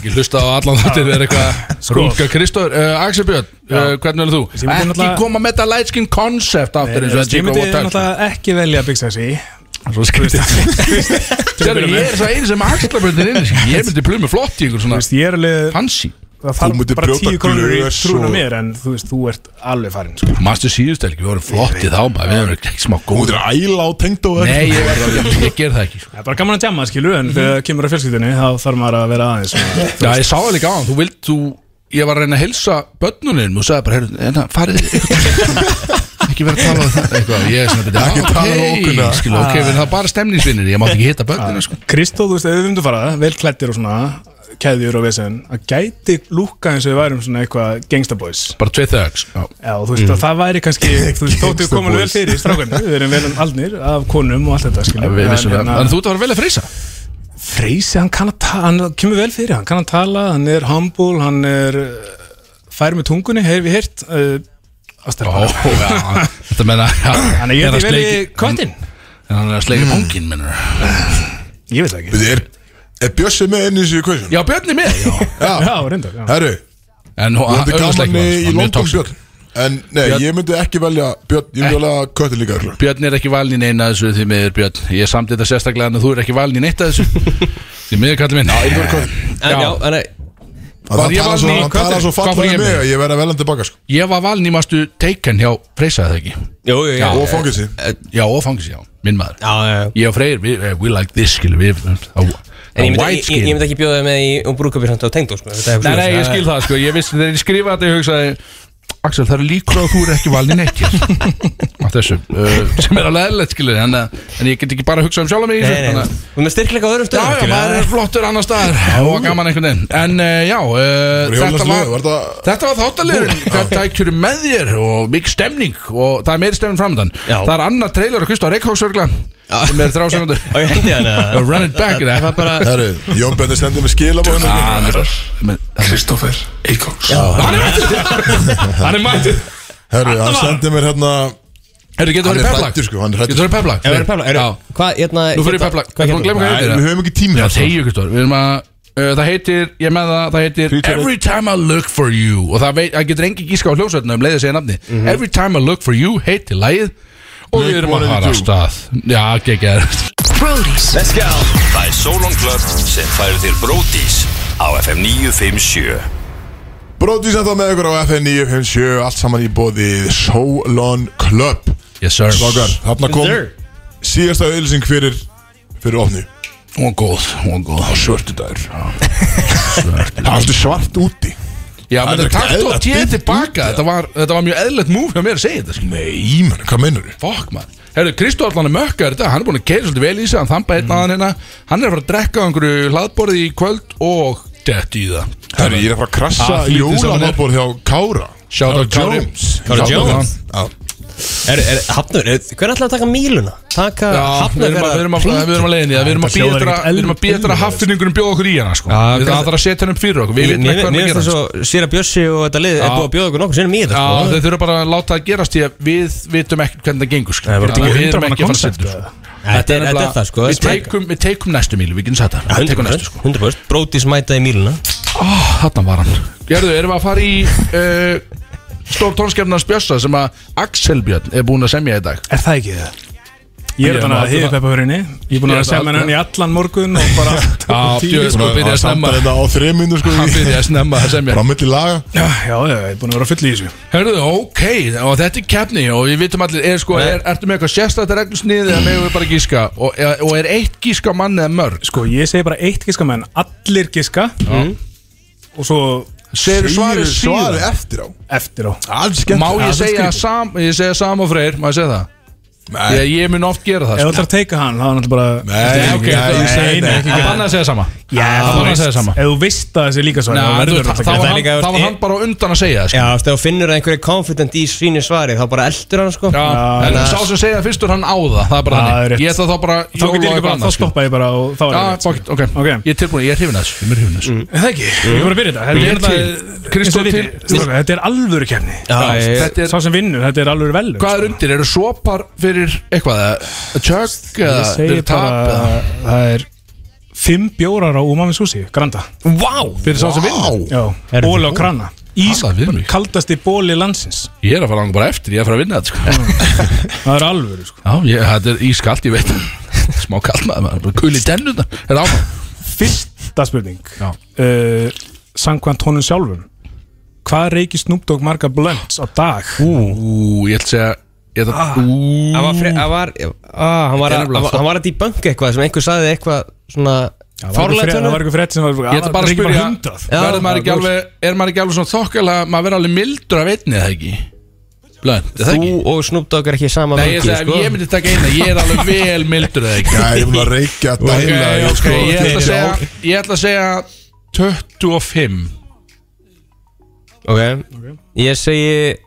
S2: Ég hlusta á allan þáttir er eitthvað Rúka Kristóður, uh, Axel Björn, uh, hvernig er þú?
S4: Sko. Ég myndi
S2: Ekki
S4: náttúrulega-
S2: koma með þetta light skin concept aftur eins og
S4: ég myndi
S2: þetta
S4: náttúrulega ekki velja Big Sexy
S2: [laughs] Svo skrítið Sérðu, ég er svo eini sem Axel Björn er inn í, sko. Ég myndi plumi flott í einhver
S4: Þú
S2: svona
S4: veist, ég er alveg
S2: fancy
S4: það
S1: Þú
S4: þarf
S1: myndir
S4: bara
S1: brjóta
S4: tíu krónur í
S1: glös
S4: trúna
S1: og-
S4: mér en þú veist, þú ert alveg farinn sko.
S2: Master síðustelgi, við vorum flott í þá maður, Við vorum ekki smá
S1: Hún
S2: góð
S1: er að æla á tengd og
S2: Nei, ég, ég, ég ger það ekki sko.
S4: það er bara gaman að jamma, skilu,
S2: Mhm.
S4: en þegar það kemur að fjölskyldinni þá þarf maður að vera
S2: [laughs]
S4: aðeins svona.
S2: Já, ég sá það líka á hann, þú vilt, þú Ég var að reyna að hilsa börnunum og sagði bara, heyrðu, en það farið eitthvað- ekki vera að tala um það eitthvað, ég er svona byrja,
S1: Ekki tala um ókunna.
S2: skilu, ok, við það er bara stemningsvinnir, ég mátt ekki hitta börnuna, sko
S4: Kristó, þú veist, ef við vindum fara vel klættir og svona keðjur og vesen að gæti lúka eins og við værum svona eitthvað gangstaboys
S2: bara tveið þögs, já,
S4: Já, þú
S2: Mm.
S4: veist, að það væri kannski þú veist, þóttu við komin vel
S1: Gangstaboys.
S4: fyrir strákan við erum vel aldnir af konum og allt þetta skilu
S2: við vissum það
S4: hérna-
S2: þannig að þú ert að fara vel að freysa
S4: Freysi, hann kann að tala, hann kemur vel fyrir, hann kann að tala, hann er humble, hann er uh, fær með tungunni, hefur við heyrt uh,
S2: Ó,
S4: ástelpa.
S2: já, þetta menna
S4: Þannig að ég veit vel í köttin.
S2: en hann er að sleika pungin, mennur
S4: Ég veit það ekki.
S1: Er, er Bjössi með inn í þessu equation?
S2: já, börn er með, já
S4: Já, reyndar. Já.
S1: Herru,
S2: en hún,
S1: ég hefði
S2: augljóslega
S1: gaman
S2: ekki,
S1: í
S2: hann
S1: í
S2: er mjög
S1: London
S2: toxic.
S1: Björn En nei,
S2: Björn.
S1: ég myndi ekki velja Björn, ég myndi velja köttin líka sko. örugglega.
S2: Björn er ekki valin í neina af þessu því miður Björn Ég samt þetta sérstaklega en þú er ekki valin í neitt af þessu Því miður kallið minn
S1: Ég myndi velja köttin
S3: En eh, já,
S2: Já.
S3: en,
S1: að
S2: Var
S1: það
S2: ég
S1: tala
S2: valinn
S1: svo,
S2: í-
S1: hann tala
S2: hvað-
S1: svo
S2: hvað fór
S1: fallega
S2: ég
S1: um mig
S2: með?
S1: að ég verði að velja hann tilbaka sko.
S2: Ég var valin í mastu taken hjá Freysa eða ekki Eh,
S3: Jú, jú, já
S1: og fangilsi
S2: Já, og fangis, já, minn maður
S3: Já, já, já
S2: Ég og Freyr, we, we like this, skil við á, á
S3: En ég myndi, ég,
S2: white
S3: ég, ég
S2: skin
S3: myndi ekki bjóða þig með í um brúkabir samt á tengdó sko. Þetta er
S2: Nei, nei, ég
S3: svoleiðis.
S2: skil það, sko, ég vissi þegar ég skrifa þetta, ég hugsaði Axel, það eru líkur á að þú er ekki valin ekki Af þessu, uh, sem er alveg eðlilegt, skilur en, uh, en ég get ekki bara að hugsa um sjálf mig í
S3: Nei,
S2: þessu
S3: nei,
S2: þannig
S3: nei
S2: að-
S3: Þú með styrkleika á öðrum
S2: Já,
S3: stöðum
S2: já,
S3: skilur,
S2: maður
S3: það
S2: er flottur annar staðar og gaman einhvern veginn En uh, já, uh, þetta
S1: Jólaslega,
S2: var,
S1: var þetta-
S2: þetta var þáttalegur Þetta er kjöru með þér og mikið stemning og það er meiri stemning framöndan
S3: Já.
S2: Það er annar trailer að kusta á Reykjavíksörgla sem
S3: [laughs]
S2: er þrásengundur
S3: Á, ég hendi hann eða?
S2: Run it back
S3: Það var bara
S1: Herru, Jón Benni stendur með skilabóðinu
S2: Ah,
S5: Kristófer Eikóks
S2: Hann er mættur Hann er mættur
S1: Herru, hann sendir mér hérna
S2: Herru, getur
S1: Hann
S2: verið
S1: er
S2: peplag
S1: hræddur, sko, hann er hræddur.
S2: Getur verið peplag
S3: Ef við erum pepla
S2: Já.
S3: erum- Hvað, hérna
S2: Nú fyrir
S3: hérna-
S2: peplag
S3: Hvað
S2: Við erum að
S3: hérna?
S2: glemma hvað
S1: Nei,
S2: heitir
S1: við höfum ekki tími
S2: Já,
S1: hérna, sko.
S2: þegju Kristór, við erum að uh, Það heitir, ég er með það, það heitir Every time I look for you Og það, veit, það getur engi gíska á hljómsveitna um leiðið segja nafni
S1: Mhm.
S2: Every time I look for you heitir lægið Og við erum að fara af stað Já, geggjær
S7: Brody's
S6: Let's go Það er Solon Club sem færir þér Bródís á FM 957
S1: Brótið sem það með ykkur á FN 957 Allt saman í bóði Solon Club
S2: Yes sir
S1: Slágar, þarna kom síðasta auðlýsing fyrir fyrir ofni
S2: Hún var góð, hún var góð
S1: Svörtu dagur Það var svolítið svart úti
S2: Já,
S1: Það er
S2: menn það
S1: ekki
S2: takt og
S1: eðla
S2: tíð
S1: dýrt úti,
S2: tilbaka þetta var, þetta var mjög eðlilegt move hjá mér að segja þetta sko.
S1: Nei, menn, hvað mennur þið?
S2: Fuck man Herru, Kristóð allan er mökkaður þetta Hann er búin að keira svolítið vel í sig Hann þamba
S1: Mhm.
S2: einn aðan hérna Hann er að fara að drekka á einhverju hlaðborði í kvöld Og dett í það
S1: Herru, ég er að fara að krassa
S2: Ah, flýtið sem hann er.
S1: jólamatbór hjá Kára
S2: Shout out
S1: Kári.
S2: Jones. Sko,
S1: Kári
S2: Shout out
S1: Jones
S3: Er, er, hafnur, er, hvernig ætlaðu að taka míluna? Taka
S2: Já, við
S3: hafnur
S2: erum að, við erum að, við erum að leiðinni Við erum að
S4: Þetta
S2: býja
S4: hljóðar
S2: eftir að-
S4: ekkert
S2: við erum að býja eftir að
S4: eðlilega.
S2: haffinningurum bjóða okkur í hana sko.
S3: Já,
S2: Við
S3: kannski-
S2: það þarf að setja hann upp fyrir okkur Við veitum ekki hvað hann
S3: Mér
S2: að
S3: finnst
S2: gera
S3: það
S2: sko.
S3: svo Sýra Bjössi og þetta lið er
S2: Já.
S3: búið að bjóða okkur nokkur sinni mýður
S2: Já,
S3: sko.
S2: þeir þurfa bara að láta það gerast Því að við vitum ekki hvernig það gengur sko.
S4: Það var
S2: Þannig að Við
S4: ekki
S2: erum
S4: 100 manna
S2: ekki að fara að
S4: koncept
S2: setja
S4: eða?
S3: Þetta er þetta er það sko
S2: Við tekum- Við tekum næstu mílu, við getum sagt það Við tekum næstu, sko.
S3: 100% 100% Brótis mætaði míluna
S2: Þarna var hann Gerðu, erum við að fara í uh, Stór tónskefnars Bjössa sem að Axel Björn er búinn að semja í dag
S4: Er það ekki það? Ég er
S2: Ég
S4: þannig
S2: er
S4: að
S2: náttúrulega-
S4: hýða peppa hörinni Ég er búin
S2: Ég
S4: að
S2: er
S4: vera sem
S2: náttúrulega-
S4: henni í allan morgun og bara
S2: Já, djöfull, sko,
S1: Búin
S2: byrja
S1: að
S2: að
S1: senda
S2: snemma
S1: þetta á þreminu sko
S2: Hann byrja að snemma að semja
S1: Frá milli laga
S4: Já, já, já, ég er búin að vera full í þessu
S2: Hörðu, ok, og þetta er keppni og við vitum allir, er sko, er, ertu með eitthvað sérstætt reglsnið eða meðum við bara gíska og, eða- og er eitt gíska mann eða mörg
S4: Sko, ég segi bara eitt giska menn, allir giska Mm. Og svo
S2: Segir svarið síðan
S1: Svarið eftir á
S4: eftir á
S1: Alls skemmt
S2: Má ég segja sam, ég segja sam og freyr, má ég segja það?
S1: Nei,
S2: Ég, ég mun oft gera það
S4: Ef þú
S2: sko.
S4: ætlar að teika hann, þá er náttúrulega bara
S1: nei,
S2: Nei, ok,
S1: nei,
S2: það-
S1: ég segi
S4: nei,
S1: nei
S4: nei.
S2: Það bannaði að segja sama Það
S4: Já, þú
S2: bannaði að segja
S4: veist,
S2: sama
S4: ef þú veist að þessi líka svar
S2: Næ,
S4: þá
S2: þú
S4: verður
S2: veist, þá
S4: þetta
S3: Það er
S2: var
S4: ekki
S2: hann-
S3: líka-
S2: þá var hann bara á undan að segja það sko.
S3: Já, þú finnur einhverju confident í svínu svari þá bara eldur hann sko
S2: Já, en
S3: Þannig að-
S2: sá sem segja það fyrstur hann á það Það er bara
S4: Já, það er
S2: þannig
S4: rétt.
S2: Ég ætla þá bara
S4: Þá getur ég líka bara, þá stoppa ég bara og þá
S2: sko.
S4: er
S2: Já,
S4: þetta
S2: bókitt, ok
S4: Ok.
S2: Ég er tilbúin, ég er hrifin að þessu Ég er hrifin að þessu
S4: Það ekki, ég er bara að byrja þetta Þetta
S2: Ég
S4: er
S2: er
S4: þetta-
S2: til. Kristó
S4: eins og þið
S2: til.
S4: vitið, strákar, Þetta er alvöru kefni
S3: Já, ég-
S2: Þetta er,
S4: Sá sem vinnur, þetta er alvöru velun sko.
S2: hvað er undir? Eru sopar fyrir eitthvað? eða Tjögg eða
S4: Ég segi
S2: fyrir tap
S4: bara
S2: eða-
S4: Það er Fimm bjórar á umami sushi, granda
S2: Vá, fyrir sá sem vinnur
S4: Já,
S3: Herðu,
S4: bóli á krana Ís,
S2: Talað við mig.
S4: kaldasti bóli landsins
S2: Ég er að fara langa bara eftir, ég er að fara að vinna þetta sko.
S4: Það er alvöru sko
S2: Já, ég, þetta er ískalt, ég veit [laughs] Smá kalt maður, maður, bara kul í tennuna Er það áfram?
S4: Fyrsta spurning
S2: Já.
S4: uh, Sankvæmt honum sjálfum Hvað reykir Snoop Dogg marga blunts á dag?
S2: Ú, ég ætla að segja Ég ætla að Ú,
S3: Hann var, fre- hann var, ah, hann var,
S2: Þetta
S3: að- hann
S2: er nefnilega
S3: var, hann var að debunka eitthvað sem einhver saði eitthvað svona fárlega
S4: Það var
S3: tönum
S4: eitthvað frétt sem var
S2: Ég ætla bara að
S4: reykir
S2: spyrja
S4: hundrað.
S3: Já,
S2: verður maður ekki alveg, Er maður ekki alveg svona þokkalega Maður verður alveg mildur af einni eða ekki Blönd, er
S3: Þú
S2: það ekki?
S3: og Snoop Dogg er ekki í sama
S2: Nei, ég,
S3: vangi,
S2: segi, sko? ég myndi taka eina Ég er alveg vel mildur eða ekki
S1: Já, ég er búin að reykja
S2: Ok,
S1: dæla í,
S2: ok,
S1: sko,
S2: ég ætla
S1: 20
S2: að segja
S1: ár.
S2: Ég ætla að segja 25
S3: okay. Ég segi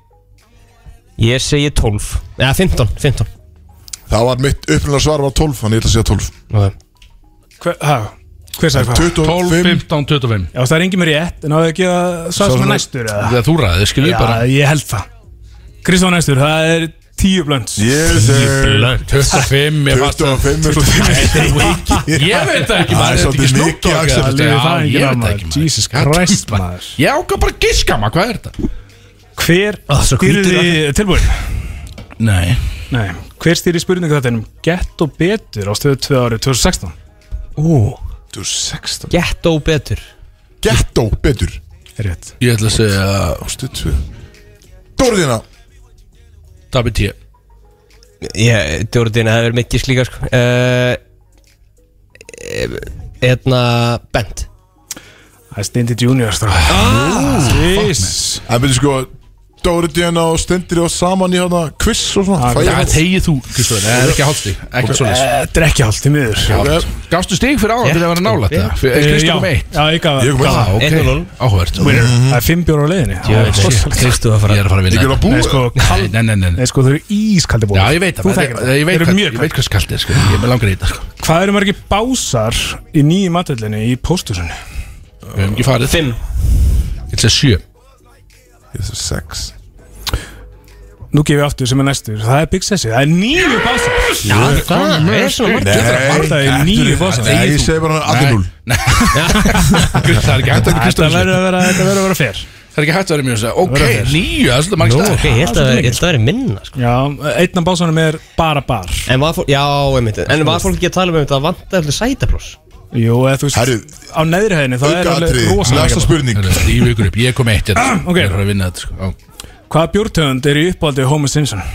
S3: Ég segi 12 Eða 15, 15
S1: Það var mitt upplunlega svar var 12 Þannig ég ætla að segja 12
S3: okay.
S4: Hver, ha, hver sagði hvað?
S2: 12,
S1: 25
S2: 15, 25
S4: Já, það er engin mér rétt En á það ekki að
S1: Sá
S4: svara sem
S1: sem
S4: er
S1: er-
S4: næstur eða?
S2: Það þú ræðið, skilur
S4: Já,
S2: við bara
S4: ég held það Kristján næstur, það er tíu blunts
S1: Ég segi
S2: 25, ég fast að
S1: 25 er
S2: Ég veit það
S1: Það
S2: ekki,
S1: er
S2: maður þetta
S1: svolítið
S2: ekki snútt
S1: mikið, Axel.
S4: Það lifir það enginn
S2: Ég veit það
S4: af, maður.
S2: ekki,
S4: Jesus
S2: Það er
S4: Christ,
S2: bara-
S4: maður.
S2: Ég ákvað bara að giska maður, hvað er þetta?
S4: Hver
S3: svo hvítur
S4: stýrði tilbúin?
S2: Nei
S4: Nei, hver stýrði spurningu þetta ennum Gett og betur á stöðu 2 árið 2016
S3: Ú,
S1: 26
S3: gett og betur
S1: Ghetto betur
S4: Rétt
S2: Ég ætla að segja
S1: Ástuð tvö Dóriðina
S2: Dabbi T
S3: Ég, Dóruðin, það verður mikið slíka sko Eh, eh, Hérna, Bent
S4: Það er Stindi Junior strákar.
S2: Ah,
S4: Jeez.
S1: En byrju sko Dóriðina og stendir og saman í hana Quiz og svona
S4: Ah,
S1: Fæ ég
S2: Það
S1: hana?
S2: tegið þú, Kristofur, það er ekki hálfstík Ekki
S4: Eh,
S2: svona
S4: Þetta er ekki hálft í miður Eh,
S1: Ok,
S2: Gafstu stík fyrir ára til að vera nálætt það? Fyrir Kristofur meitt
S4: Já, ég Mhm. gaf
S1: Ég kom
S2: Já,
S1: með það
S2: ok,
S3: 1-0.
S2: áhugavert
S4: Winner. Það er fimm bjóra á leiðinni
S3: Ég
S4: Ah, Það er
S3: veit,
S4: rosalegt.
S3: Kristu að
S2: Ég
S3: fara
S2: er að fara að
S1: Ég er
S2: vinna
S1: að
S4: Nei,
S1: búa
S4: sko,
S2: Nei, nei, nei, nei
S4: nei, sko, þau eru ískaldi búið
S2: Já, ég veit
S4: Þú
S2: það
S4: þekkir
S2: Ég ég veit
S4: Þeir
S2: hvað
S4: eru
S2: ég
S4: mjög
S2: veit hvað skalt er sko Ég með langar í þetta sko
S4: Hvað eru margir básar í nýju matvöldinni í póstursunni?
S2: Við hefum ekki farið
S3: 5
S2: Ég ætla að sjö
S1: Ég er sex
S4: Nú gef ég aftur sem er næstur Það er Big Sessi, það er nýju básar
S2: Já,
S3: Hvað er svona margt?
S1: Nei,
S4: þetta er
S1: þetta
S4: níu
S1: er-
S4: bosar.
S1: Nei, ég segi bara allir núl
S2: [laughs] Kristofur, það er ekki hægt að
S4: Þetta verður að vera, þetta verður að vera fer
S2: Það er ekki hægt að vera mjög þess að Ok,
S4: Verða þér.
S2: nýju, það er svolítið margir
S3: Nú,
S2: staðir
S3: ok, ég held að ég held að það verður minna sko
S4: Já, einn af básunum er bara bar
S3: En var fólk, já, einmitt En var fólk ekki að tala um þetta að vanta eftir sætaploss?
S4: Jú, eða þú veist,
S1: Herru,
S4: á neðri hæðinni það er
S1: Auka
S4: alveg
S1: atriði
S4: rosalega
S1: Næsta spurning
S2: Það er ríf ykkur upp, ég kom eitt hérna. [clears throat] Ég
S4: ok.
S2: er að fara að vinna þetta sko Á.
S4: Hvaða bjórtönd er í uppáldi Homer Simpson?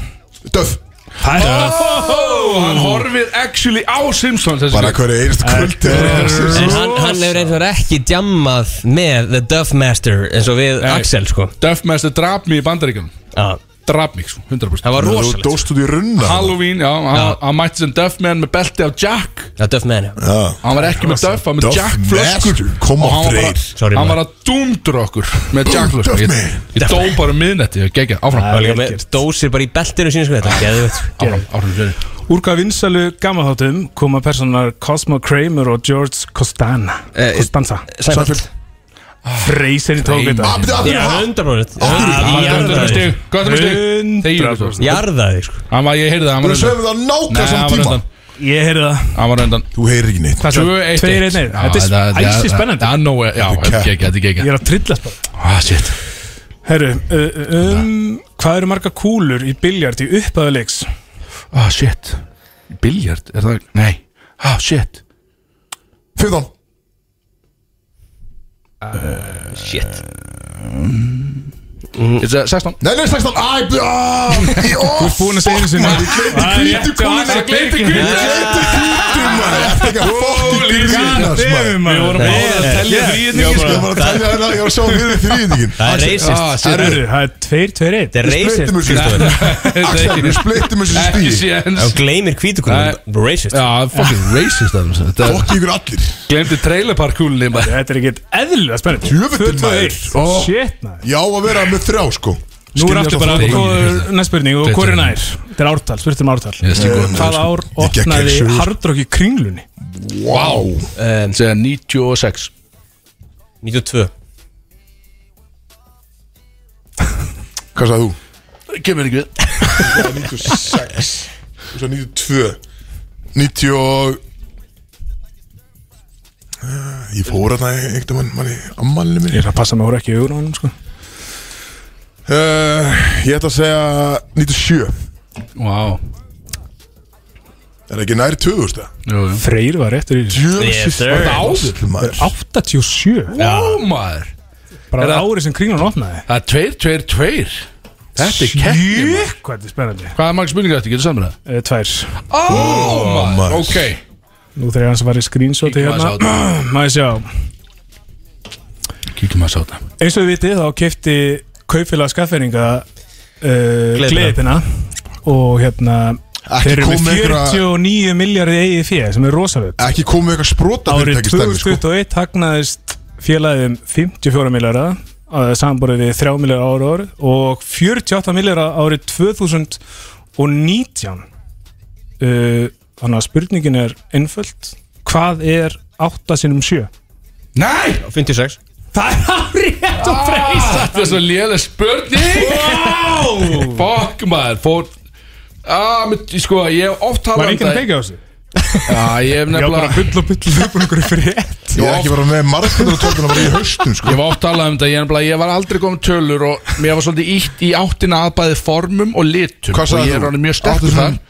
S1: Döf
S4: Það er
S2: Oh! Og hann horfir actually á Simpsons þessi
S1: Bara
S2: gauð.
S1: hverju einst kvöld
S4: Þetta
S3: En hann, hann hefur eins og ekki djammað með The Duff Master eins og við
S2: Nei.
S3: Axel sko
S2: Duffmaster drap mig í bandaríkjum
S3: Já,
S2: Drap mig, sko, 100%
S3: það var
S1: Þú
S3: rosalegt
S1: dóst út í runna
S2: Halloween, já, hann- hann mætti sem Duffman með belti af Jack
S3: Já, Duff Man já.
S1: Já.
S2: Hann var ekki með Duff, hann með
S1: Duff
S2: Jack
S1: Master,
S2: flöskur
S1: kom
S2: Og
S1: á
S2: hann var bara-
S1: Freyr.
S3: Sorry,
S2: Hann
S3: maður.
S2: var að dúmdur okkur með Jack flöskur Ég,
S1: Duffman.
S2: ég dó bara um miðnætti, ég gegja, áfram
S3: Það var
S4: er
S3: líka
S4: vel
S3: með
S4: gert.
S3: dósir bara í beltinu sínu sko Þetta er geðveikt, sko.
S2: Áfram, áfram, áfram
S4: Úr hvað vinsalu gammaþáttum koma personar Cosmo Kramer og George Costana
S3: Eh,
S4: Costanza
S3: Seinfeld.
S4: Freysinni tók
S2: Kramer.
S4: þetta
S1: Abdi, abdi,
S3: Já,
S1: abdi
S3: hundarbrúnit
S2: Góðum stig Þegjum við,
S4: 100%
S2: sko.
S3: Jarðaði sko
S2: Hann var, ég heyrði það, hann
S1: Þú
S2: var
S1: segir
S2: undan
S1: það
S2: Nei,
S1: nákvæmst
S2: hann
S1: saman
S2: var
S1: tíma
S2: undan
S4: Ég heyrði það
S2: Hann var undan
S1: Þú heyrir ekki neitt
S4: Hvað sagði?
S2: 2-1-1.
S4: Tveir, einn, einn. Þetta
S2: Já,
S4: er æsi spennandi
S2: Það er nógu, já,
S1: Þetta er
S2: þetta er gegja, þetta er
S4: Ég
S2: gegja
S4: er að trillast bara
S2: Ah, shit
S4: Herru, uh, um, hvað eru marga kúlur í biljart í uppæðuleiks?
S2: Ah, shit Biljard, er það, nei Ah, shit
S1: 15
S3: Shit
S2: It's a 16
S1: Nei, nei, 16 Æ, bjá Þú ert búin að segja einu sinni Ég gleymdi hvítu kúluna Ég gleymdi hvítu Ég gleymdi hvítu, maður Ég ætti ekki að fokkin grínast, maður
S4: Við vorum báðir að telja
S1: Ég
S4: þrýðningi
S1: var bara að tala hérna Ég var að sjá fyrir þrýðingin
S3: Það er
S2: Ah,
S3: racist
S2: shit
S4: Herru, það er 2-2-1
S3: Það er
S1: Splittum
S3: racist sko,
S1: þessu
S3: Kristofur.
S1: Axel, við splittum þessu
S2: Ekki
S1: stíð
S2: séns
S3: Hann gleymir kvítukunum Racist
S2: Já, það er fucking racist Adam, Þetta er
S1: Fokki ykkur allir
S2: Glemdi trailerparkúlinni bara
S4: Þetta er ekki eðlilega spennandi
S1: Jöfullinn, maður.
S4: 2-2-1.
S1: Ó.
S4: Shit maður
S1: Já, að vera með þrjá, sko
S4: Nú er aftur bara
S2: Skilja þetta
S4: hvor-
S2: fólk.
S4: næst spurning og
S2: Þetta
S4: hvor er
S2: er-
S4: nær? Þetta er ártal, spurt um ártal
S2: Ég slík góðum
S4: Hvaða ár
S1: Ég gekk
S4: opnaði
S1: ekki sögur.
S4: hardrock í kringlunni?
S1: Wow
S3: Um,
S2: Segja 96
S3: 92
S1: Hvað sagði þú?
S2: Kemur ekki við
S1: 96 Þú sagði 92 90 og Eh, Ég fór að það einhvern veginn manni ammælinu minni
S4: Ég ætla að passa mig að voru ekki í augun á hann sko.
S1: uh, Ég ætla að segja 97
S2: Vá
S1: Er það ekki nær 2000?
S2: Jú, jú
S4: Freyr var réttur í þessu.
S3: Yes,
S1: Jöfnsis
S3: sir.
S1: var þetta
S2: Áður.
S1: áður maður
S4: 87
S2: Ó, maður
S4: Bara
S2: Er það-
S4: árið sem kringlun opnaði
S2: Það er tveir, tveir, tveir Þetta er keppni maður.
S4: Sjökk, hvað þetta er spennandi
S2: Hvað er margir spurningar þetta, getur samur það?
S4: Eh, Tvær
S2: Ó, maður,
S1: maður.
S2: ok
S4: Nú þegar ég hans að fara í screenshoti
S2: Kíkjum aðeins á
S4: hérna [clears throat] Maður sjá
S2: Kíkjum að sá það
S4: Eins og við vitið þá kefti kaupfélag skafferinga uh,
S3: Gleðipina.
S4: Gleipina Og hérna
S1: Ekki
S4: Þeir eru
S1: kom
S4: með
S1: einhverja-
S4: 49 miljardi eigið fjö sem er rosalegt
S1: Ekki komið eitthvað sprota
S4: Árið
S1: fyrirtæki stæmi sko
S4: 2021 hagnaðist félagið um 54 miljardar að samborðið við 3 miljardar ára ári og 48 miljardar árið 2019 uh, Þannig að spurningin er einföld Hvað er 8 sinum 7?
S2: Nei,
S3: 56
S4: Það er árið og freysa
S2: þetta er svo lélega spurning Wow Fuck maður, fór Ah, með, sko, ég hef oft talað
S4: Var
S2: um
S4: enginn að
S2: það
S4: peka á þessu?
S2: Já, ég hef
S4: Já, bara
S2: nefnilega
S4: bull og bull upp og einhverju frétt
S1: Ég er ekki bara með margfjöndur og tölvun að vera í haustum sko
S2: Ég hef oft talað um það, ég, nefnilega- ég var aldrei komið tölur og mér var svolítið ítt í áttina að bæði formum og litum
S1: Hvað
S2: og
S1: sagði þú?
S2: ég er alveg mjög sterkur þar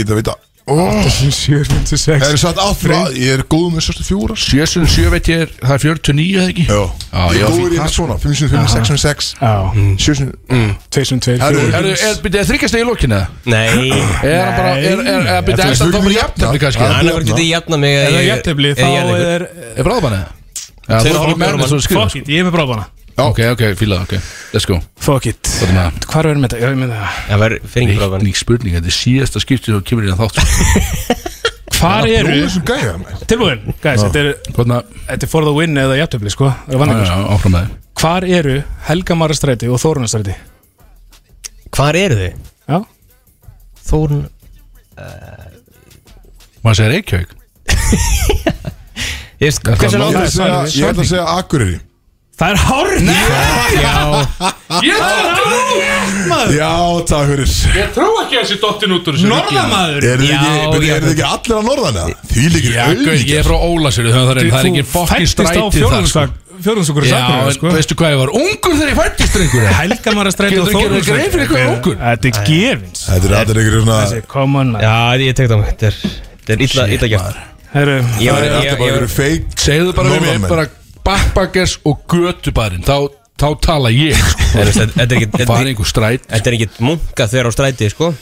S1: Ég veit að Það
S4: 7.6
S1: er satt aftur að Ég er góð með sérstu fjóra
S2: Sjösun, sjö veit ég, er, það er 49 eða ekki?
S1: Já
S2: Já,
S1: Ég
S2: já,
S1: er góður
S2: fínt.
S1: í með svona 505, 606
S3: Mm.
S1: 7 Herru,
S4: 2.2
S2: Er, er, byrja, er þryggjast í lókinu eða?
S3: Nei
S2: Er hann bara, er, er,
S1: Þetta er
S2: er, byrja, er það þá bara
S1: spurning
S2: jafntefni
S1: jafna.
S2: kannski?
S1: Já.
S3: Hann hefur getið jafna mig
S4: Ef það er jættefli þá er
S2: Er bráðbann eða? Já,
S3: Tveir
S2: þú er
S3: og hálfur
S2: alveg mennið svo skrifa
S4: Fuck it, ég er með bráðbana
S2: Ok, ok, fíla, ok, let's go
S4: Fuck it
S2: Hvað er með það?
S4: Hvar verður með þetta? Ég er með það
S3: Það verður fyrir yngur
S2: Reikning spurning, þetta er síðasta skiptið og kemur inn að þátt sko.
S4: Hvar eru
S1: Góður sem gæja maður.
S4: Tilbúin, guys, þetta er,
S2: Hvernig að,
S4: þetta er for the win eða jættefli, sko Það er
S2: já,
S4: vanningur
S2: já, áfram með þið
S4: Hvar eru Helgamarastræti og Þórunarstræti?
S3: Hvar eru þið?
S4: Já
S3: Þórun
S2: Maður segir Reykjavík
S3: Ég veist,
S2: Það
S3: hversu
S2: er það
S1: Ég
S3: langt
S1: ætla að segja- ég ætla að segja Akureyri
S4: Það er hárn um
S1: Já, takk fyrir
S2: Ég trú ekki að þessi dottin út úr þessu
S4: Norðamaður
S1: Er þið ekki,
S3: Já,
S1: byrju,
S3: já.
S1: eru þið ekki allir að norðan eða? Því líkir
S2: Já, gau, ég er frá Ólasöru, það er, það er ekki fokkin strætið þar sko.
S4: Fjórðunsugur
S2: Já, en
S4: sko.
S1: sko.
S2: veistu hvað ég var ungur þegar ég fættist drengur
S4: Helgamarastræti
S2: Getur
S4: og
S2: þú gerðið
S4: Þórunarstræti
S2: grein fyrir hvað er ungur?
S4: Þetta er gefins
S1: Þetta er allir ykkur svona
S4: Þessi, come on man
S3: Já, ég tek það mig Þetta er, þetta er illa, illa gert
S4: Herru,
S3: Ég
S1: Það er
S3: var, ég,
S1: alltaf
S3: ég,
S1: bara
S3: ég,
S1: ykkur feik
S2: Segðu bara við mig,
S1: Norðanmenn.
S2: bara backpackers og götubarinn Þá, þá tala ég sko.
S1: [laughs]
S3: ég, þetta þetta er ekkit
S1: Hérna
S2: Það er
S3: þetta-
S2: einhver stræt
S3: Þetta er ekkit munka þegar á stræti, sko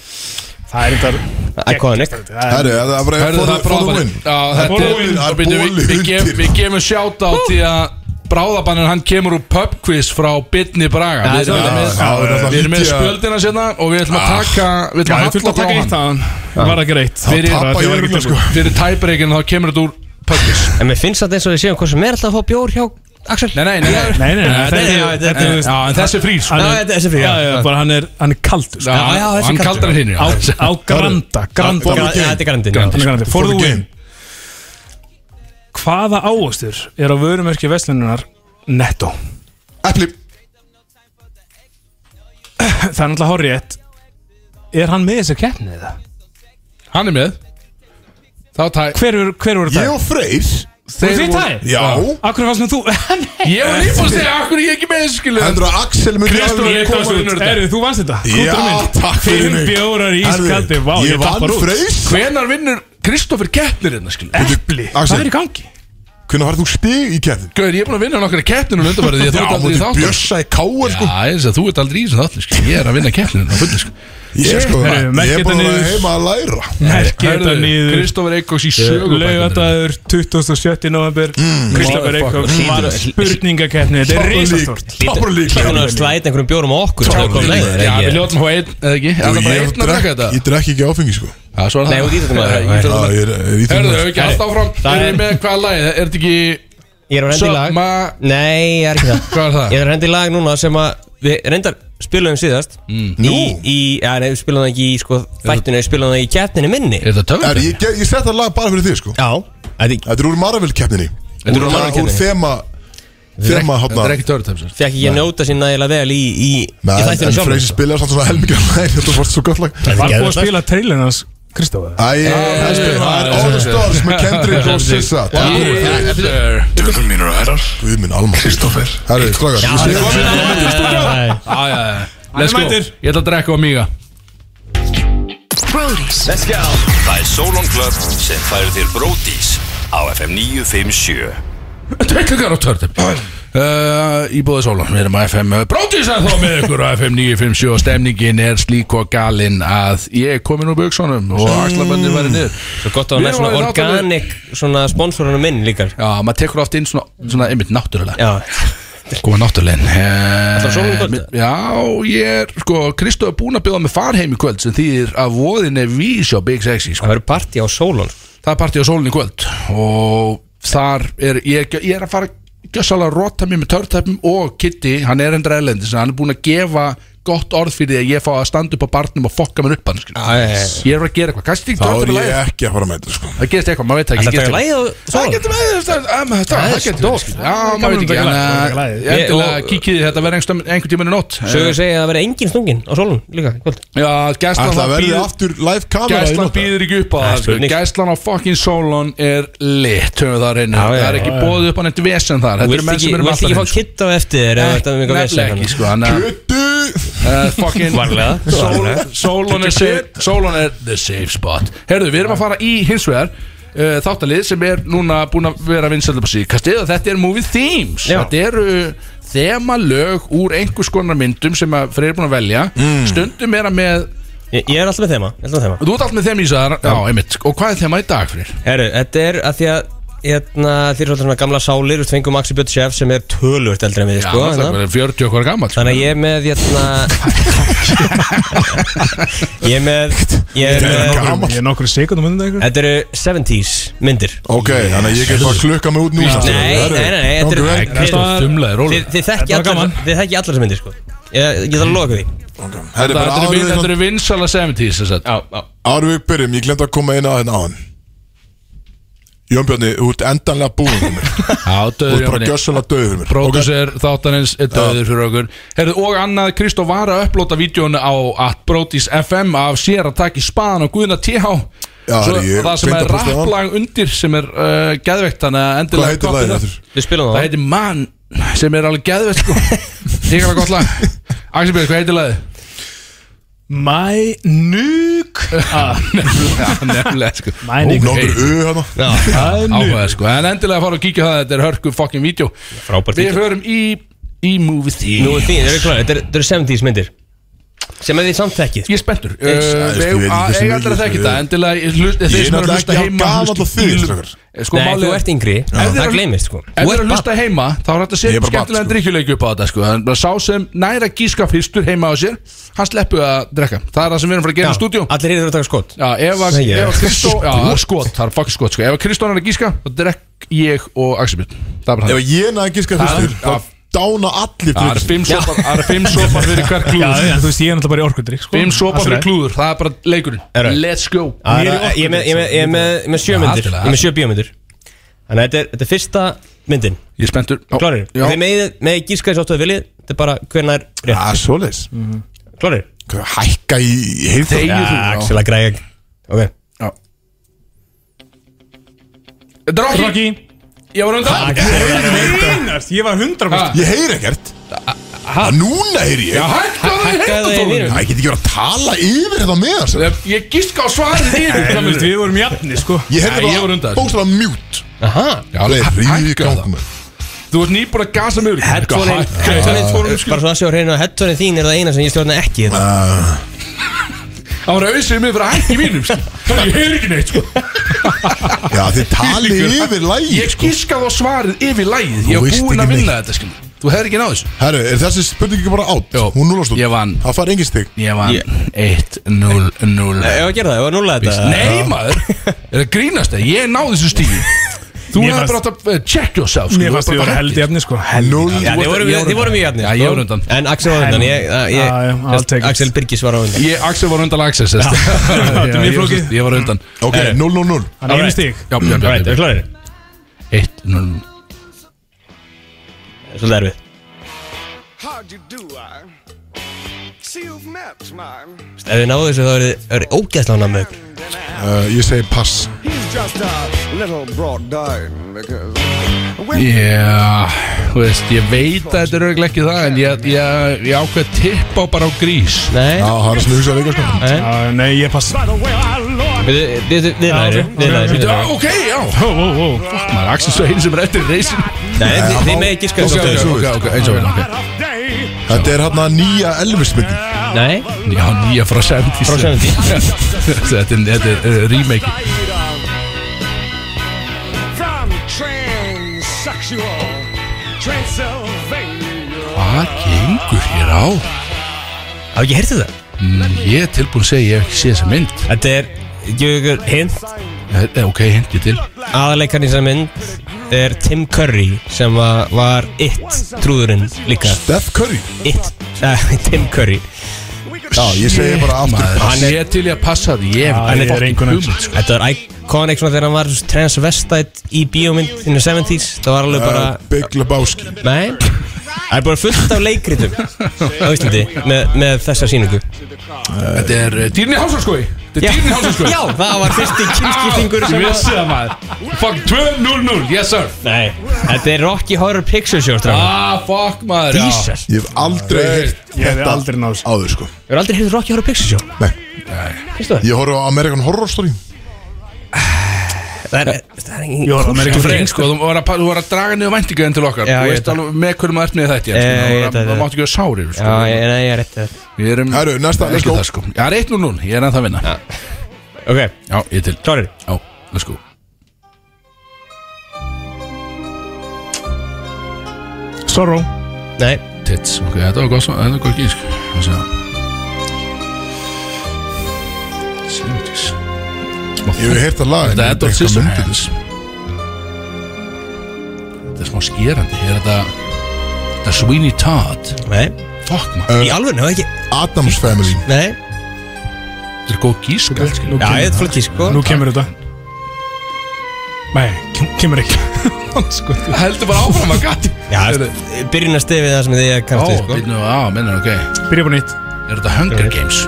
S4: það er þetta
S3: Iconic
S1: Herru, það er bara
S2: Hörðu
S1: for the-
S2: það
S1: for the
S2: bráðabann
S1: win
S2: Já, þetta
S1: for the
S2: er
S1: win, það er
S2: og byrju,
S1: bóli
S2: við- við gef-
S1: undir.
S2: Við gefum sjátt á því að Bráðabannir hann kemur úr pubquiz frá Bitni Braga Við erum
S1: já,
S2: með-
S1: já, það Ah. er
S2: Við erum með
S1: lítið að-
S2: spjöldina sérna og við ætlum að taka Við ætlum
S4: Það
S2: að
S4: er fullt
S2: halla okkur
S4: að
S2: á
S4: taka eitt
S2: hann
S4: aðan Var ekki reitt
S1: Þá tappa ég örugglega, sko.
S2: Fyrir tæbreikinu þá kemur þetta úr pubquiz
S3: En mér finnst þetta eins og við séum Hversu meir alltaf að fá bjór hjá Axel
S2: Nei, nei, nei, nei.
S4: Nei, nei, nei,
S2: Þetta er-
S4: þetta er-
S2: þetta er- Já, en þessi er frýr sko.
S4: Hann
S3: Já,
S4: er-
S3: þetta er þessi fyrir
S4: Já, já, bara hann er, hann er kaldur sko.
S2: Já, já, þessi hann kaldur. kaldar en hinir, já.
S4: Á, á Granda, Granda
S1: Granda.
S3: Þetta er grandin
S2: Grandin.
S4: Hann er Grandi,
S1: For
S4: for
S1: the
S4: the win
S1: game.
S4: Hvaða ávöxtur er á vörumerki Veslununar netto?
S1: Epli
S4: Það er náttúrulega horrið Er hann með þessi keppni eða?
S2: Hann er með Þá tæ
S4: Hver voru hver voru
S1: Ég
S4: það?
S1: og Freyr
S4: Voru þið
S2: voru-
S4: tæ?
S1: Já
S4: Akkur fannst með þú? [laughs] Nei.
S2: Ég var lífbúin að segja, akkur er ég ekki með þessu skilu
S1: Hendur að Axel myndi
S2: Kristófer
S1: alveg
S2: Ég
S1: koma
S2: tók svo
S1: út.
S2: vinnur þetta.
S4: Erðu, þú vannst þetta?
S1: Já,
S4: Kúturinn minn.
S1: takk fyrir
S4: Fimm
S1: mig
S4: bjórar í
S1: Herðu,
S4: ískaldi, vá,
S1: Ég vann
S4: dappar út.
S1: Freyr
S2: Hvenar vinnur Kristoffer Kettnir hérna skilu
S4: Epli,
S1: Axel.
S4: hvað er í gangi?
S1: Hvernig varð þú stig í keppnin?
S2: Gauður, ég er búin að vinna nokkara keppninu undanfærið Því að þú
S1: Já,
S2: ert aldrei
S1: mútið
S2: í þáttunum
S1: bjössa í káar sko
S2: Já, eins og þú ert aldrei í þessum þáttunum sko. Ég er að vinna keppninu á fullu sko.
S1: Ég er sko
S4: Herru,
S1: Ég er
S4: merkið
S1: bara að
S4: þetta
S1: vera
S4: niður.
S1: heima að læra
S4: Merkið þetta niður
S2: Kristoffer Eikos í sögubækninu
S4: Laugadagur 27. november Kristoffer Eikóks
S3: Hlýtur-
S4: var spurningakeppni Þetta er risastórt
S1: Tapur líka
S3: Hlýttan að slæta einhverjum bjórum á okkur Það kom leið, er
S2: Já, við
S3: ekki
S2: ljóðum á einn, eða ekki Er Það er bara
S1: Ég
S2: einn að taka
S1: drekk
S2: þetta
S1: ég drekk ekki áfengi sko
S2: Já, svo er
S3: Nei, út í þetta maður.
S2: Já,
S1: Já, ég er- er í því
S2: Hörðu,
S1: maður.
S2: hefur ekki alltaf áfram
S3: Það
S2: Erum
S3: er-
S2: við með hvaða lagi? Er þetta ekki
S3: Ég er á rendi í lag
S2: Söma
S3: Nei, ég er ekki það
S2: Hvað er það?
S3: Ég er að rendi í lag núna sem að Við reyndar spilum um síðast
S2: Mm.
S3: Í, í, já, nei, við spilum það ekki í sko Þættinu, við spilum það í kjarninni minni
S2: Er
S1: Er,
S2: þetta töfnir?
S1: ég, ge- ég set það lag bara fyrir þig sko
S3: Já, þetta
S1: Þetta er úr Marvel keppninni
S2: Þetta er úr Marvel
S1: Úr
S3: keppninni.
S1: þema Þema
S2: Þetta
S1: hátna
S2: er ekki töfnir
S3: fekk ekki að njóta sín nægilega vel í, í, í
S1: Nei, en
S3: þættinu sjálf
S1: Freysi spilaði samt svona helmingar lag Þetta var svo gott lag
S4: Var búið að spila trailin hans Kristoffer
S1: Æ, það spilaði- það er All the Stars með Kendrick og Sissa Takk fyrir.
S2: Töfnir
S5: Döður mínur og herrar,
S1: Guð minn almáttugur.
S5: Kristófer
S1: Herru, strákar, ég sé-
S2: Já, já, já. Let's go
S4: mættur.
S2: Ég ætla að drekka á miga
S7: Brody's
S6: Það er Solon Club sem færir þér Bródís á FM 957
S2: Tveiklingar á törnum uh, Í bóði sólan, við erum á FM Bróðisar þá með ykkur á FM 957 og stemningin er slík og galinn að ég er komin úr buksonum og axlaböndin væri niður
S3: Svo gott að hann er
S2: Við erum
S3: svona
S2: orðin þáttunum.
S3: organic Svona sponsorunum minn líka
S2: Já, maður tekur oft inn svona, svona einmitt náttúrulega
S3: Já,
S2: Góða náttúrulega uh,
S3: Ætlarðu að sofa í kvöld?
S2: Já, ég er, sko, Kristof er búin að bjóða með farheim í kvöld sem þýðir að voðin er vís á Big Sexy sko.
S3: það verður party á sólun
S2: það er partí á sólinn í kvöld og þar er ég, ég er að fara gjössalega að rota mér með törtæpum og Kitty, hann er hendur ælendi hann er búin að gefa gott orð fyrir því að ég fá að standa upp á barnum og fokka mér upp hann skilur.
S3: Það
S2: ég er að gera eitthvað, kannski ekki
S1: Þá er
S2: törtæpum
S1: ég
S2: lægið
S1: ekki að fara með þetta sko
S2: það gerist eitthvað, maður veit það
S3: er
S2: ekki
S3: að lægið á
S2: það
S3: sólun
S2: getur verið, það- það- það- það-
S3: Það er
S2: það getur
S3: stórt.
S2: verið skilur. já, maður veit ekki,
S4: gaman að taka
S2: en eh,
S4: lagið, taka lagið.
S2: ég endilega
S3: Ég- og-
S2: kíkið þið, þetta verður einhvern- einhvern tímann í nótt Eh,
S3: Sögur segja að það verði engin stungin á sólun líka í kvöld
S2: já, gæslan
S1: Ætla
S2: það
S1: að verði
S2: býður-
S1: aftur live kamera í
S2: Gæslan
S1: nótt
S2: býður ekki upp á
S3: Það er
S2: það sko.
S3: spurning.
S2: Gæslan á fucking Solon er lit höfum við það reyna
S3: Já, já,
S2: Það er ekki bóðið upp á neitt vesen
S3: Þú
S2: þar Þetta eru
S3: vilt
S2: menn
S3: ekki,
S2: sem eru
S3: vilt
S2: alltaf
S3: ekki fá
S2: hrein, sko.
S3: kitt á eftir þér ef
S2: Nei,
S3: þetta er mjög að
S2: Nefnilega ekki sko, þannig að-
S1: Kjötu
S2: uh, fucking
S3: Varlega, varlega.
S2: Solon er, safe- Solon er the safe spot Herðu, við erum að fara í hins vegar uh, þáttalið sem er núna búin að vera vinsælum á síkastið og þetta er movie themes
S3: Já.
S2: þetta eru þema lög úr einhvers konar myndum sem að Freyr er búin að velja
S3: Mm.
S2: stundum er að með
S3: [laughs] Ég, ég er alltaf með þema, ég er alltaf með þema.
S2: þú ert allt með þeim í sæðar já, einmitt og hvað er þema í dag Freyr?
S3: Herru, þetta er að því að hérna, þér eru alltaf svona gamla sálir Þú fengum Axi Björn Sjef sem er tölvöld eldri en við sko,
S2: það
S3: hérna.
S2: er bara 40 okkar gammal
S3: Þannig að ég er með hérna,
S2: [laughs]
S3: Ég er með Ég er með
S1: Gaman.
S4: Eh, Ég er nokkur sekundum undan ykkur
S3: Þetta eru 70s myndir
S1: Ok, þannig að ég get bara að klukka mig út sko. nú
S3: Nei, nei, nei, nei, þetta eru-
S1: er
S3: þetta
S2: Kristóf,
S3: eru
S2: þumlaði rólega.
S3: Þið þið þekki
S4: Þetta
S3: allar
S4: var gaman.
S3: Þið þekki allar sem myndir sko Ég ég þarf að loka því
S1: Þetta er bara
S2: Þetta eru vin- þetta
S1: áður
S2: eru vinsala 70s þess að
S3: Já, já
S1: Áður við byrjum, ég glemt að koma inn á þennan áðan Jón Bjarni, þú ert endanlega búinn fyrir
S2: [laughs]
S1: mér Þú
S2: Já, döður
S1: ert bara gjössalega döður fyrir mér
S2: Pródusser þáttanins er döður fyrir okkur Herðu, Og annað, Kristóf var að upplota vídjónu á at Brodís FM af sér að taka í spaðan og guðna TH
S1: Já,
S2: Svo,
S1: herri, ég
S2: það sem er
S1: 100%
S2: rapplag undir sem er uh, geðveikt þannig að
S1: Hvað
S2: endilega
S1: heitir
S2: koppið
S1: lagið
S2: það.
S1: aftur?
S3: Við spilum
S2: Það
S3: það
S2: heitir mann sem er alveg
S1: [laughs]
S2: geðveikt sko Þykala gott lag Axel Björn, hvað heitir lagið?
S4: My nuke
S2: Já, nefnilega sko
S4: My
S1: Ó,
S4: nuke
S1: Nokkur U hérna. hana
S4: My nuke
S2: Áhugað sko, en endilega fara og kíkja á það Þetta er hörku fucking vídjó
S3: Frábært
S2: Við
S3: vídeó.
S2: hörum í, í movie theme
S3: Nú er því, þetta eru klárir, þetta eru- þetta eru 70s myndir Sem að þið samt þekkið
S2: Ég er spenntur uh,
S1: sko, ég veit
S2: Við eigum
S1: ekki
S2: að-
S1: hversu
S2: eiga allir að
S1: mikið
S2: þekki
S1: þessu
S2: þetta Endilega ég hlusta
S1: Ég
S2: þeir
S1: er
S2: sem eru að
S1: náttúrulega ekki
S2: hlusta
S1: að
S2: heima
S1: gama alltaf því strákar.
S2: þig Sko
S3: Nei,
S2: málið
S3: þú ert yngri
S2: Ef þeir
S3: Það
S2: eru-
S3: gleymist sko
S2: Ef
S3: Þú
S2: þið eru
S3: ert
S2: að hlusta
S3: barn.
S2: heima þá er þetta
S1: Ég
S2: sér
S1: er bara barn,
S2: skemmtilegan
S1: sko.
S2: drikkjuleik upp á þetta sko En bara sá sem næra gíska fyrstur heima á sér Hann sleppu að drekka Það er það sem við erum frá að gera í stúdíu
S3: Allir eru að taka skot
S2: Já, ef að
S3: Segja.
S2: ef að Kristó Já, það er skot, það er fucking skot sko Ef að Kristó er að gíska, þá drekk ég og Axel Björn Það er bara
S1: Ef
S2: það
S1: ég næði gíska fyrstur
S2: Já.
S1: þá dána allir
S2: Það eru
S1: fyrir
S2: fimm sopar- það eru fimm sopar fyrir hver
S4: Já,
S2: klúður
S4: já, þú veist, ég er náttúrulega bara í orkudrykk sko.
S2: Fimm sopa
S4: Allt í
S2: fyrir
S4: lagi.
S2: klúður, það er bara leikurinn
S3: Eru.
S2: Let's go
S3: Já, það- Ég er með- ég er með- ég er með- ég er með sjö myndir Ég er með sjö bíómyndir Þannig að þetta er- þetta er fyrsta myndin
S2: Ég er spenntur Ó,
S3: Klárir?
S2: Já.
S3: Þið megið megið gíska þess áttu að viljið Þetta er bara hvernar
S1: Já,
S3: rétt
S1: svoleiðis
S3: Klárir?
S1: Hvað, Hækka í heyrðu
S2: Þegir þú
S3: Axel að græja Ok
S2: Droggi
S4: Rocky
S2: Ég var undan
S4: Grínast, ég var 100%
S1: Ég heyr ekkert Að Núna heyr ég
S2: Já, hækkaðu í
S3: Hækkaðu í
S2: heyrnartólunum.
S1: Það ég get ekki verið að tala yfir þetta með þess
S2: Ég- Ég gíska á svarið þínu
S4: Þú
S2: gömlu.
S4: veist, Við vorum jafni, sko
S1: Ég
S2: Nei, ég var
S1: heyrði
S2: undan
S1: bara
S2: þessu.
S1: bókstala mjút
S3: Aha
S2: Já,
S1: Það er ríði í
S2: hækkaðu það.
S1: gangum
S2: Þú ert nýbúin að gasa mig úr
S3: Headphone-in Headphone-in Bara svo að sjá hreinu að headphone-in þín er það eina sem ég stjórna ekki hérna.
S2: Það var auðvitað mig fyrir að hækka í mínum sko. Ég heyr ekki neitt sko.
S1: Já, þið tali yfir sko. lægi
S2: Ég gískaði á svarið yfir lægið Ég
S1: Þú
S2: var
S1: veist
S2: búin
S1: ekki
S2: að vinna þetta skilur. Þú hefur ekki náðu þessu
S1: Herru, er þessi spurning ekki bara átt?
S2: Jó.
S1: Hún núlast út
S2: Ég vann.
S1: Það fari engin stig
S2: Ég vann 1-0-0
S3: Ef að gera það, ef að núla þetta
S2: Nei maður, er það grínast það? Ég náði þessu stígi Þú
S4: Mér
S2: hefði
S4: fannst-
S2: bara átt að uh, check yourself sko.
S4: Mér
S2: Þú
S4: fannst
S2: hefði
S4: við
S2: bara
S4: vorum held
S2: átt að-
S4: jafni, sko Held
S1: Null
S3: Já, þið voru, þið voru mjög
S2: Já,
S3: hérna
S2: ég var undan.
S3: En Axel var undan ég, að- ég,
S4: Já, já, I'll
S3: sest,
S4: take it.
S3: Axel Birgis var á undan
S2: Ég, Axel var undan Axel [laughs] sest. Já,
S4: er
S2: ég
S4: mjög
S2: var
S4: flókið.
S2: sest- Ég var undan
S1: Ok, 0-0-0
S4: Hann er einu stík
S2: Já, já, já,
S3: Right,
S2: já,
S3: er klárir?
S2: já. Eitt, núll, núll.
S3: Svolítið erfið
S7: How do you do, I? See you've met my
S3: Ef þið náðu þessu þá eru þið- eru þið ógæðslega ánægð með ykkur
S7: friend and I.
S1: Uh, Ég segi pass
S7: He's just a little brought down because when
S2: Já, þú veist, ég veit að þetta er auðvitað ekki það En ég, ég, ég ákveð tipp á bara á grís
S3: Nei,
S1: Já, það er svona hugsað líka sko
S3: Nei.
S4: Já, Nei, ég pass
S7: by the way I love
S3: við við- við- við næri
S4: ok,
S3: Við
S4: ok,
S3: næri
S2: Já, ok, já
S4: Ó, ó, ó
S2: Maður, Axel svo einu sem er eftir reysin
S3: Nei, þið- þið með ekki
S1: Ok,
S3: skoða
S1: ok, ok.
S3: þessu
S2: Ok, ok, eins og vel, ok
S7: of day.
S1: Þetta er hérna nýja Elvis-myndin
S3: Nei,
S2: Já, nýja frá 70
S3: Frá 70.
S2: [laughs] Þetta er, þetta er uh, remake
S7: From transsexual Transylvania.
S2: Hvað gengur hér á?
S3: hafa ekki heyrtið það
S2: Mm, Ég er tilbúin að segja ég hef ekki séð þessa mynd
S3: Þetta er, gefur ykkur hint
S2: Eh, eh, Ok, hendi til
S3: aðaleikarn í þessari mynd er Tim Curry sem var, var It trúðurinn líka
S1: Steph Curry
S3: It, uh, [laughs] Tim Curry
S1: Já, ég segi bara aftur pass
S2: Hann er til í að passa því Ég hef
S4: Ah, ég er
S2: fucking
S4: engu nefnd.
S2: hugmynd, sko.
S3: Þetta var iconic svona þegar hann var transvestite í bíómynd in the 70s Það var alveg bara,
S1: Uh, Big Lebowski
S3: nei Það er bara fullt af leikritum á Íslandi með, með þessa síningu
S2: Þetta er eh, Dýrni Hásarskói Þetta er dýrin
S3: [laughs]
S2: hálsins
S3: Já, það var fyrsti kynnskiptingur
S2: Ég
S3: sem að
S2: vissi það maður Fuck 2-0-0, yes sir
S3: Nei, þetta er Rocky Horror Picture Show strákar.
S2: Ah, fuck maður já.
S3: Jesus
S1: Ég hef aldrei heyrt
S4: Ég hefði
S1: þetta
S4: aldrei náð þessu.
S1: áður sko
S3: Við erum aldrei hefðið Rocky Horror Picture Show
S1: Nei,
S3: Veistu það?
S1: ég horf á American Horror Story
S3: Það er, það er engin
S4: Ég var American
S2: Þú
S3: kúltúr.
S2: freyng, sko, þú var að, þú var að draga niður væntingaðin til okkar
S3: Já,
S2: Þú
S3: ég
S2: veist
S3: veit
S2: alveg með hverju maður ert með þetta sko.
S3: Já, ég veit
S2: Það
S3: það.
S2: máttu ekki að sárir
S3: Já,
S2: sko.
S3: ég, nei, ég er rétt eh.
S2: Við erum
S1: Herru, næsta, let's
S2: ekki
S1: go.
S2: það sko Já, er 1-0-0, ég er ennþá að vinna Já,
S3: Ok,
S2: ég er til
S3: klárir
S2: Já, let's go
S4: Sorrow
S3: Nei,
S2: Tits, ok, þetta var gott svo- Þetta var gott gísk Það sé það
S1: Ég hef heyrt það lag en
S2: Þetta
S1: ég veit ekki hvað myndin
S2: er Edward
S1: er.
S2: Scissorhands Þetta er smá skerandi Er þetta Þetta er Sweeney Todd
S3: nei
S2: Fuck maður
S3: Í alveg, ná ekki
S1: Adams Family
S3: Nei,
S2: Þetta er góð gísk allt,
S3: já, ég er flott í sko
S4: Nú kemur þetta Nei, kem- kemur ekki [laughs] Sko,
S2: skilur. Heldur bara áfram að gati
S3: Já, byrjunarstefið það sem þið
S2: Ó,
S3: kannast við sko
S2: býtnu, á, minnur, ok Er
S4: Byrja upp á nýtt
S2: þetta Hunger Games?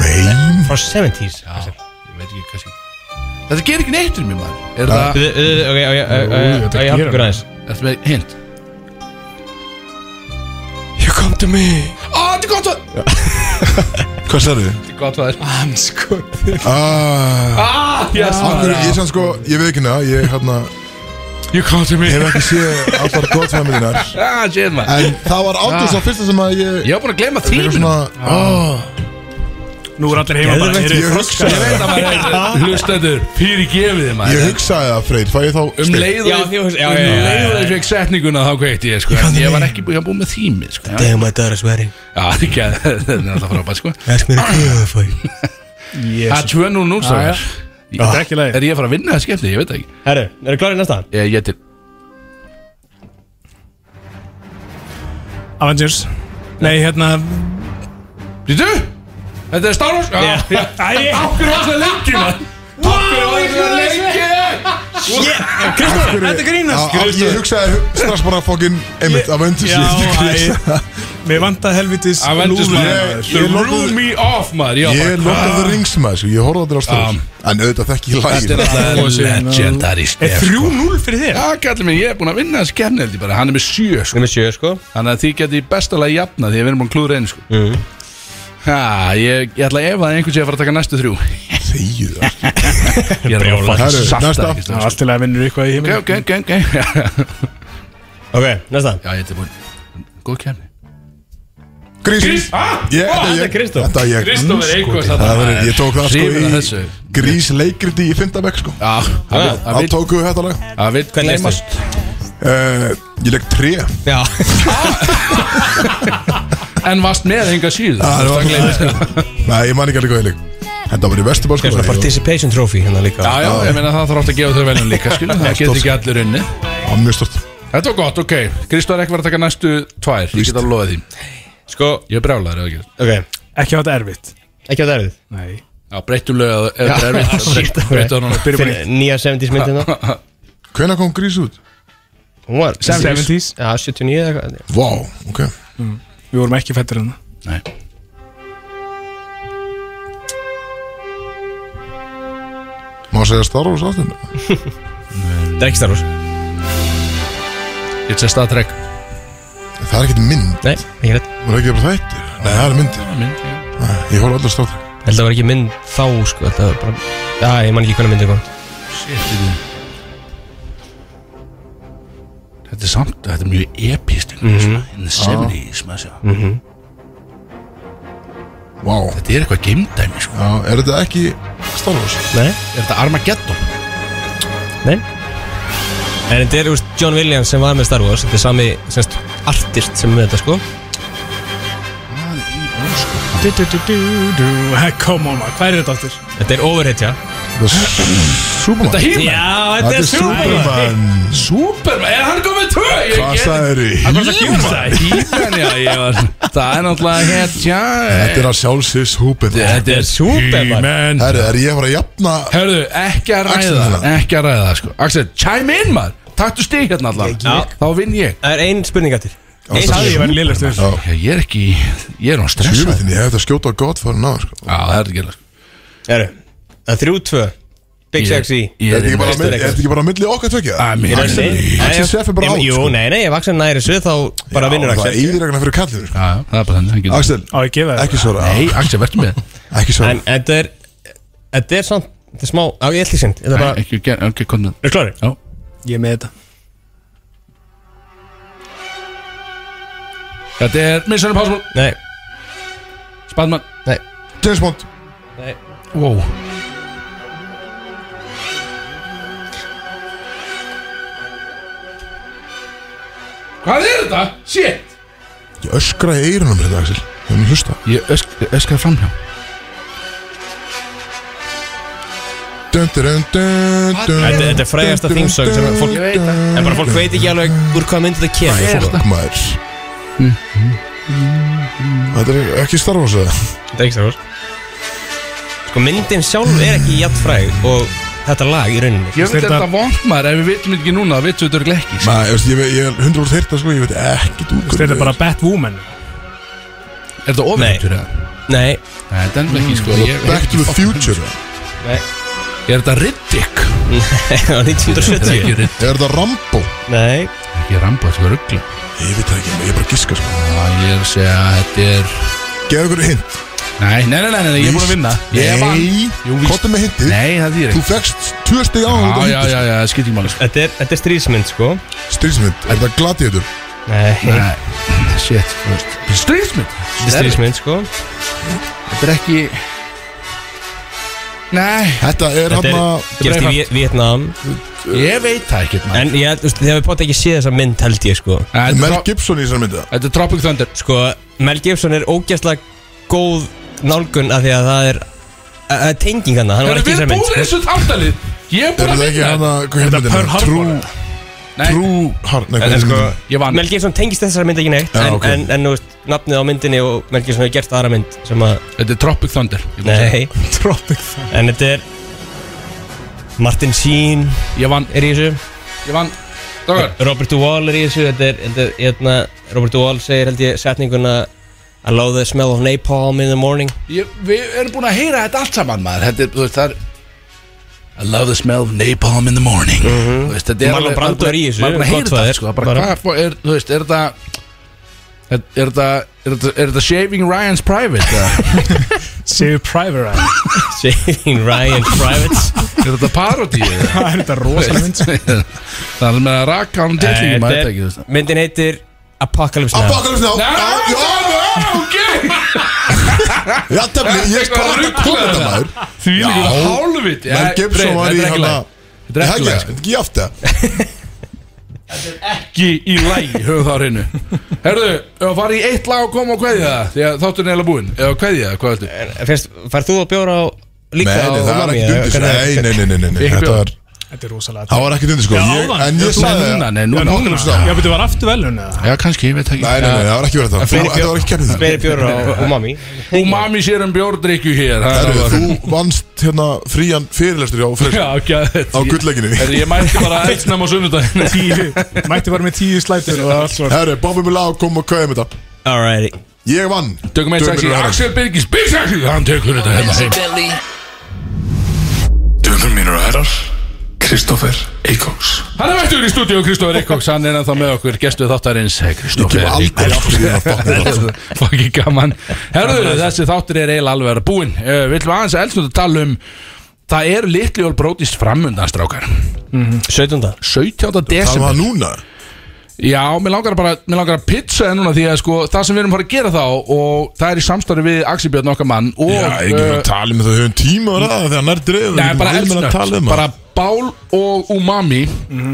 S1: Mein
S3: Frá 70s
S2: Já, ég veit ekki kannski Þetta gerir ekki neitt um mér maður Er það,
S3: Bíðu, bíðu, Ok, ok, ok, ok,
S4: Ú,
S3: ok, ég
S4: þetta gerir
S3: hjálpa ykkur
S4: hann.
S3: aðeins
S2: ertu með hint?
S5: You come to me
S2: Ó, þetta er gott að
S1: Hvað sérðu?
S2: Þetta er gott að þér
S1: Ah,
S2: Ah, yes
S1: Akkur, ég sann sko, ég veit ekki það Ég hérna,
S5: You come to me
S1: hef ekki séð allar gott familinar
S2: Ah, shit maður
S1: En það var aldrei það fyrsta sem að ég
S2: Ég var búin að gleyma
S1: Ég
S2: tíminu
S1: svona, ah,
S4: Nú er allir heima bara
S1: Geðveikt,
S4: Eru
S1: ég hugsa-
S4: þið froskar?
S2: Ég veit að maður Hlustendur, fyrir gefið þið
S1: Ég
S2: maður
S1: hugsaði það, Freyr, fæ ég þá
S2: Um leið
S3: Já,
S2: og
S3: því
S2: ég-
S3: hugsa- já,
S2: um
S3: já, já,
S2: leið og
S3: já,
S2: ég fekk setninguna þá kveitti ég sko En ég var ekki búin að búin með þýmið sko Já,
S3: Damn, my daughter's wedding
S2: það er [laughs] ekki að Það er alltaf frábæð sko
S3: Ask me to kill for you
S2: Það er 2-0-0
S4: já.
S2: strákar.
S4: Þetta er ekki leið
S2: Er ég að fara að vinna það skemmti? Ég veit það ekki
S3: Herru, eru klárið næsta?
S2: Ég, ég til
S4: Avengers Nei, hérna
S2: Býtu? Þetta er Star Wars? Já, já Æ, okkur var það lengi maður Okkur var það lengi
S1: Kristóf, þetta grínast Ég hugsaði strax bara fokkin Einmitt, Avengers
S4: Já,
S1: ég- ég-
S4: æ. Mér vanta helvitis
S2: Avengers
S4: lúðu.
S2: maður
S1: ég-
S2: You
S1: ég lokaði-
S2: blew me off maður Já,
S1: Ég
S2: bara, "Ah,
S1: lokaði það rings maður, sko, ég horfði aldrei á
S2: Já.
S1: stöður En auðvitað þekki ég
S2: Þetta
S1: lagið
S2: er alltaf legendary
S4: Er
S2: stef
S4: 3-0 fyrir þér?
S2: Já, kallið minn, ég er búinn að vinna þessi kemni held ég bara Hann er með sjö, sko
S3: Númer 7, sko
S1: Mm.
S2: Þannig að þið geti bestalega jafna því að við erum búin að klúra einu, sko Ha, ég, ég ætla að efa að einhvern sé að fara að taka næstu þrjú
S1: Þegið það sko.
S2: Ég er bara að
S1: Herru,
S2: fara að
S1: næsta.
S2: sakta ekki,
S4: Já,
S2: strax.
S4: allt til að vinnur eitthvað í
S2: Ok,
S4: heiminn
S2: ok, ok, ok [laughs] Já,
S3: Ok, næsta
S2: ég er tilbúin Góð kemni
S1: Grís Ég-
S3: þetta er
S1: ég-
S3: Kristóf.
S1: Þetta ég
S2: Kristóf er einhvers að
S1: Það verður, ég tók það sko
S2: Hrifin af
S1: í
S2: þessu.
S1: Grís leikriti í Fyndabæk sko
S2: Já, hann vill- hann
S1: Það
S2: vill-
S1: tókum við þetta lag
S2: hann vill
S3: Hvernig
S2: gleymast.
S3: ertu?
S1: Eh, Ég legg tré
S3: Já
S2: [laughs] En varst með hinga síðu
S1: Ah, það var
S2: gleymist.
S1: Nei, ég man ekki alveg hvað ég legg Þetta var í Vesturbæk sko
S3: Svona participation trophy hérna líka
S2: Já, já,
S1: Ah.
S2: ég meina það þarf átt að gefa þau veljum líka skilu, Það getur ekki allir unni
S1: var Mjög stort
S2: Þetta var gott, ok Kristóð er ekki verið að taka næstu tvær Ég get að lofa því
S3: Sko,
S2: Ég er brjálæður eða ekki
S3: ok
S4: Ekki hafa þetta erfitt
S3: Ekki á það erfið
S4: Nei
S2: Já, breyttum lög eða- eða það er [laughs] erfitt Breyttu hann
S4: Byrjum við
S3: Fyrir nýja 70s myndina
S2: [laughs]
S1: Hvenær kom Grís út?
S3: Hún var Já,
S4: 70s
S3: 79 eða eitthvað
S1: Vá, ok
S4: Við vorum ekki fættir hérna
S2: Nei
S1: Má segja Star Wars aftur
S3: Það er ekki Star Wars
S2: Ég sé staðtrekk
S1: Það er ekkert mynd
S3: Nei, ekki rétt Ég
S1: Það er ekki bara þættir Nei, það er mynd Ég horf allar Star Trek
S3: held að það var ekki mynd þá sko Þetta var bara Já, ég man ekki hvernig myndið kom
S2: Þetta er samt, þetta er mjög epist mm -hmm. In the 70s, maður sjá
S1: Vá
S2: Þetta er eitthvað geimdæmi, sko
S1: Já, er þetta ekki Star Wars?
S3: Nei,
S2: Er þetta Armageddon?
S3: nei En þetta er, þú veist, John Williams sem var með Star Wars Þetta er sami, semst, artist sem er með þetta sko
S4: Du, du, du, du, du. Hey, Come on, maður. hvað er þetta aftur?
S3: Þetta er overhead, já
S1: Þetta er s- Superman
S2: Þetta er Híman
S3: Já,
S1: Þetta er Superman
S2: Superman, er hann komið tvö? Ég
S1: Hvað
S2: get-
S1: sagðirðu?
S2: Hann var svo He-Man He-Man, já, ég var Það er náttúrulega hérna
S1: Þetta er að sjálfsög Superman
S2: Þetta er
S3: Superman.
S2: He-Man
S1: Herri, er ég að fara að jafna
S2: Hörðu, ekki að
S1: Axel,
S2: ræða
S1: hérna.
S2: Ekki að ræða, sko Axel, chime in, maður Taktu stig hérna allavega
S3: ég-
S2: Já. Þá vinn ég
S3: Það er ein spurning aftur Ein
S1: sagði
S4: Ég
S3: spurning
S4: var liðlastur
S1: Já.
S2: Já, Ég er ekki, ég er án stressað
S1: Sjöfutinni, ég hef þetta að skjóta á gott fyrir náður sko.
S2: Já, það er ekki alveg
S3: Herru Það er 3-2 Big
S2: Ég-
S3: Sexy
S2: ég
S1: Er þetta ekki bara á
S3: næstu
S1: milli- er
S3: reglur.
S1: þetta ekki bara á milli okkar tvekja?
S2: Að mér-
S3: Axel-
S2: Axel-
S3: Nei,
S1: Axel Seff er bara
S3: ég-
S1: out,
S3: Jú,
S1: sko.
S3: nei, nei, ef Axel næri svið þá bara vinnur
S1: Það er
S3: Axel
S1: yfirregna fyrir kallinu sko.
S2: Já, já, það er bara þannig það er ekki-
S1: Axel,
S4: Á, ég gefa það
S1: ekki svara
S2: Nei, Axel, verður með
S1: Ekki svara
S3: En þetta er Þetta er samt Þetta er smá Á, ég ætli sind Þetta er
S2: [laughs] Nei,
S3: bara
S2: Ekki, ger- ekki, kom með
S3: Er klárir?
S2: Já,
S4: Ég er með þetta
S2: þetta er Mission Impossible
S3: Nei
S2: Spadman
S3: Nei
S1: James Bond
S3: Nei
S2: Wow Hvað er þetta? Shit
S1: Ég öskra í eirunum þetta Axel Ég er að hlusta
S2: Ég ösk, öskar framhjá
S1: Dun, dun, dun, dun, dun.
S3: Þetta- þetta er frægasta
S1: Dun, dun,
S3: theme song sem að fólk-
S1: dun,
S2: veit það.
S1: dun,
S3: En bara fólk
S1: dun,
S3: veit ekki alveg Úr hvað myndi þetta kemur sko.
S1: dun,
S3: Þetta
S1: Fólk maður Þetta er ekki Star Wars eða?
S3: er ekki stafur Sko myndin sjálf er ekki jætt fræg Og þetta lag í rauninni
S2: Ég veit
S4: Þetta-
S2: þetta vond maður Ef við vitum ekki núna Það vitum við þetta ekki sko.
S1: Nei, ég veist, ég ve- ég er hundra úr þetta sko Ég veit ekki þú
S4: Þetta er bara Batwoman
S2: Er þetta ofrættur eða?
S3: Nei [laughs]
S2: Nei, þetta er nefnilega ekki sko Ég ég-
S1: Mm, Back to the future
S3: Nei
S2: Er þetta Riddick?
S3: Það var
S2: Þetta er
S3: 1970
S2: ekki Riddick
S1: Er þetta Rambo?
S3: Nei
S2: Ekki Rambo, þetta er ruggla
S1: Ég veit það ekki, ég er bara að giska sko
S2: Ég er að segja að Þetta er
S1: Geðu ykkur hint
S2: Nei, nei, nei, nei, nei, ég er búin að vinna Ég vann
S1: Nei,
S2: Jú, víst.
S1: komdu með hintið
S2: Nei, það þýr
S1: Þú
S2: ekki
S1: fegst tvö steg á
S2: Já,
S1: þetta
S2: já, já, já, það skiptir ekki máli sko.
S3: Þetta er, þetta er stríðsmynd sko
S1: Strísmynd, er þetta gladiður?
S3: Nei
S2: Nei, shit, þú veist Stríðsmynd
S3: Þetta er stríðsmynd sko
S2: Þetta er ekki Nei,
S1: Þetta er
S3: Þetta
S1: hann
S3: er
S1: að
S3: gerist í Vi- Vietnam
S2: ég veit það ekki maður.
S3: En ég held, þú veist, þegar við bótt ekki séð þessa mynd held ég sko
S2: Nei, þetta er
S1: Mel
S2: tro-
S1: Gibson í þessar mynda
S2: Þetta er Tropic Thunder
S3: Sko, Mel Gibson er ógæslega góð nálgun af því að það er að- að tenging hann, hann var
S2: Erum
S3: ekki í
S2: við
S3: þessari
S2: búin
S3: mynd sko.
S2: þessu þáttalið? Ég er
S1: Er
S2: búin að
S1: þetta ekki hann
S2: vinna
S1: að, hvað hefði
S4: Pearl
S1: myndina?
S4: Harbor,
S1: True,
S2: Nei,
S1: true Heart Nei,
S3: En
S1: hvað
S3: sko,
S1: hefði
S2: ég vann
S3: Mel Gibson tengist þessari mynd ekki neitt
S1: Já,
S3: en,
S1: ok.
S3: en, en, þú veist, nafnið á myndinni og Mel Gibson hefur gert aðra mynd sem að
S2: Þetta er Tropic Thunder Ég, búin að segja.
S3: Nei,
S1: [laughs]
S4: Tropic
S3: en þetta er Martin Sheen
S2: ég vann,
S3: er í þessu
S2: ég vann Dókar,
S3: Robert Duvall er í þessu þetta er, þetta er, hérna, Robert Duvall segir held ég setninguna I love the smell of napalm in the morning [laughs]
S2: ég, við erum búin að heyra þetta allt saman maður Þetta er, þú veist, það er I love the smell of napalm in the morning Þú veist, þetta er
S3: Marlon
S2: alveg-
S3: Brando er í þessu,
S2: Maður er búin að heyra
S3: Godfather,
S2: þetta, sko bara,
S3: bara-
S2: hvað, fó- er, Þú veist, er þetta Er er þetta, er þetta, er þetta Shaving Ryan's Private? eða?
S4: Save Private Ryan [laughs]
S3: Saving Ryan
S1: [laughs]
S3: Privates
S2: Er þetta parodíu?
S4: [laughs] Það er þetta rosalega mynd
S2: Það er með að raka hann til líka maður þetta ekki þú veist.
S3: myndin heitir Apocalypse Now
S1: Apocalypse Now Já, já, já tefni, ég hvað
S2: Þetta er
S1: er
S2: eitthvað
S1: þetta komið þetta
S2: ruglað.
S1: maður
S2: Því líka
S1: Já.
S2: hálfitt
S1: Mel Gibson var í hérna- hann að
S2: Þetta er
S1: Ég
S2: ekki
S1: hef
S2: læg
S1: ekki, ekki ég afti
S2: Ekki í læg Höfum það á hreinu Herðu, ef að fara í eitt lag og koma og kveðja það Því að þáttur neila búinn Eða kveðja það, hvað ertu?
S3: Fyrst, færð þú að bjóra á
S1: Nei,
S3: líka
S1: nei,
S3: á
S1: það var
S3: Umami,
S1: ekkert
S3: eða
S1: undir sko.
S3: hvernig-
S1: Nei, nei, nei, nei, nei, nei
S2: Ekki
S1: Þetta
S2: bjór.
S1: var,
S4: Þetta er rosalega
S1: það var ekkert undir sko
S4: Já,
S1: Ég-
S4: áðan.
S1: En ég
S2: Þú
S1: sagði
S2: núna, nei, nú
S1: Já,
S2: núna.
S1: Apocalypse Now.
S4: Já, betur, var aftur velun eða?
S2: Já, kannski, ég veit ekki
S1: Nei, nei, nei, það var ekki verið það Þú-
S3: fleiri
S1: Þetta var ekki kemur því
S3: Fleiri bjóra á
S1: [laughs]
S3: Umami
S2: Umami sér um bjórdrykju hér það
S1: Herru,
S2: var-
S1: Þú vannst hérna frían fyrirlestur á Freyr-
S2: Já, ekki að
S1: á gullleginni
S2: Herðu, ég mætti bara eldsnæm á sunnudaginn
S4: Tíu Mætti var með tíu slætur og allt svona
S1: Herru, bombum við lag og kom og kveðum þetta
S3: Alrighty
S1: Ég vann
S2: Tökum eitt
S1: Tveir
S2: sexi
S1: mínútur herra.
S2: Axel Birgis Bísaxi Hann tekur þetta hérna heim
S5: Dömur mínur og herrar Kristófer Eikós
S2: Hann er mættur í stúdíu Kristófer Eikóks, hann er ennþá með okkur gestuð þáttarins
S1: Ég
S2: Kristófer
S1: kem aldrei aftur í þennan fucking þátt.
S2: Fokki gaman Herðu, þessi þáttur er eiginlega alveg að vera búinn uh, Við ætlum aðeins að elsnum að tala um Það er litli jól brótist framundan strákar
S3: 17.
S2: 17.
S1: Það
S2: desember
S1: var núna
S2: Já, mér langar bara mér langar að pizza það núna því að sko, það sem við erum að fara að gera þá og það er í samstarfi við Axel Björn okkar mann og eh,
S1: Já, ég ekki verið að tala um það höfum tíma og ræða þegar nær dreifum
S2: Nei, bara
S1: tala
S2: elsnögt
S1: um
S2: Bara bál og umami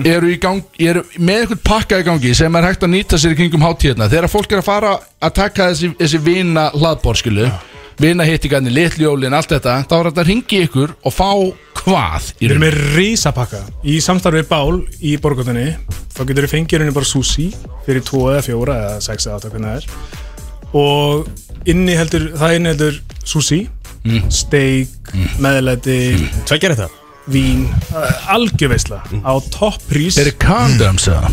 S2: eru, í gang, eru með einhvern pakka í gangi sem er hægt að nýta sér í kringum hátíðna þegar fólk er að fara að taka þessi, þessi vina hlaðbór skilu vina hittingarnir, litljóli allt þetta þá er þetta að ringi ykkur og fá hvað í
S4: Við erum
S2: rauninni?
S4: með risapakka Í samstarfið Bál í borgotunni Þá getur þið fengið henni bara sushi Fyrir 2 eða 4 eða 6 eða 8 hvernig það er Og inni heldur Það inni heldur sushi
S2: Mm.
S4: Steak, meðlæti,
S3: Tveggjar þetta
S4: vín Algjöfisla Á topp prís
S2: Eru condoms eða?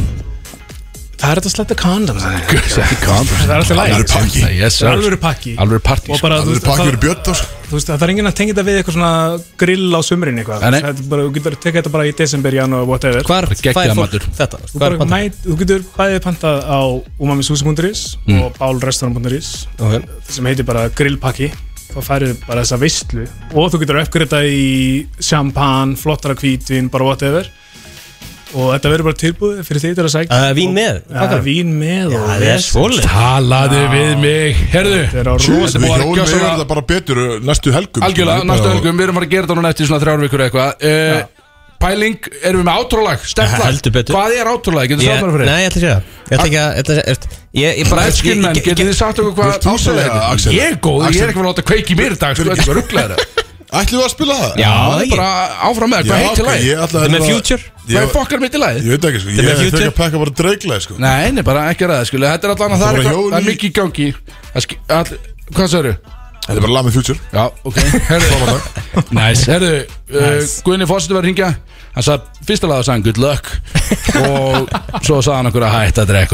S4: það er þetta að sletta condoms
S2: Það
S4: Það er alltaf læg
S1: Alvöru pakki.
S2: yes,
S4: Það er alvöru pakki.
S2: Alvöru pakki
S4: Og bara,
S1: Það
S4: þú
S1: eru
S4: veist,
S1: pakkið verið
S4: það,
S1: bjött ás
S4: þú veist, það er enginn að tengja þetta við eitthvað svona grill á sumrin eitthvað
S2: Nei, nei.
S4: Það er bara, Þú getur að tekja þetta bara í desember, janúar, whatever
S3: Hvar
S2: Geggjaður
S3: fær fólk
S2: matur.
S3: þetta?
S4: Þú,
S3: Hvar
S4: bara mæt, þú getur bæðið pantað á umamisusi.is og bálrestaurant.is
S3: Ok.
S4: sem heitir bara grillpakki þá færið bara þessa veistlu og þú getur uppgriða í champagne, flottara hvítvin, bara whatever og þetta verður bara tilbúið fyrir því þetta að sækja
S3: Uh, vín með?
S4: Ja, vín með og
S3: Það er
S4: vesen.
S3: svolít
S2: Talaðu við mig Herðu
S4: Þetta er á rosa
S2: Þetta er
S1: Við
S2: búið að
S1: hjólum
S2: gjöra
S1: við
S2: svona-
S1: þetta bara betur uh, næstu helgum
S2: Algjörlega, næstu helgum, við erum að fara að gera þetta núna eftir svona þrjár vikur eða eitthvað uh, Pæling, erum við með átrúlag,
S3: Ja,
S2: stefnlag
S3: heldur betur.
S2: Hvað er átrúlag, getur þú
S3: Ég-
S2: sagt mér fyrir?
S3: Nei, ég ætla að sé það Ég ætla ekki að ég ætla að- ég- Ég ég bara
S2: Elskin menn, getur þið sagt okkur
S1: Vilt
S2: hvað
S1: þú segja,
S2: átrúlag er?
S1: Axel?
S2: Ég er góð, ég
S1: Axel-
S2: er ekki að fara að láta kveiki í mér í dag, sko, þetta er svo [laughs] rugglaður
S1: Ætlum við að spila það?
S3: Já,
S2: Það er
S3: ég
S2: bara áfram með, það, hvað
S1: Já,
S2: heitir
S1: ok,
S2: lagið?
S1: ég ætla
S3: Þetta er með
S1: nefnilega-
S3: Future?
S2: Hvað er
S1: Ég-
S2: fokkar mitt í lagið?
S1: Ég veit ekki sko,
S3: er
S1: ég
S3: með
S1: er
S3: Future?
S1: þegar að pekka bara dreiglega sko
S2: Nei, nei, bara ekki að ræða, sko, þetta er allan að
S1: Það
S2: það
S1: voru
S2: er eitthvað-
S1: hjól
S2: það er
S1: í-
S2: mikið í gangi Það sk- all- Hvað sagður
S1: Þetta er bara lag með Future
S2: Já, ok, herðu Næs, herðu, uh, Guðni Fórseti var að ringja Hann sagði, fyrsta laga sagði hann good luck Og svo sagði hann okkur að hætta að drekka